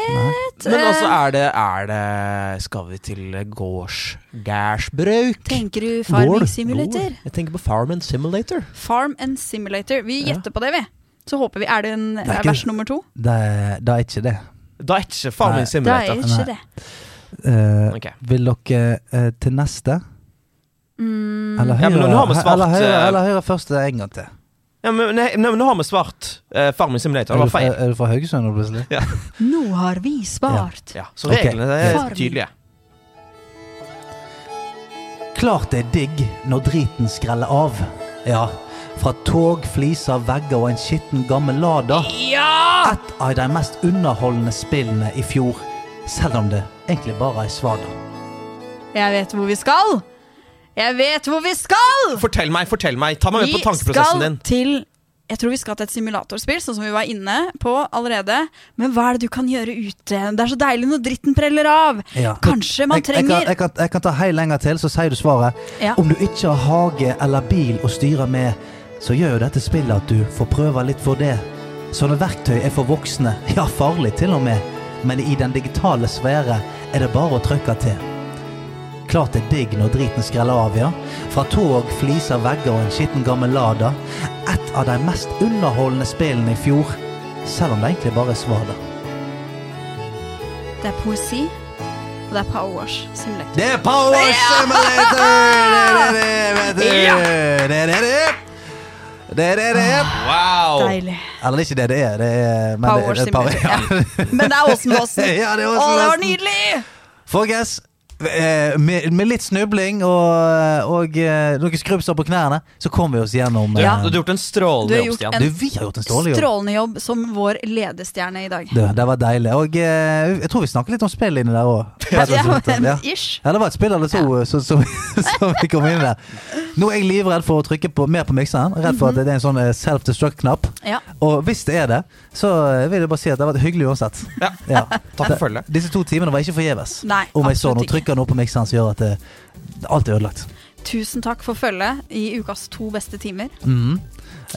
[SPEAKER 2] Men
[SPEAKER 1] Eh,
[SPEAKER 2] altså, er det, er det Skal vi til gårdsgærdsbruk?
[SPEAKER 1] Tenker du Farming Simulator?
[SPEAKER 2] Jeg tenker på Farm and Simulator.
[SPEAKER 1] Farm and Simulator. Vi gjetter på det, vi. Så håper vi Er det en
[SPEAKER 3] er
[SPEAKER 1] er
[SPEAKER 3] ikke-
[SPEAKER 1] vers nummer to?
[SPEAKER 3] Det, det er ikke det.
[SPEAKER 2] Da er ikke Farm
[SPEAKER 3] Nei.
[SPEAKER 2] and Simulator.
[SPEAKER 1] Det er ikke det.
[SPEAKER 3] Eh,
[SPEAKER 2] Ok.
[SPEAKER 3] Vil dere eh, til neste?
[SPEAKER 1] Mm.
[SPEAKER 3] Eller
[SPEAKER 2] Ja,
[SPEAKER 3] høyre,
[SPEAKER 2] men nå har vi svart,
[SPEAKER 3] eller høyre,
[SPEAKER 2] eh,
[SPEAKER 3] eller høyre først en gang til.
[SPEAKER 2] Ja, men, nei, nei, men nå har vi svart eh, Farm and Simulator.
[SPEAKER 3] Er
[SPEAKER 2] Det
[SPEAKER 3] du
[SPEAKER 2] var
[SPEAKER 3] fra,
[SPEAKER 2] feil.
[SPEAKER 3] er du fra Haugesund nå, plutselig?
[SPEAKER 2] Ja.
[SPEAKER 1] Nå har vi svart.
[SPEAKER 2] Ja, så
[SPEAKER 3] Ok.
[SPEAKER 2] reglene
[SPEAKER 3] Farm.
[SPEAKER 2] er tydelige.
[SPEAKER 3] Klart det er digg når driten skreller av. Ja, fra tog, fliser, vegger og en skitten gammel Lada.
[SPEAKER 1] Ja!
[SPEAKER 3] Et av de mest underholdende spillene i fjor. Selv om det egentlig bare er svada.
[SPEAKER 1] Jeg vet hvor vi skal! Jeg vet hvor vi skal!
[SPEAKER 2] Fortell meg, fortell meg. Ta meg med på
[SPEAKER 1] Vi skal
[SPEAKER 2] tankeprosessen din.
[SPEAKER 1] til Jeg tror vi skal til et simulatorspill, sånn som vi var inne på allerede. Men hva er det du kan gjøre ute? Det er så deilig når dritten preller av.
[SPEAKER 3] Ja.
[SPEAKER 1] Kanskje man
[SPEAKER 3] Jeg- jeg kan-
[SPEAKER 1] trenger
[SPEAKER 3] Jeg kan, jeg kan ta hei lenger til, så sier du svaret.
[SPEAKER 1] Ja.
[SPEAKER 3] Om du ikke har hage eller bil å styre med, så gjør jo dette spillet at du får prøve litt for det. Sånne verktøy er for voksne, ja farlig til og med, men i den digitale sfære er det bare å trykke til. Klart det er digg når driten skreller av, ja. Fra tog, fliser, vegger og en skitten gammel Lada. Et av de mest underholdende spillene i fjor, selv om det egentlig bare er svada.
[SPEAKER 1] Det er poesi, og det er Power Wash Simulator.
[SPEAKER 3] Det er Power Simulator! Det er det, det
[SPEAKER 1] Ja!
[SPEAKER 3] er det, det er det. Det er det, det er.
[SPEAKER 2] Wow.
[SPEAKER 1] Deilig.
[SPEAKER 3] Eller det er ikke det det er. Det er men
[SPEAKER 1] Power
[SPEAKER 3] det, det er Power-
[SPEAKER 1] Simulator, Men det er Åsen Åsen.
[SPEAKER 3] Ja, det er Åsen
[SPEAKER 1] Å, det var
[SPEAKER 3] Åsen.
[SPEAKER 1] nydelig!
[SPEAKER 3] Folkens, eh, med, med litt snubling og, og eh, noen skrubbsår på knærne, så kommer vi oss gjennom.
[SPEAKER 2] Du,
[SPEAKER 3] eh,
[SPEAKER 2] du har gjort en
[SPEAKER 1] Du
[SPEAKER 2] strålende
[SPEAKER 1] har
[SPEAKER 2] jobb,
[SPEAKER 1] gjort
[SPEAKER 2] Stian.
[SPEAKER 1] en
[SPEAKER 3] Du, vi har gjort en strålende jobb.
[SPEAKER 1] Strålende jobb som vår ledestjerne i dag.
[SPEAKER 3] Du, det var deilig. Og eh, jeg tror vi snakket litt om spill inni der òg.
[SPEAKER 1] Ja, men ish.
[SPEAKER 3] Ja, det var et spill eller to eh, som- som som vi kom inn der. Nå er jeg livredd for å trykke på, mer på mikseren. Redd
[SPEAKER 1] Mhm.
[SPEAKER 3] for at det er en sånn eh, self-destruct-knapp.
[SPEAKER 1] Ja.
[SPEAKER 3] Og hvis det er det, så eh, vil jeg bare si at det har vært hyggelig uansett.
[SPEAKER 2] Ja. Takk for følget.
[SPEAKER 3] Disse to timene var ikke forgjeves.
[SPEAKER 1] Nei,
[SPEAKER 3] Om jeg så
[SPEAKER 1] absolutt
[SPEAKER 3] noe trykker noe på mikseren som gjør at det, alt er ødelagt.
[SPEAKER 1] Tusen takk for følget i ukas to beste timer.
[SPEAKER 3] Mhm.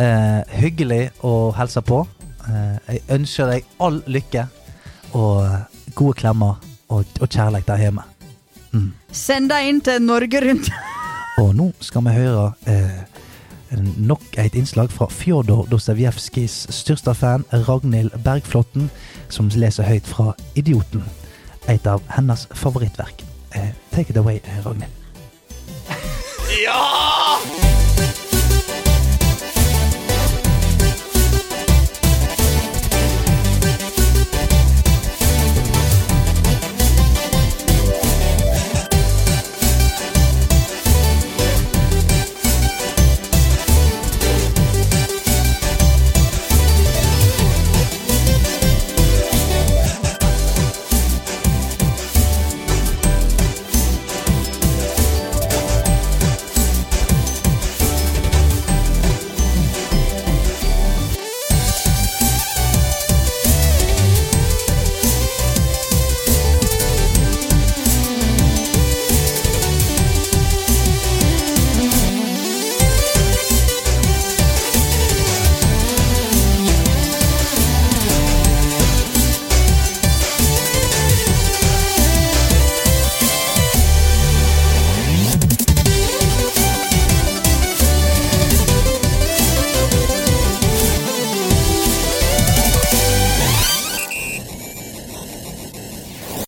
[SPEAKER 3] Eh, hyggelig å helse på. Eh, jeg ønsker deg all lykke og eh, gode klemmer og, og kjærlighet der hjemme.
[SPEAKER 1] Send deg inn til Norge Rundt.
[SPEAKER 3] Og nå skal vi høre eh, nok et innslag fra Fjodor Dostojevskijs største fan Ragnhild Bergflotten, som leser høyt fra Idioten. Et av hennes favorittverk. Eh, take it away, Ragnhild.
[SPEAKER 4] Ja!